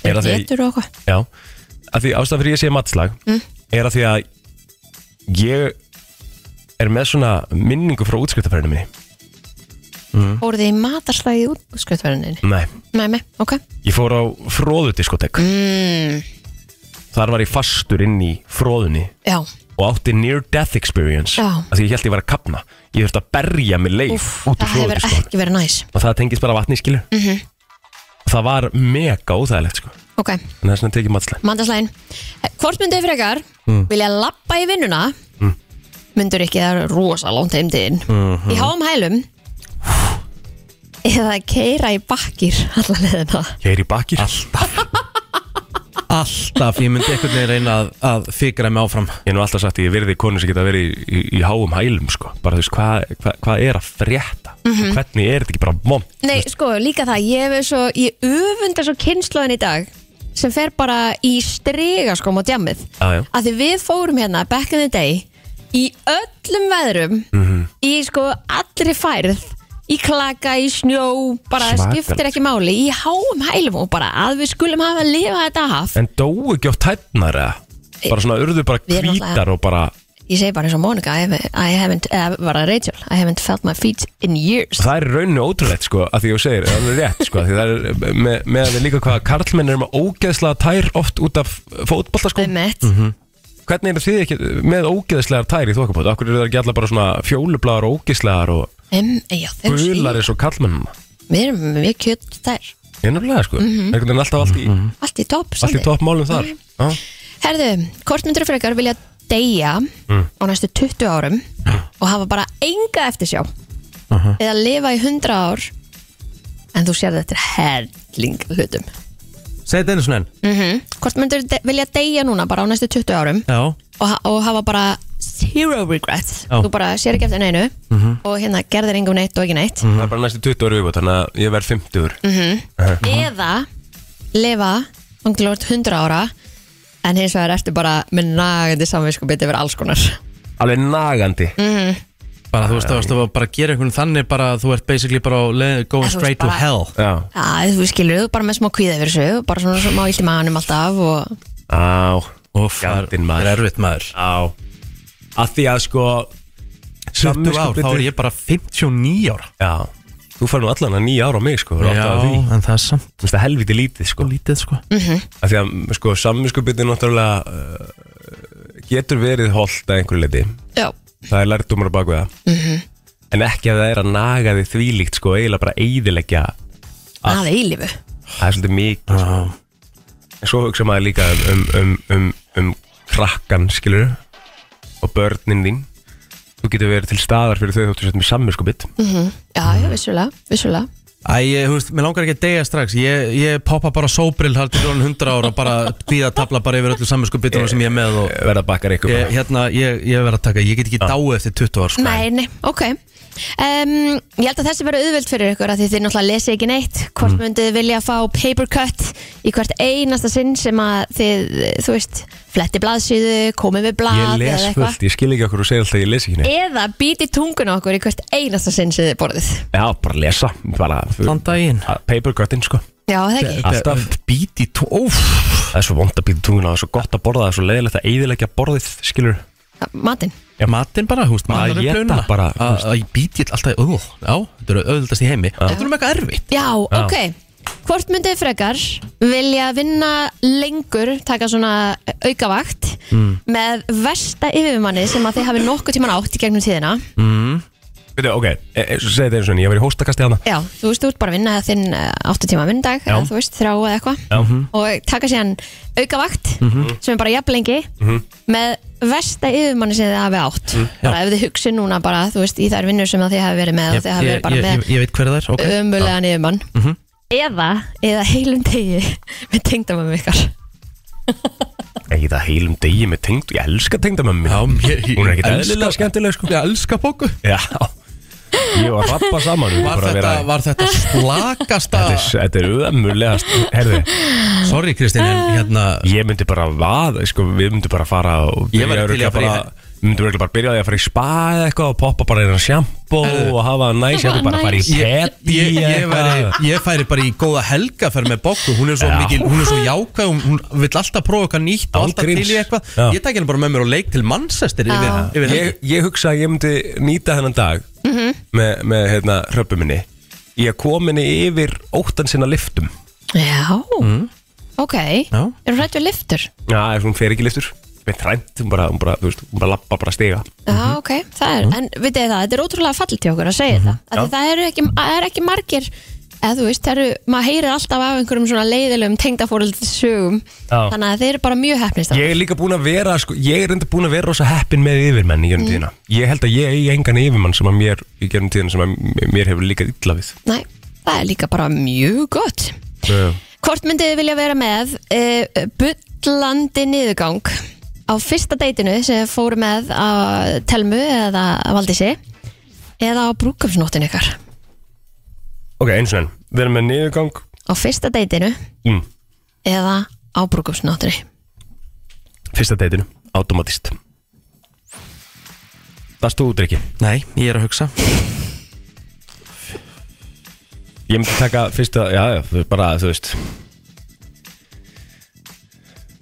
Er að því,
getur og okkur
já, að því ástæðan fyrir ég segi mataslag
Mm.
Er að því að ég er með svona minningu frá útskriftafærinu minni mm.
voruð þið í mataslag í útskjöldverðinni
Nei,
með mig, ok
ég fór á fróðudiskotek
mm,
Þar var ég fastur inn í fróðunni
já,
og átti near death experience
Já.
af því ég held ég var að kapna ég þurfti að berja mig leið út úr
það hefur
flóðið sko.
ekki verið næs
og það tengist bara vatni skilu
mm
og það var mega óþægilegt sko.
ok,
en það er svona tekið matslega
mataslagin hvort myndið frekar
Mm.
vilja lappa í vinnuna
Mm. Mhm.
myndur ekki það er rosa langt heimdiðin í háum hælum eða keira í bakkir alla leðina
ég er í bakir
alltaf Alltaf, ég myndi einhvern veginn reyna að, að fikra mig áfram
ég hef nú alltaf sagt að ég virði konu sem geta verið í, í, í háum hælum sko. bara þú veist hvað hva, hva er að frétta
Mhm.
hvernig er þetta ekki bara mom
Nei, sko, líka það, ég hef svo ég öfunda svo kynnslóðin í dag sem fer bara í strega sko á djamið,
aðjá
að því við fórum hérna back in the day í öllum veðrum
Mhm.
í sko allri færð í klaka, í snjó, bara
Svakalegt.
skiptir ekki máli í háum hælum og bara að við skulum hafa að lifa þetta af
en dóu ekki á tætnar eða bara svona urðu bara
Við erum
hvítar og bara
Ég segi bara eins og Monika I haven't, I haven't uh, var það Rachel I haven't felt my feet in years
Það er í rauninni ótrúlegt sko að því ég segir, það er rétt sko af því það er með, meðan við líka hvað karlmenn er með ógeðslega tær oft út af fótballta sko
-hmm.
Hvernig eru þið ekki með ógeðslegar tær í þokkabótt? Akkur eru það ekki allar bara svona fjólublaðar og ógeðslegar og
um, já, þeir,
gular eins og karlmennum?
Við erum mjög kjött þær
Innanlega sko,
Mhm.
einhvern veginn alltaf allt í
Allt í topp
Allt í
svolítið.
topp málum þar Ah. Já.
Herðu, hvort myndur frekar vilja deyja
Mm.
á næstu 20 árum og hafa bara enga eftir sjá
Aha.
eða lifa í 100 ár en þú sér þetta er herling hlutum
Segð þetta einu svona enn
mm Hvort myndur de vilja deyja núna bara á næstu 20 árum
Já
og, ha- og hafa bara zero regrets
Já.
þú bara sér ekki eftir neinu
Mhm. Mm.
og hérna gerðir engum neitt og ekki neitt
Það er bara næstu 20 ári viðbútt, þannig að ég verð 50 ári
mm eða lifa um til að vera 100 ára en hins vegar ertu bara með nagandi samvinskupið yfir alls konar
Alveg nagandi
mm.
Bara þú veist, þú veist, þú bara gera einhvern þannig bara að þú ert basically bara á leið- going
En þú veist
straight to
bara-
hell
Já
Já, þú skilur, þú bara með smá kvíða yfir þessu bara svona smá illt í maðanum alltaf og...
Á, gændin maður Það er erfitt maður Á, að því að sko
20 ár, þá er ég bara 59 ára
Já, þú fær nú allan að nýja ára á mig sko
Já, en það er samt
Þú veist það helviti lítið sko
Lítið sko
mm -hmm.
Af því að sko samvinskupið náttúrulega uh, getur verið holdt að einhverju leiti
Já.
Það er lærtumur á baku það
Mhm.
En ekki að það er að naga því þvílíkt sko eiginlega bara eiðilegja Ah.
að eilífu
Það er svolítið mikið sko. En svo hugsa maður líka um, um, um, um, um krakkan, skilur Og börnin þín Þú getur verið til staðar fyrir þau þóttu settum í samvinskupið
mm Já, já, vissulega, vissulega
Æ, ég, þú veist, mér langar ekki að deyja strax Ég, ég poppa bara sóbril haldið til orðin 100 ára og bara býða tabla bara yfir öllu saminsku bitunum sem ég er með
Mm.
og
Verða bakkar ykkur
ég, Hérna, ég, ég verða að taka, ég
Ah.
get ekki dáið eftir 20 ára sko.
Nei, nei, ok um, Ég held að þessi verður auðveld fyrir ykkur að þið þið náttúrulega lesið ekki neitt hvort
Mm.
mm. myndið þið vilja fá paper cut í hvert einasta sinn sem að þið, þú veist, fletti blaðsíðu komið við blað
Ég les
eða eitthvað
fullt, ég skil ekki okkur og segja alltaf að ég les ekki neitt
eða býti tungun okkur í hvert einasta sinn sem þið borðið
Já, bara lesa bara, Þann
daginn
Papergöttin, sko
Já, það ekki
Alltaf
Bít í tóf
Það er svo vond að býta tunguna, það er svo gott að borða það er svo leiðilegt að eiðilegja borðið, skilur
Matinn
Já,
matinn bara, húst,
maður
matarinn
Að
pluna.
geta bara
Að- að ég býti alltaf, ó, já, þetta eru auðvitaðst í heimi Þetta eru með eitthvað erfitt
Já,
Já.
ok Hvort myndið þið frekar vilja vinna lengur, taka svona aukavakt
Mm.
með versta yfirmanni sem að þið hafi nokkuð tíman átt í gegnum tíðina
mm. Veitu, ok, e, e, segi þetta eins og enn, ég var í hóstakasti hana
Já, þú veist, þú ert bara að vinna þinn eh, áttu tíma vindag,
Já.
eða þú veist, þrá eða eitthvað
Já. Mhm.
og taka síðan aukavakt
Mhm.
sem er bara jafn lengi
Mhm.
með versta yfirmanni sem þið hafi átt
Mm, já.
bara ef þið hugsi núna bara, þú veist, í þær vinnur sem að þið hafi verið með og þið hafi verið bara
ég,
með
ég, ég veit hver það er, ok
ömulegan yfirmann
mm
Mhm.
-hmm.
eða, eða heilum degi með tengdamömmu ykkar
Eða heilum degi með tengd, ég elska tengdamömmu mína.
ég-
Hún er ekkit
elska-
eðlilega skemmtileg, sko
Ég elska bóku
Já, ég var að rappa saman við
Var
bara að
þetta,
vera-
var þetta slakasta
Þetta er, þetta er ömulegast, herði
Sorry Kristín, en hérna
Ég myndi bara vaða, sko, við myndum bara fara og
Ég væri til í að
byrja örugglega
fara í-
bara- Við myndum örugglega bara byrja á því að fara í spa eða eitthvað og poppa bara einu sjampó
Herðu.
og hafa það næs, ég myndi bara að fara í
Ég,
pet
ég, ég, væri, ég færi bara í góða helga fyrir með Boggu, hún er svo
Já.
mikil, hún er svo jákvæð hún, hún vill alltaf prófa eitthvað nýtt og
Án
alltaf til
gríns.
í eitthvað,
Já.
ég tek henni bara með mér og leik til Manchester yfir, yfir helgi.
ég, ég hugsa að ég myndi nýta þennan dag
Mhm.
með, með hérna, hröppu minni ég kom henni yfir óttan sinna liftum
Já,
mm.
ok
Já.
Eru hrætt við liftur?
Já, ef hún fer ekki liftur með trænt, hún bara, hún bara, þú veist, hún bara lappa bara stiga
Já, ok, það er, en vitið þið það, þetta er ótrúlega fall til okkur að segja mm -hmm. það,
Mhm. Já.
Af því það eru ekki, það eru ekki margir, eða þú veist, það eru, maður heyrir alltaf af einhverjum svona leiðilegum tengdafóröldisögum,
Já.
þannig að þeir eru bara mjög hefnist
Ég er líka búin að vera, sko, ég er enda búin að vera rosa heppin með yfirmenn í gerum
Mm.
tíðina Ég held að ég eigi engan yfirmann sem að mér í gerum tíðina sem að mér hefur líka illa við
Næ, það er líka bara mjög gott.
Já.
Hvort myndið þið vilja vera með uh, bullandi niðurgang á fyrsta deytinu sem þið fóru með á Telmu eða Valdísi eða á brúkafsnóttinu ykkar?
Ok, eins og enn, við erum með niðurgang
Á fyrsta deytinu
mm.
eða á brúkafsnóttinu?
Fyrsta deitinu, automatist Það stóður ekki
Nei, ég er að hugsa
Ég myndi taka fyrsta, já, já, þú- bara, þú veist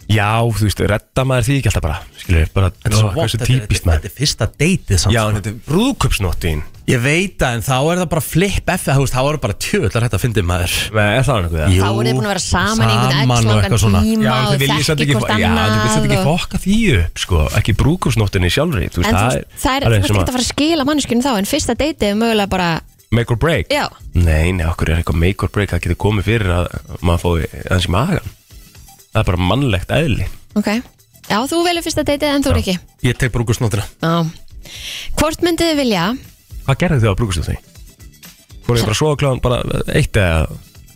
Já, þú veist, redda maður því ekki alltaf bara Skilur, bara,
Þetta er svo
ó,
vont,
hversu
þetta er-
típist maður
Þetta er fyrsta deytið samt
Já, en þetta er brúðköpsnóttin
Ég veit að en þá er það bara flip F þú veist, þá er það bara tjöðlar þetta að fyndi maður
Nei, er það nokkuð
Þá eru þið búin að vera saman í einhvern X langan tíma
Já,
og
það vil ég samt
þekki
ekki,
hvort
já,
annað
það vil samt ekki
og-
fokka því upp, sko Ekki brúðköpsnóttinni sjálfri, þú
En þú
veist,
veist, það er, þú veist
sem
ekki að fara að skila manneskjunum þá en fyrsta deitið er mögulega bara
Make or break?
Já.
Nei, nei, okkur er eitthvað make or break að geta komið fyrir að maður fóði aðeins í magan Það er bara mannlegt eðli
ok Já, þú velur fyrsta deitið en þú er ekki
Ég tek brúkustnóttina
Já Hvort myndið þið vilja
Hvað gerðu þið á brúkustnóttinni? Fóruð þið bara svo kláðan bara eitt eða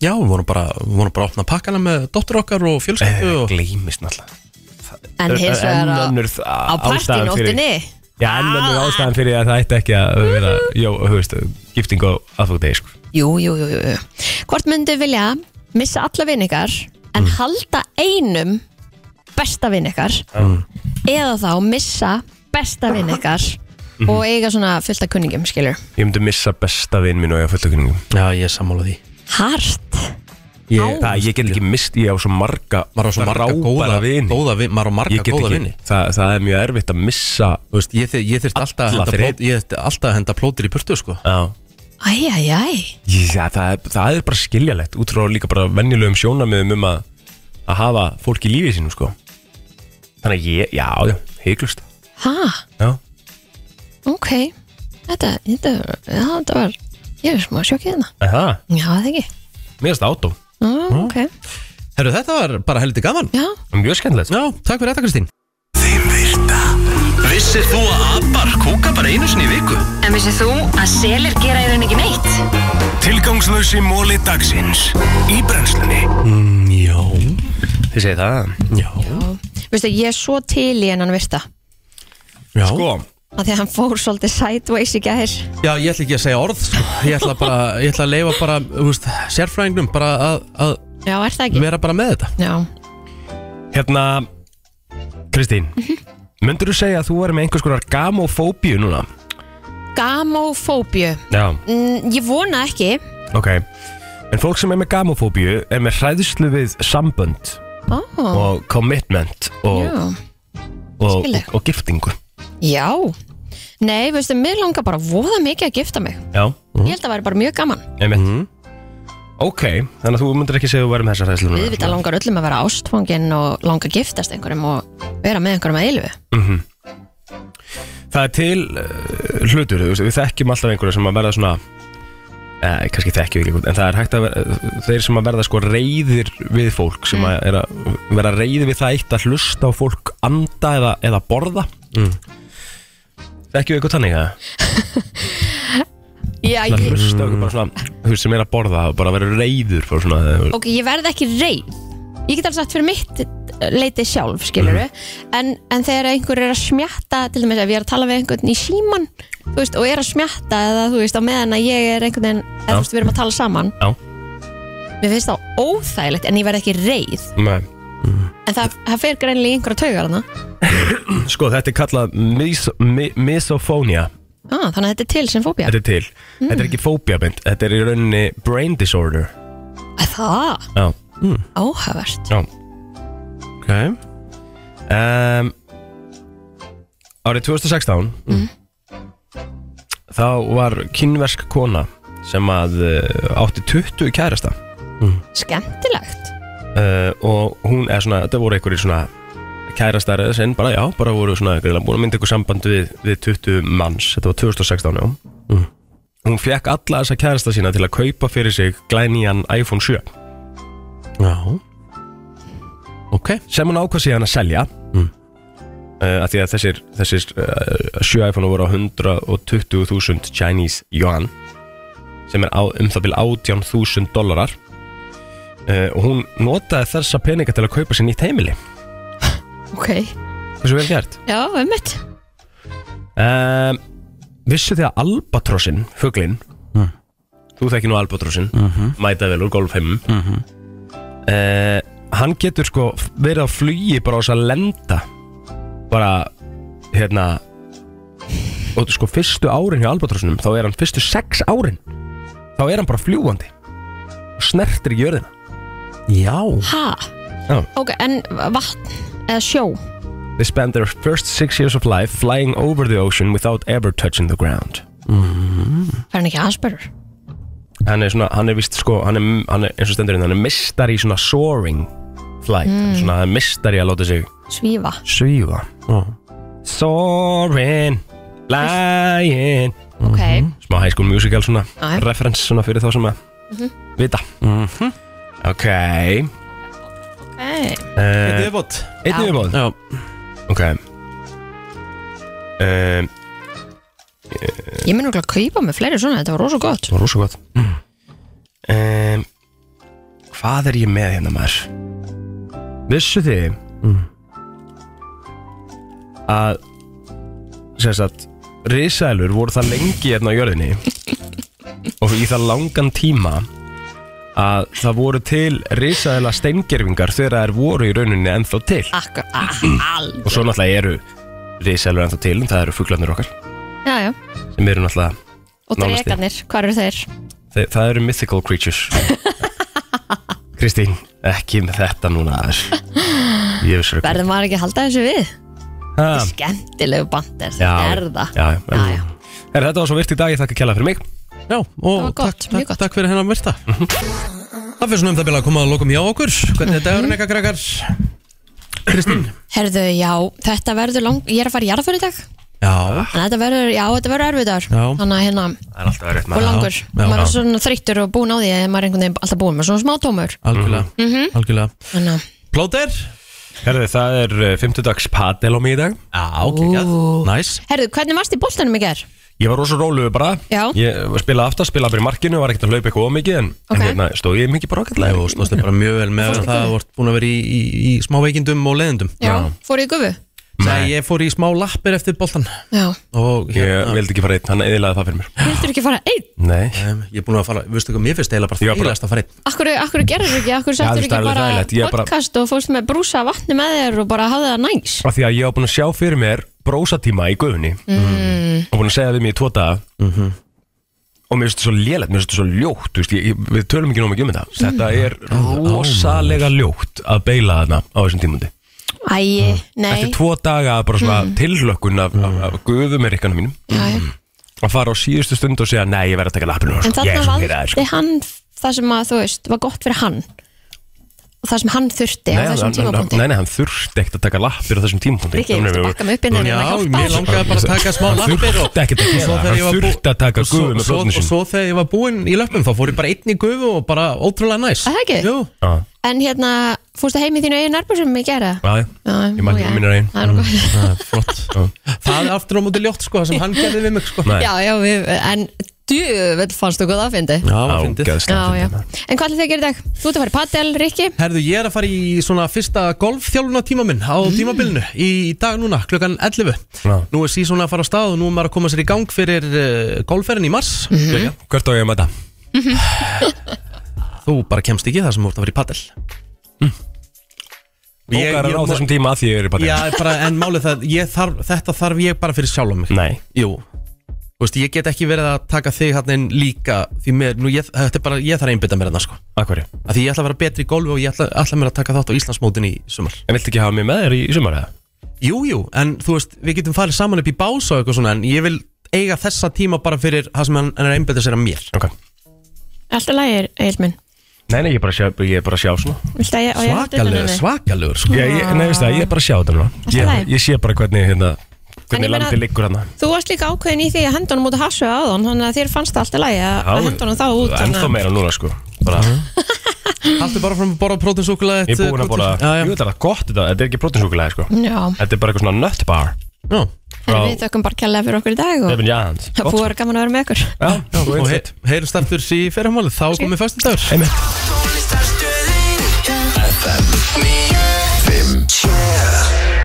Já, við vorum bara, við vorum bara að opna pakkana með dóttur okkar og
Sko. Eh,
fjölskyldu og...
Gleimist náttúrulega
En hins vegar á,
önnur þ-
á
ástæðan fyrir-
partinóttinni
Já, en önnur ástæðan fyrir að það ætti ekki að vera Jó, þú veist, gifting og aðfókdegi sko.
Jú, jú, jú, jú, jú. Hvort myndið þið vilja missa alla vinn ykkar
Mm.
en halda einum besta vinn ykkar
Mm.
eða þá missa besta vinn ykkar
Mhm.
og eiga svona fullt af kunningum, skilur
Ég myndi missa besta vinn minn og ég á fulltökuningum Já, ég er sammála því
Hart
ég, það, ég get ekki mist, ég á svo marga
Maður á svo marga
frábæra
góða-
vini.
góða vini- maður á marga
Ég get
góða
ekki-
vini.
það, það er mjög erfitt að missa Þú
veist, ég, þy- ég þurfti alltaf, að
Alla
henda
þrep.
plót- ég þyrfti alltaf að henda plótir í burtu sko.
Já
Æjæjæj
Já, það, er- það er bara skiljalegt út frá líka bara venjulegum sjónamiðum um að, að hafa fólk í lífið sínu sko. Þannig að ég, já, já, heiklust
Ha?
Já.
Ok, þetta, þetta, já, þetta var, ég er smá sjokkið hérna
Það,
Já, það ekki
mér erst átó
ah, Ok,
Herru, þetta var bara heldur gaman
Já
Mjög skemmtilegt
Já, takk fyrir þetta Kristín
Vissir þú að abar kúka bara einu sinni í viku?
En vissið þú að selir gera í raun ekki neitt?
Tilgangslösi móli dagsins Í brennslunni
mm, Já Þið segir það Já,
veistu, ég er svo til í hennan virta
já. Sko,
að því að hann fór svolítið sideways í gæðir
Já, ég ætla ekki að segja orð sko. Ég ætla bara, ég ætla að leifa bara, þú veist, sérfræðingnum bara að, að
Já, er það ekki?
vera bara með þetta
Já
hérna Kristín
Mhm.
Myndur þú segja að þú væri með einhvers konar gamofóbíu núna?
Gamofóbíu
Já
mm, Ég vona ekki
Ok, en fólk sem er með gamofóbíu er með hræðslu við sambönd
Ó.
og commitment og,
Já.
og, og,
Skilja.
og giftingu
Já Nei, veistu, mér langar bara voða mikið að gifta mig
Já,
Ég held að það væri Mhm. bara mjög gaman
einmitt Ok, þannig að þú myndir ekki segja að þú væri með þessa hræðslu núna
Við vita langar öllum að vera ástfangin og langar að giftast einhverjum og vera með einhverjum að eilu
Mhm. Það er til uh, hlutur, þú veist, við þekkjum alltaf einhverja sem að verða svona eh, kannski þekkjum við líka, en það er hægt að vera, þeir sem að verða sko reyðir við fólk sem að, er að vera reyðir við það eitt að hlusta á fólk anda eða, eða borða mm. Þekkjum við eitthvað þannig að
Já,
það
ég,
hlusta á eitthvað bara svona, þú veist, sem er að borða og bara vera reyður fyrir svona
ok, ég verð ekki reið Ég get alveg sagt fyrir mitt leiti sjálf, skilur við
Mhm.
en, en þegar einhver er að smjatta til dæmis ef ég er að tala við einhvern í síman þú veist, og er að smjatta eða þú veist á meðan að ég er einhvern veginn eða
Já.
þú veist, við erum að tala saman
Já.
Mér finnst það óþægilegt en ég verð ekki reið
Nei
En það, það fer greinlega í einhverja taugar hana
Sko, þetta er kallað mis, mi, misophonia
ah, Þannig að þetta er til sem fóbía
Þetta er til, þetta er ekki fóbiabind Þetta er í rauninni brain disorder
Æ, Það,
Já mm.
áhugavert
Já Ok um, Árið 2016 Þá var kynversk kona sem að uh, átti 20 kærasta
Skemmtilegt
uh, og hún er svona, þetta voru einhverjir svona kærastar eða sinn, bara já, bara voru svona greinilega búin að mynda eitthvað samband við, við 20 manns, þetta var 2016 já hún fekk alla þessa kærasta sína til að kaupa fyrir sig glænían iPhone 7 já ok sem hún ákvað síðan að selja mm. uh, að því að þessir, þessir uh, 7 iPhone voru á 120.000 Chinese yuan sem er á, um það vil 18.000 dólarar uh, og hún notaði þessa peninga til að kaupa sér nýtt heimili
Ok,
hversu vel gert
já, einmitt
um, vissu því að albatrossin fuglinn þú þekki nú albatrossin
Mhm.
mæta vel úr golfheimum uh, hann getur sko verið á flugi bara á þess að lenda bara hérna og sko fyrstu árin hjá albatrossinum þá er hann fyrstu sex árin þá er hann bara fljúandi og snertir í jörðina já
Ha,
Já.
ok, en vatn eða sjó
They spent their first six years of life flying over the ocean without ever touching the ground.
Það er hann ekki aðspörur
Hann er svona, hann er vist sko, hann er, hann er eins og stendur hérna, hann er mistari í svona soaring flight.
Mm.
Svona hann er mistari að láta sig
Svífa
svífa. Soaring. Lægin
Ok
Smá High School Musical svona
Já.
Reference svona fyrir þá sem að
Mhm.
Vita Ok
Ok
Einn
Einn í viðbót.
Eh, Einn
Já.
viðbót
Já
Ok um,
Ég mun okkur að kaupa með fleiri svona, þetta var rosa gott
Það var rosa gott um, Hvað er ég með hérna maður? Mm. Vissu þið að sem sagt risaðlur voru það lengi hérna á jörðinni og í það langan tíma að það voru til risaðla steingerfingar þegar þær voru í rauninni ennþá til
Akkur, ah, alveg
og svo náttúrulega eru risaðlur ennþá til en það eru fuglarnir okkar
Já, já,
sem eru náttúrulega
og
nánast í-
dregarnir, hvað eru þeir?
Þe, það eru mythical creatures Kristín, ekki með þetta núna aðeins Ég hef sér
Verðum maður ekki að halda þessu við?
Ha.
Skemmtilegu bandir,
Já,
það er það
já, já, já. Her, Þetta var svo virt í dag, ég þakka kjalla fyrir mig
Já, og takk, takk, takk fyrir hennar myrta Það fyrir svona um það bila að koma að lokum hjá okkur Hvernig er dagurinn eitthvað krakkar? Kristín
Herðu, já, þetta verður lang Ég er að fara í jarðför í dag
Já
En þetta verður, já, þetta verður erfiðar
Já.
Þannig að hérna,
Það er alltaf verið
og langur Maður er svona þreyttur og búin á því að maður er einhvern veginn alltaf búin Maður er svona smá tómur
Algjörlega,
Mhm.
algjörlega
Þannig að,
Plóter
Herði, það er uh, fimmtudags padel á mig í dag
Já, ok, já, næs
herðu, hvernig varst í boltanum í ger?
Ég var rosa róluðu bara
Já.
Ég spilaði aftar, spilaði bara í markinu, var ekkert að hlaupa eitthvað of mikið En, en hérna, stóð ég mikið bara ákveðlega
Jú, stóðstu bara mjög vel með
Fórstu
það að þú
gufu?
ert búin að vera í, í, í smá veikindum og leiðindum
Já, fór ég í gufu?
Nei, ég fór í smá lappir eftir boltan
Já,
og
Ég vildi ekki fara einn, hann eðilaði það fyrir mér
vildur ekki fara einn?
Hérna. Nei
Ég er búin að fara, veistu hvað, mér finnst eiginlega bara þægilegast að fara einn
Akkur, akkur gerður ekki, akkur
Já,
settur
þú veist,
ekki
það er alveg
bara
þægilegt. Ég er bara-
podcast og fórst með brúsa af vatni með þér og bara hafði það næs
Af Því að ég var búin að sjá fyrir mér brósatíma í guðunni
mm.
og búin að segja við mig í tvo daga og mér finnst þetta svo lélegt, mér finnst þetta svo ljótt þú veist, ég, ég, við tölum ekki nóg mikið um þetta
Mm.
þetta er rosalega ljótt að beila þarna á þessum tímundi
Æi, nei
eftir Mm. tvo daga af bara svona
Mm.
tilhlökkun af, af, af guðum er ykkarna mínum Mm.
Jæja.
að fara á síðustu stund og segja nei, ég verð að taka lappinu
En
ég
þarna
er svo pyrraður, sko.
valdi hann það sem að, þú veist, var gott fyrir hann og það sem hann þurfti á
Nei,
þessum
hann- hann-
tímapunkti
Nei, nei, hann þurfti ekkert að taka lappir á þessum tímapunkti
Rikki, viltu bakka mig upp hérna
Já,
og hjálpa?
mér langaði bara að taka smá lappir
og-
þurfti ekkert að
og svo þegar ég
gera það,
var
hann
bú-
þurfti að taka
og svo-
guðum með
svo-
blóðinu
Og svo þegar ég var búinn í löpum þá fór ég bara einn í gufu og bara ótrúlega næs
Er Það ekki? Jú.
sín
En hérna, fórstu heim í þínu eigin nærbúrsum í gera?
Já, já. Ég man ekki um mínar eigin.
Það er nú gott.
Það er aftur á móti ljótt sko, það sem hann gerði við mig sko
Já, já, við, en djöfell fannst þú góð aðfindi
Já, það fyndið.
Já, já.
hérna.
En hvað ætlið þið að gera í dag? Þú ert að fara í padel, Rikki
Herðu, ég er að fara í svona fyrsta golfþjálfuna tíma minn á tímabilinu í dag núna, klukkan 11
Mm. Já.
Nú er síðan að fara á stað og nú er maður að koma sér í gang fyrir uh, golfferðin í mars
Jæja, Hvert á ég að mæta?
Þú bara kemst ekki það sem þú ert að fara í padel Ég-
Bókar
ég-
er á þessum tíma Mm. að því ég er í
Já,
padel
bara, en málið það, ég þarf, þetta þarf ég bara fyrir sjálf mig
Nei
Jú Þú veist, ég get ekki verið að taka þig hann inn líka Því mér, nú ég, þetta er bara, ég þarf að einbytta mér hann sko
Akkur
Af Því ég ætla að vera betri í golfi og ég ætla, ætla mér að taka þátt á Íslandsmótin í sumar
En viltu ekki hafa mig með þér í sumar eða?
Jú, jú, en þú veist, við getum farið saman upp í bás og eitthvað svona En ég vil eiga þessa tíma bara fyrir það sem hann hann er að einbytta sér að mér
Ok
Alltaf lægir, Egil minn
Nei, nei, ég er bara að sjá, ég er bara að sjá svona
Viltu að ég, á ég að halda utan um þig?
svakalegur
sko. ég, ég, Nei, veist það, ég er bara að sjá þetta
Allt
núna
í
ég,
lagi.
ég sé bara hvernig, hérna,
En ég
hvernig
meina-
landið liggur hérna
Þú varst líka ákveðin í því að henda honum út að hasu áðan Þannig að þér fannst það alltaf lægi að
Já,
að henda honum þá út
Ennþá
þannig að-
meira núna, sko bara,
Haltu bara fram að borða prótinsúkulega
Ég er búin að bóla, jú þetta er gott þetta Þetta er ekki prótinsúkulega, sko
Já,
Þetta er bara eitthvað svona nut bar
Já
Frá
Herra, við þökkum bara kjærlega fyrir okkur í dag og
Devin Jans
Oh. það búið að vera gaman að vera með okkur
Já,
og he, heyrist aftur í fyrirmáli, þá komið föstudagur
Einmitt
FM